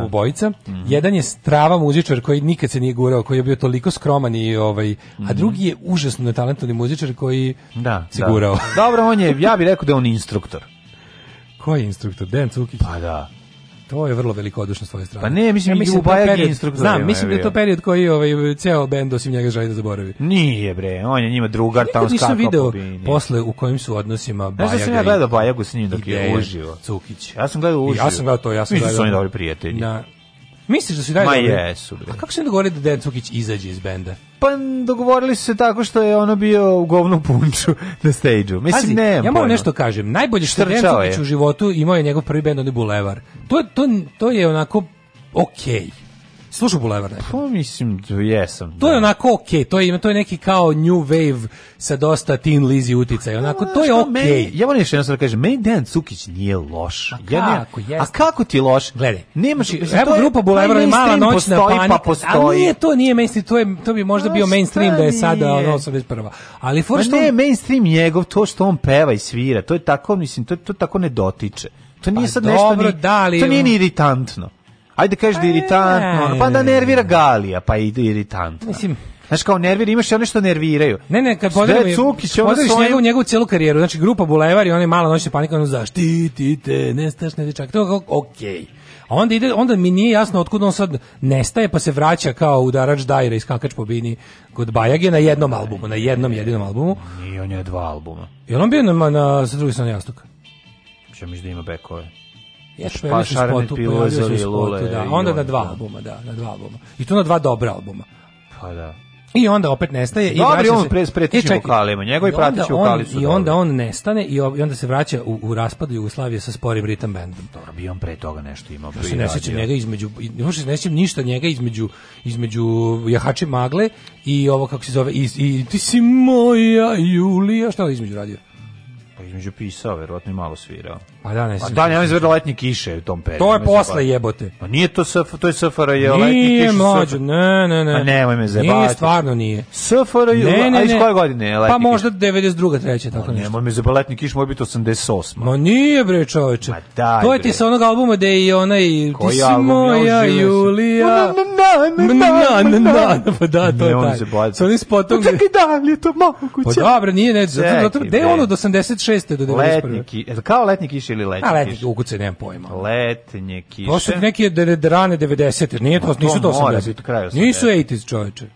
obojica. Mhm. Jedan je strava muzičar koji nikad se nije gurao, koji je bio toliko skroman i ovaj, a drugi je užasno talentovni muzičar koji Mhm. Da, se da. gurao. [laughs] [laughs] Dobro, on je, ja bih rekao da je on instruktor. Koji je instruktor? Dejan Cukić? Pa da. To je vrlo velikodušno s tvoje strane. Pa ne, mislim, da je to Ljubajag je period- instruktor, Znam, ima, mislim da je je to bio. period koji ovaj, ceo bend osim njega želi da zaboravi. Nije bre, on je njima drugar, Pa tamo Nikad nisam skakao video po bini. posle u kojim su odnosima Znaš da sam Bajaga ja i- gledao Bajagu s njim dok i je Dejan uživo. Cukić. Ja sam gledao uživo. Ja sam gledao to, ja sam Mislim da su gledao- oni dobri prijatelji. Na, misliš da su i dalje Ma dobri? jesu, bre. A kako se dogovorili da Dejan Cukić izađe iz benda? Pa dogovorili su se tako što je ono bio u govnu punču [laughs] na stage-u. Mislim, Pazi, nemam ja moram pojma. nešto kažem. Najbolje što je Dejan Štrčao Cukić je. u životu imao je njegov prvi bend, on je Bulevar. To, to, to je onako okej. Slušao Bulevar nekad? Pa mislim, da jesam. To je onako okej, to je to je neki kao new wave sa dosta Tin Lizzy uticaja. Onako to je Znaš okej. šta, meni- Ja moram još jednostavno da kažem, meni Dejan Cukić nije loš. Ja ne- kako, jeste. a kako ti je loš? Gledaj, Nemaš, mislim, Evo to je- grupa taj Bulevara i mala mainstream noćna postoji, panika. Pa postoji. A nije to, nije mainstream, to, je, to bi možda A bio mainstream da je šta sada nije? Pa ono 81. Ali for Ma što ne, mainstream njegov, to što on peva i svira, to je tako, mislim, to, to tako ne dotiče. To nije Pa sad nešto dobro, ni, da, ali- to nije ni iritantno. Ajde kažeš da je iritantno, ono, pa da nervira Galija, pa ide iritantno. Mislim, Znaš kao nervira, imaš i one što nerviraju. Ne, ne, kad pozdravim, Cukić, ona pozdraviš svojim- njegovu, njegovu celu karijeru, znači grupa Bulevar i ona je mala noćna panika, ono zaštitite, nestašne dječak, to je kao, okej. A onda, ide, onda mi nije jasno otkud on sad nestaje, pa se vraća kao udarač Dajra iz Kakač po Bini kod Bajage na jednom albumu, na jednom jedinom albumu. I on je dva albuma. Je li on bio na, na, sa druge strane jastuka? Što misliš da ima bekove? Ja ću pa pojavio se u Šarene spotu, Pilule, pojavio se u Zoli, spotu, Lule da. i Onda on, na dva da. albuma, da, na dva albuma. I to na dva dobra albuma. Pa da. I onda opet nestaje i Dobri vraća on se- pre- s pretećim E, čekaj. vokalima, njegovi I onda prateći on- vokali su I onda on nestane i, ob- i onda se vraća u, u raspadu Jugoslavije sa sporim ritam bandom. Dobro, bio on pre toga nešto imao. Ja pre se ne radio. sjećam njega između, i- ne možda se ne sjećam ništa njega između, između Jahače Magle i ovo kako se zove, i, i ti si moja Julija, šta je između radio? Pa između pisao, verovatno i malo svirao. Pa da, ne Pa sjećam da, se. nema izvrda letnje kiše u tom periodu. To je ne znam posle pa. jebote. Pa nije to, sf, to je SFRJ, letnje kiše. Nije su mlađo, SFRJ. ne, ne, ne. Pa nemoj me zebati. Nije, stvarno nije. SFRJ, Ne, ne, a iz ne. koje godine je letnje Pa možda 92. treće, tako kiše? nešto. Nemoj me zebati, letnje kiše može biti 88. Ma nije bre čoveče. daj, to je ti bre. sa onog albuma da je i onaj Koji Ti si album? moja Ja, živio sam. Julija. na, Na, na, na, na, pa da, to Ne, je on taj. se baci. Sa onim spotom gde- Čekaj, da li je to moguće? Pa dobro, nije ne, zato, zato, Čekaj, gde je bre. ono od 86. do 91. Letnje kiše, jel kao letnje kiše ili letnje A letnje kiše? ukuce, nemam pojma. Letnje kiše. To su neke de- de- rane 90. Nije Ma to, to nisu to mora biti 80. kraj 80-ih. Nisu 80 čoveče.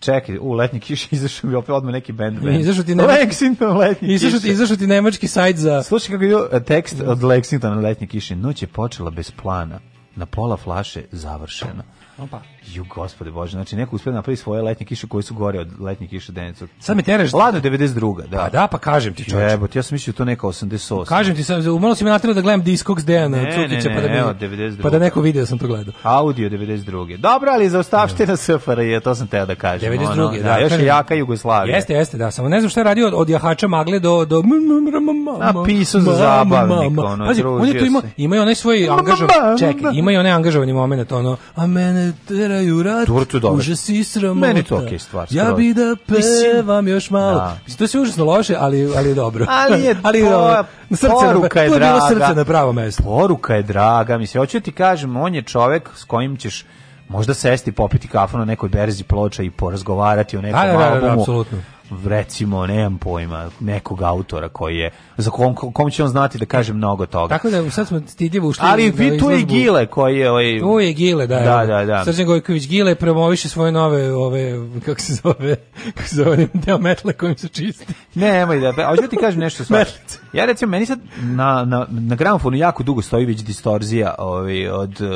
Čekaj, u letnje kiše [laughs] izašao mi opet odmah neki band. band. Izašao ti nemački- Lexington letnje Izašao ti- kiše. izašao ti nemački sajt za... Slušaj kako je e, tekst od Lexingtona letnje kiše. Noć je počela bez plana. Na pola flaše završena. Opa. Ju, gospode bože, znači neko uspio napravi svoje letnje kiše koje su gore od letnje kiše Denica. Sad me teraš. Lado 92. Da. Pa da, pa kažem ti čoveče. Jebote, ja sam mislio to neka 88. Kažem ti, sad, malo si me natrao da gledam Discogs Dejana Ne, Cukića, ne, pa da, ne, mi- evo, 92. pa da neko vidi da sam to gledao. Audio 92. Dobro, ali zaostavština SFRJ, to sam teo da kažem. 92. ono, da, da, još je kažem. jaka Jugoslavija. Jeste, jeste, da. Samo ne znam šta je radio od, od jahača magle do... do m, m, m, m, m, A, pisao za mama, zabavnik, mama. ono, Pazi, on je tu družio imao, se. ima i onaj svoj angažovan... Čekaj, ima i onaj angažovani moment, ono... A mene teraju rat, Dobro, to je dobro. užas i sramota. Meni to okej stvar, Ja skroz. bi da pevam još malo. Da. Mislim, To je sve užasno loše, ali, ali je dobro. Ali je, [laughs] ali je dobro. Na srce, poruka na, je tu je draga. bilo srce na pravo mesto. Poruka je draga, mislim, hoću ti kažem, on je čovek s kojim ćeš možda sesti, popiti kafu na nekoj berzi ploča i porazgovarati o nekom Da, da, da, da, albumu. apsolutno. recimo, nemam pojma, nekog autora koji je, za kom, kom će on znati da kaže mnogo toga. Tako da sad smo stidljivo ušli. Ali na vi tu je izložbu. Gile koji je... Ovaj, Tu je Gile, da. Da, evo ga. da, da. Srđan Gojković Gile promoviše svoje nove, ove, kako se zove, [laughs] kako se zove, deo metla kojim se čisti. Ne, nemoj da, pa hoću da ti kažem nešto sva. Metlice. Ja recimo meni sad na na na gramofonu jako dugo stoji već distorzija, ovaj od uh,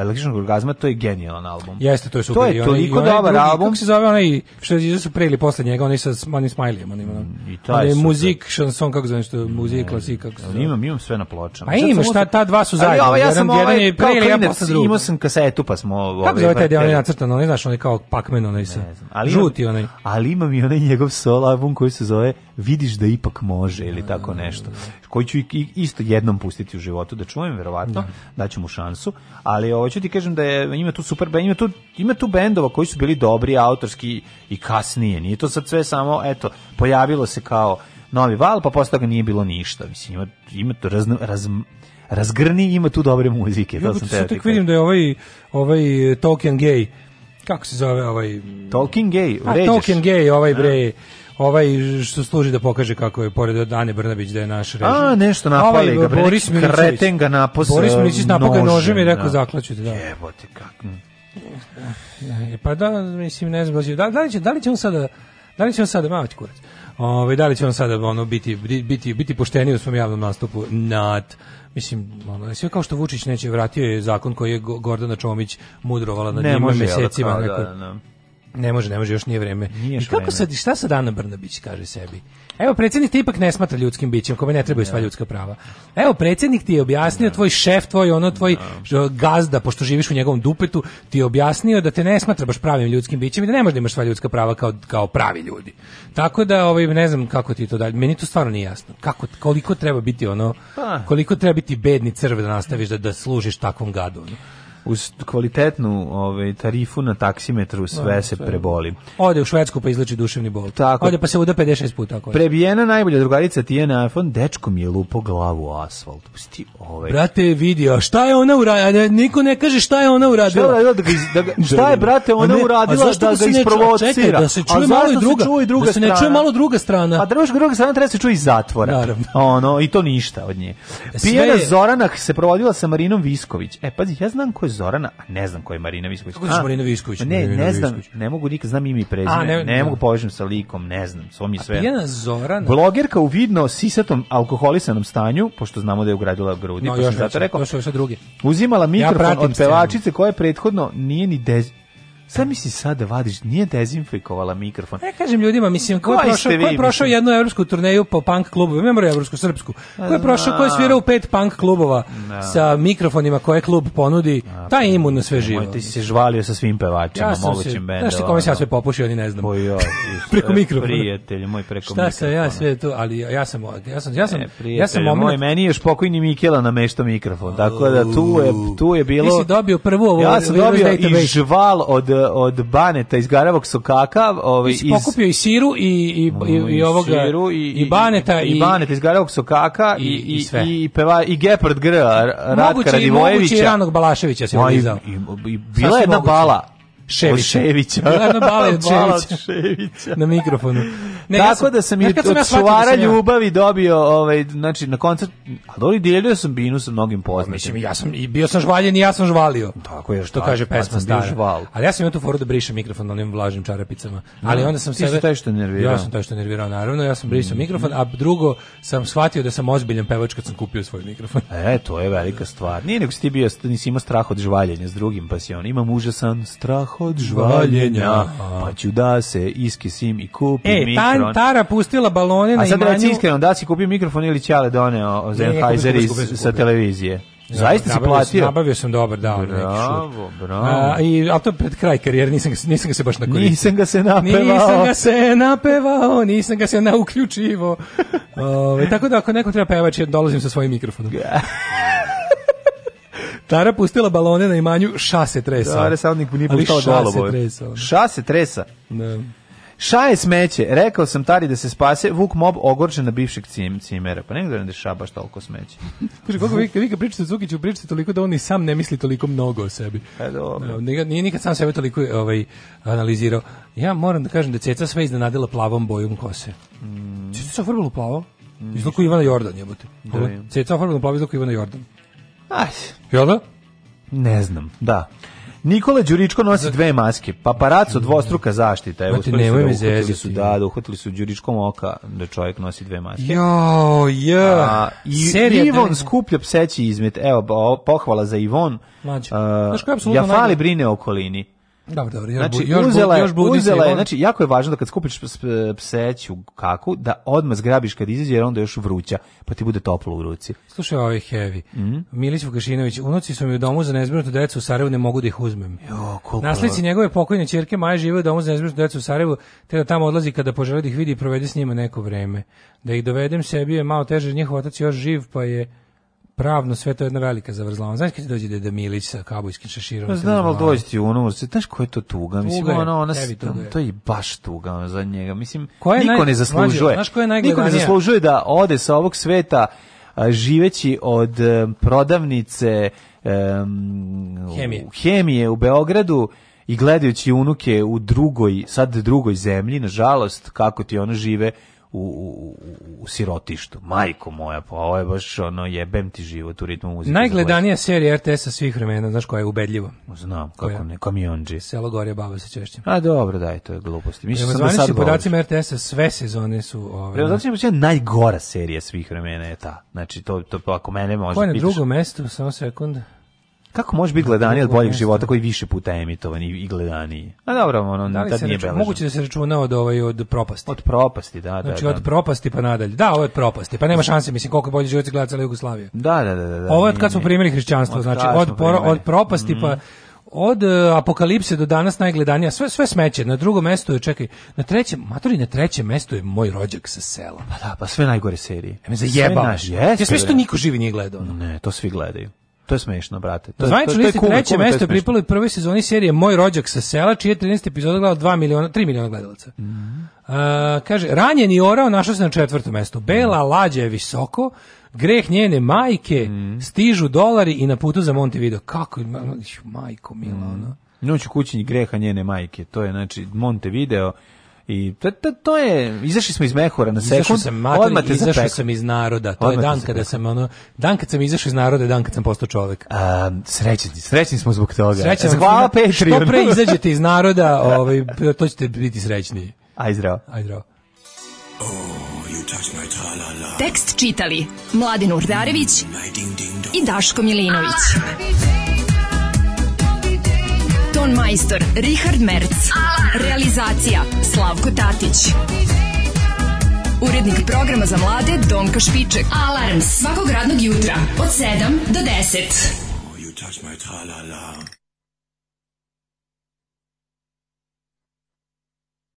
električnog orgazma, to je genijalan album. Jeste, to je super. To I je onaj- i toliko onaj dobar drugi, album. Kako se zove onaj, što je su pre ili posle njega, onaj sa s- onim smajlijem, onim, ono. Mm, onom. i taj Ali je super. muzik, šanson, kako zove nešto, muzik, klasik, kako se Ali zove. Imam, imam sve na pločama. Pa ima, šta, ta dva su Ali zajedno. ovaj, ja jedan- sam jedan ovaj, je pre kao ili ja klinac posle drugog. Imao sam kasetu, pa smo... Ovaj, Kako zove taj deo onaj vrteli. nacrtan, onaj, znaš, onaj kao Pac-Man, onaj sa, Ali imam- žuti onaj. Ali imam i onaj njegov solo album koji se zove Vidiš da ipak može ili tako nešto. Koji ću i- i- isto jednom pustiti u životu da čujem verovatno, da ću mu šansu, ali ovo ću ti kažem da je ima tu super band, ima tu ima tu bendova koji su bili dobri autorski i kasnije. Nije to sad sve samo eto pojavilo se kao novi val, pa posle toga nije bilo ništa. Mislim ima ima tu razno, razm- razgrni ima tu dobre muzike. To Jebote, sam teo sad ti tek vidim da je ovaj, ovaj eh, Tolkien gay, kako se zove ovaj... Talking gay, A vređaš. Pa Tolkien gay, ovaj bre, ovaj što služi da pokaže kako je, pored od Ane Brnabić, da je naš režim. A, nešto napali Ovaj, ga, bre, Boris neki Milićević. kreten ga napos- Boris Milićević napao ga nožem i nožem, rekao, da. zaklaću te, da. Jebote, kako. E, Pa da, mislim, ne znam, da, će- da, da li će, da li će on sada, da li će on sada, malo ti kurac, Ovaj, da li će on sada ono, biti, biti, biti pošteniji u svom javnom nastupu? Not. Mislim, ono, sve kao što Vučić neće, vratio je zakon koji je Go- Gordana Čomić mudrovala na Ne njima može, jel da, mesecima. kao, da, rekao, da, da. Ne može, ne može, još nije vreme. Nije još I kako vreme. sad, šta sad Ana Brnabić kaže sebi? Evo, predsjednik te ipak ne smatra ljudskim bićem, kome ne trebaju sva ljudska prava. Evo, predsjednik ti je objasnio, tvoj šef, tvoj ono, tvoj ž- gazda, pošto živiš u njegovom dupetu, ti je objasnio da te ne smatra baš pravim ljudskim bićem i da ne možeš da imaš sva ljudska prava kao, kao pravi ljudi. Tako da, ovaj, ne znam kako ti to dalje, meni to stvarno nije jasno. Kako, koliko treba biti ono, Pa. koliko treba biti bedni crv da nastaviš da, da služiš takvom gadu. Ono. uz kvalitetnu ovaj, tarifu na taksimetru sve Da, se sve. preboli. Ode u Švedsku pa izleči duševni bol. Tako. Ode pa se uda 56 puta. Ako hoće. Prebijena najbolja drugarica Tijena Afon, dečko mi je lupo glavu u asfalt. Pusti ovaj. Brate, vidi, a šta je ona uradila? Niko ne kaže šta je ona Šta je, uradila. uradila da ga iz- da ga- šta je, brate, ona A ne, a uradila zašto da se ga ne čuje? isprovocira? Čekaj, da se A čuje zašto malo i se druga, čuje i druga da se ne čuje strana? malo druga strana. Pa druga, druga strana treba se čuje iz zatvora. Naravno. E, Ono, i to ništa od nje. Sve Pijena je- Zorana se provodila sa Marinom Visković. E, pazi, ja znam ko je Zorana, a ne znam ko je Marina Visković. Kako znaš A, pa Marina Visković? Ne, Marina ne znam, Visković. ne mogu nikad, znam ime i prezime, A, ne, ne- mogu povežem sa likom, ne znam, svo mi je sve. Pijena Zorana. Blogerka u vidno sisatom alkoholisanom stanju, pošto znamo da je ugradila grudi, No, pa sam još zato veće, rekao, to su još sad druge. uzimala mikrofon pratim od scenu. pevačice koja je prethodno nije ni dez... Sad misli sad da vadiš, nije dezinfikovala mikrofon. Ne kažem ljudima, mislim, ko je Koji prošao, ste ko je vi, prošao mislim? jednu evropsku turneju po punk klubu, ne mora evropsku, srpsku. Ko je prošao, Da. ko je svirao u pet punk klubova Da. sa mikrofonima koje klub ponudi, taj je imun na sve živo. Moj, pa ti si se žvalio sa svim pevačima, Ja sam se, mogućim bendom. znaš ti kome [laughs] sam ja sve popušio, oni ne znam. [laughs] preko mikrofona. Prijatelj moj preko Šta mikrofona. sam ja sve tu, ali ja sam, ja sam, ja sam, ono. E, ja sam prijatelj moj, moment, meni je još pokojni Mikela nameštao mikrofon, tako da tu je, tu je bilo... Ti si dobio prvu ovo- Ja sam virus dobio i database. žval od, od Baneta iz Garavog Sokaka. Ovaj, ti si pokupio i siru i, i, i, iz, i ovoga, Siru i, baneta, i, i, Baneta iz Garavog Sokaka i, i- i, i sve. i, peva, i Gepard Gr, Ratka moguće, i- moguće i Radivojevića. ranog Balaševića se Ma, i- ulizao. i- i- Bila je jedna moguće. bala. Ševića. Od Ševića. Bila je jedna bala [laughs] od Bala od Ševića. Ševića. na mikrofonu. Ne, ja Tako da sam i Znaš od kad ja shvatio da čuvara sam ja- ljubavi dobio, ovaj, znači, na koncert, a doli dijelio sam binu sa mnogim poznatim. Mislim, ja sam, i bio sam žvaljen i ja sam žvalio. Tako je, što šta, kaže tad pesma sam bio stara. žval. Ali ja sam imao tu foru da brišem mikrofon na onim vlažnim čarapicama. Ali Da. onda sam Ti si sebe... taj što je nervirao. Mhm. Ja sam taj što je nervirao, naravno. Ja sam brisao mikrofon, a drugo sam shvatio da sam ozbiljan pevač kad sam kupio svoj [laughs] mikrofon. E, to je velika stvar. Nije nego si ti bio, nisi imao strah od žvaljenja s drugim, pa si on, imam užasan strah od žvaljenja, pa ću da se iskisim i kupim E, mikrofon. ta, Tara pustila balone na A sad imanju. reci iskreno, da li si kupio mikrofon ili Ćale doneo Sennheiser kupio sam, iz- kupio sam, sa kupio. televizije? Da, Zaista si nabavio sam- platio? Nabavio sam dobar, da, ono neki šut. Bravo, bravo. A, i, ali to je pred kraj karijere, nisam, ga se- nisam ga se baš nakoristio. Nisam ga se napevao. Nisam ga se napevao, nisam ga se nauključivo. Ove, tako da ako neko treba pevač, ja dolazim sa svojim mikrofonom. [laughs] Tara pustila balone na imanju, ša se tresa. Dobar, sad nik- nije Ali puštao ša golubove. se tresa. ono. Ša se tresa? Da. Ša je smeće? Rekao sam Tari da se spase, Vuk Mob ogorčen na bivšeg cim, cimera. Pa ne gledam da je ša baš toliko smeće. Kaže, koliko vi, vi ga pričate o Cukiću, pričate toliko da on i sam ne misli toliko mnogo o sebi. E, dobro. Da, Nije, nije nikad sam sebe toliko ovaj, analizirao. Ja moram da kažem da je Ceca sve iznenadila plavom bojom kose. Mm. Ceca se oformila u plavo? Izluku Ivana Jordan, jebote. Mm, Da, Ovo, je. Ceca oformila u plavo, izluku Ivana Jordan. Aj, Jel da? ne znam, da. Nikola Đuričko nosi dve maske. Paparaco dvostruka zaštita. Evo, Mate, uspeli su nemoj da me uhvatili zezati. su, da, da, uhvatili su Đuričkom oka da čovjek nosi dve maske. Jo, ja. A, i, Serija Ivon dve- skuplja pseći izmet. Evo, ba- o, pohvala za Ivon. Mlađe, A, znaš ko je apsolutno ja fali najbolji? brine o okolini. Dobro, dobro, još, Znači, bu- još, bu- uzela je, još budi se uzela je, Ivana. znači, jako je važno da kad skupiš ps- p- pseću kaku, da odmah zgrabiš kad izađe, jer onda je još vruća, pa ti bude toplo u ruci. Slušaj, ovaj heavy. Mm. Milić Vukašinović, unuci su mi u domu za nezbrinutu decu u Sarajevu, ne mogu da ih uzmem. Jo, koliko Nasledci njegove pokojne ćerke Maje žive u domu za nezbrinutu decu u Sarajevu, te da tamo odlazi kada poželi da ih vidi i provede s njima neko vreme. Da ih dovedem sebi je malo teže, jer njihov otac je još živ, pa je pravno sve to jedna velika zavrzlava. Znaš kad ti dođe deda Milić sa kabujskim šeširom? Pa sa znam, ali zavrzlamom? dođe ti u unor, znaš koja je to tuga, mislim, Tuga je, ono, ona, s- heavy tuga je. to je baš tuga ono, za njega, mislim, Koja je niko naj- ne zaslužuje, Mlađe, znaš koja je niko ne najgledanija? zaslužuje da ode sa ovog sveta a, živeći od e, prodavnice em, u- Hemije. hemije u Beogradu i gledajući unuke u drugoj, sad drugoj zemlji, nažalost, kako ti ono žive u, u, u, u sirotištu. Majko moja, pa ovo je baš ono, jebem ti život u ritmu muzike. Najgledanija serija RTS-a svih vremena, znaš koja je ubedljivo. Znam, Koja? kako ne, kamionđi. Selo Gorje Baba sa Češćem. A Pa dobro, daj, to je gluposti. Mislim Prema sam da sad zvaničnim podacima, podacima RTS-a sve sezone su... ovaj, Ove, na- Prema zvaničnim podacima, najgora serija svih vremena je ta. Znači, to, to ako mene možda Ko je na pitaš, drugom mestu, samo sekund. kako može biti gledaniji od drugom boljeg mestu? života koji je više puta emitovan i, i gledaniji? A dobro, ono, Da li tad se nije raču- beležno. moguće da se računa od ovaj od propasti. Od propasti, da, da, Znači da. od propasti pa nadalje. Da, ovo je od propasti. Pa nema šanse, mislim koliko je bolje život gleda cela Jugoslavija. Da, da, da, da, da. Ovo je od nije, kad smo nije. primili hrišćanstvo, Od znači kad od poro- smo primili. Mhm. od propasti pa od e, apokalipse do danas najgledanija sve sve smeće na drugom mestu je čekaj na trećem matori na trećem mestu je moj rođak sa sela Pa da, pa sve najgore serije. ja me zajebavaš Sve naš, jeste, ja sve što bre. niko živi nije gledao ono. Ne, to svi gledaju. to je smešno, brate. To, Na to- zvaničnoj to je listi kume, treće kume, to je mesto je smešno. pripalo i prvoj sezoni serije Moj rođak sa sela, čije je 13 epizoda gledalo 2 miliona, 3 miliona gledalaca. Mhm. A, kaže, ranjen i orao našao se na četvrtom mestu. Mhm. Bela lađa je visoko, greh njene majke, Mhm. stižu dolari i na putu za Montevideo. Kako, ma- ma- majko mila, Mhm. ono. Noć u kućini greha njene majke, to je znači Montevideo i to, to, to je izašli smo iz mehura na Izašao sekund. sam, mater, odmah te izašao zapeklo. sam iz naroda. To Odmah je te dan zapeklo. kada sam ono, dan kad sam izašao iz naroda, je dan kad sam postao čovek. srećni, srećni smo zbog toga. Srećan vam Hvala svima. Patreon. Što pre izađete iz naroda, ovaj, to ćete biti srećniji. [laughs] Aj zdravo. Aj zdravo. Tekst čitali Mladin Urdarević i Daško Milinović. Ton majstor Richard Merc. Realizacija Slavko Tatić. Urednik programa za mlade Donka Špiček. Alarms svakog radnog jutra od 7 do 10. You touch my tra-la-la.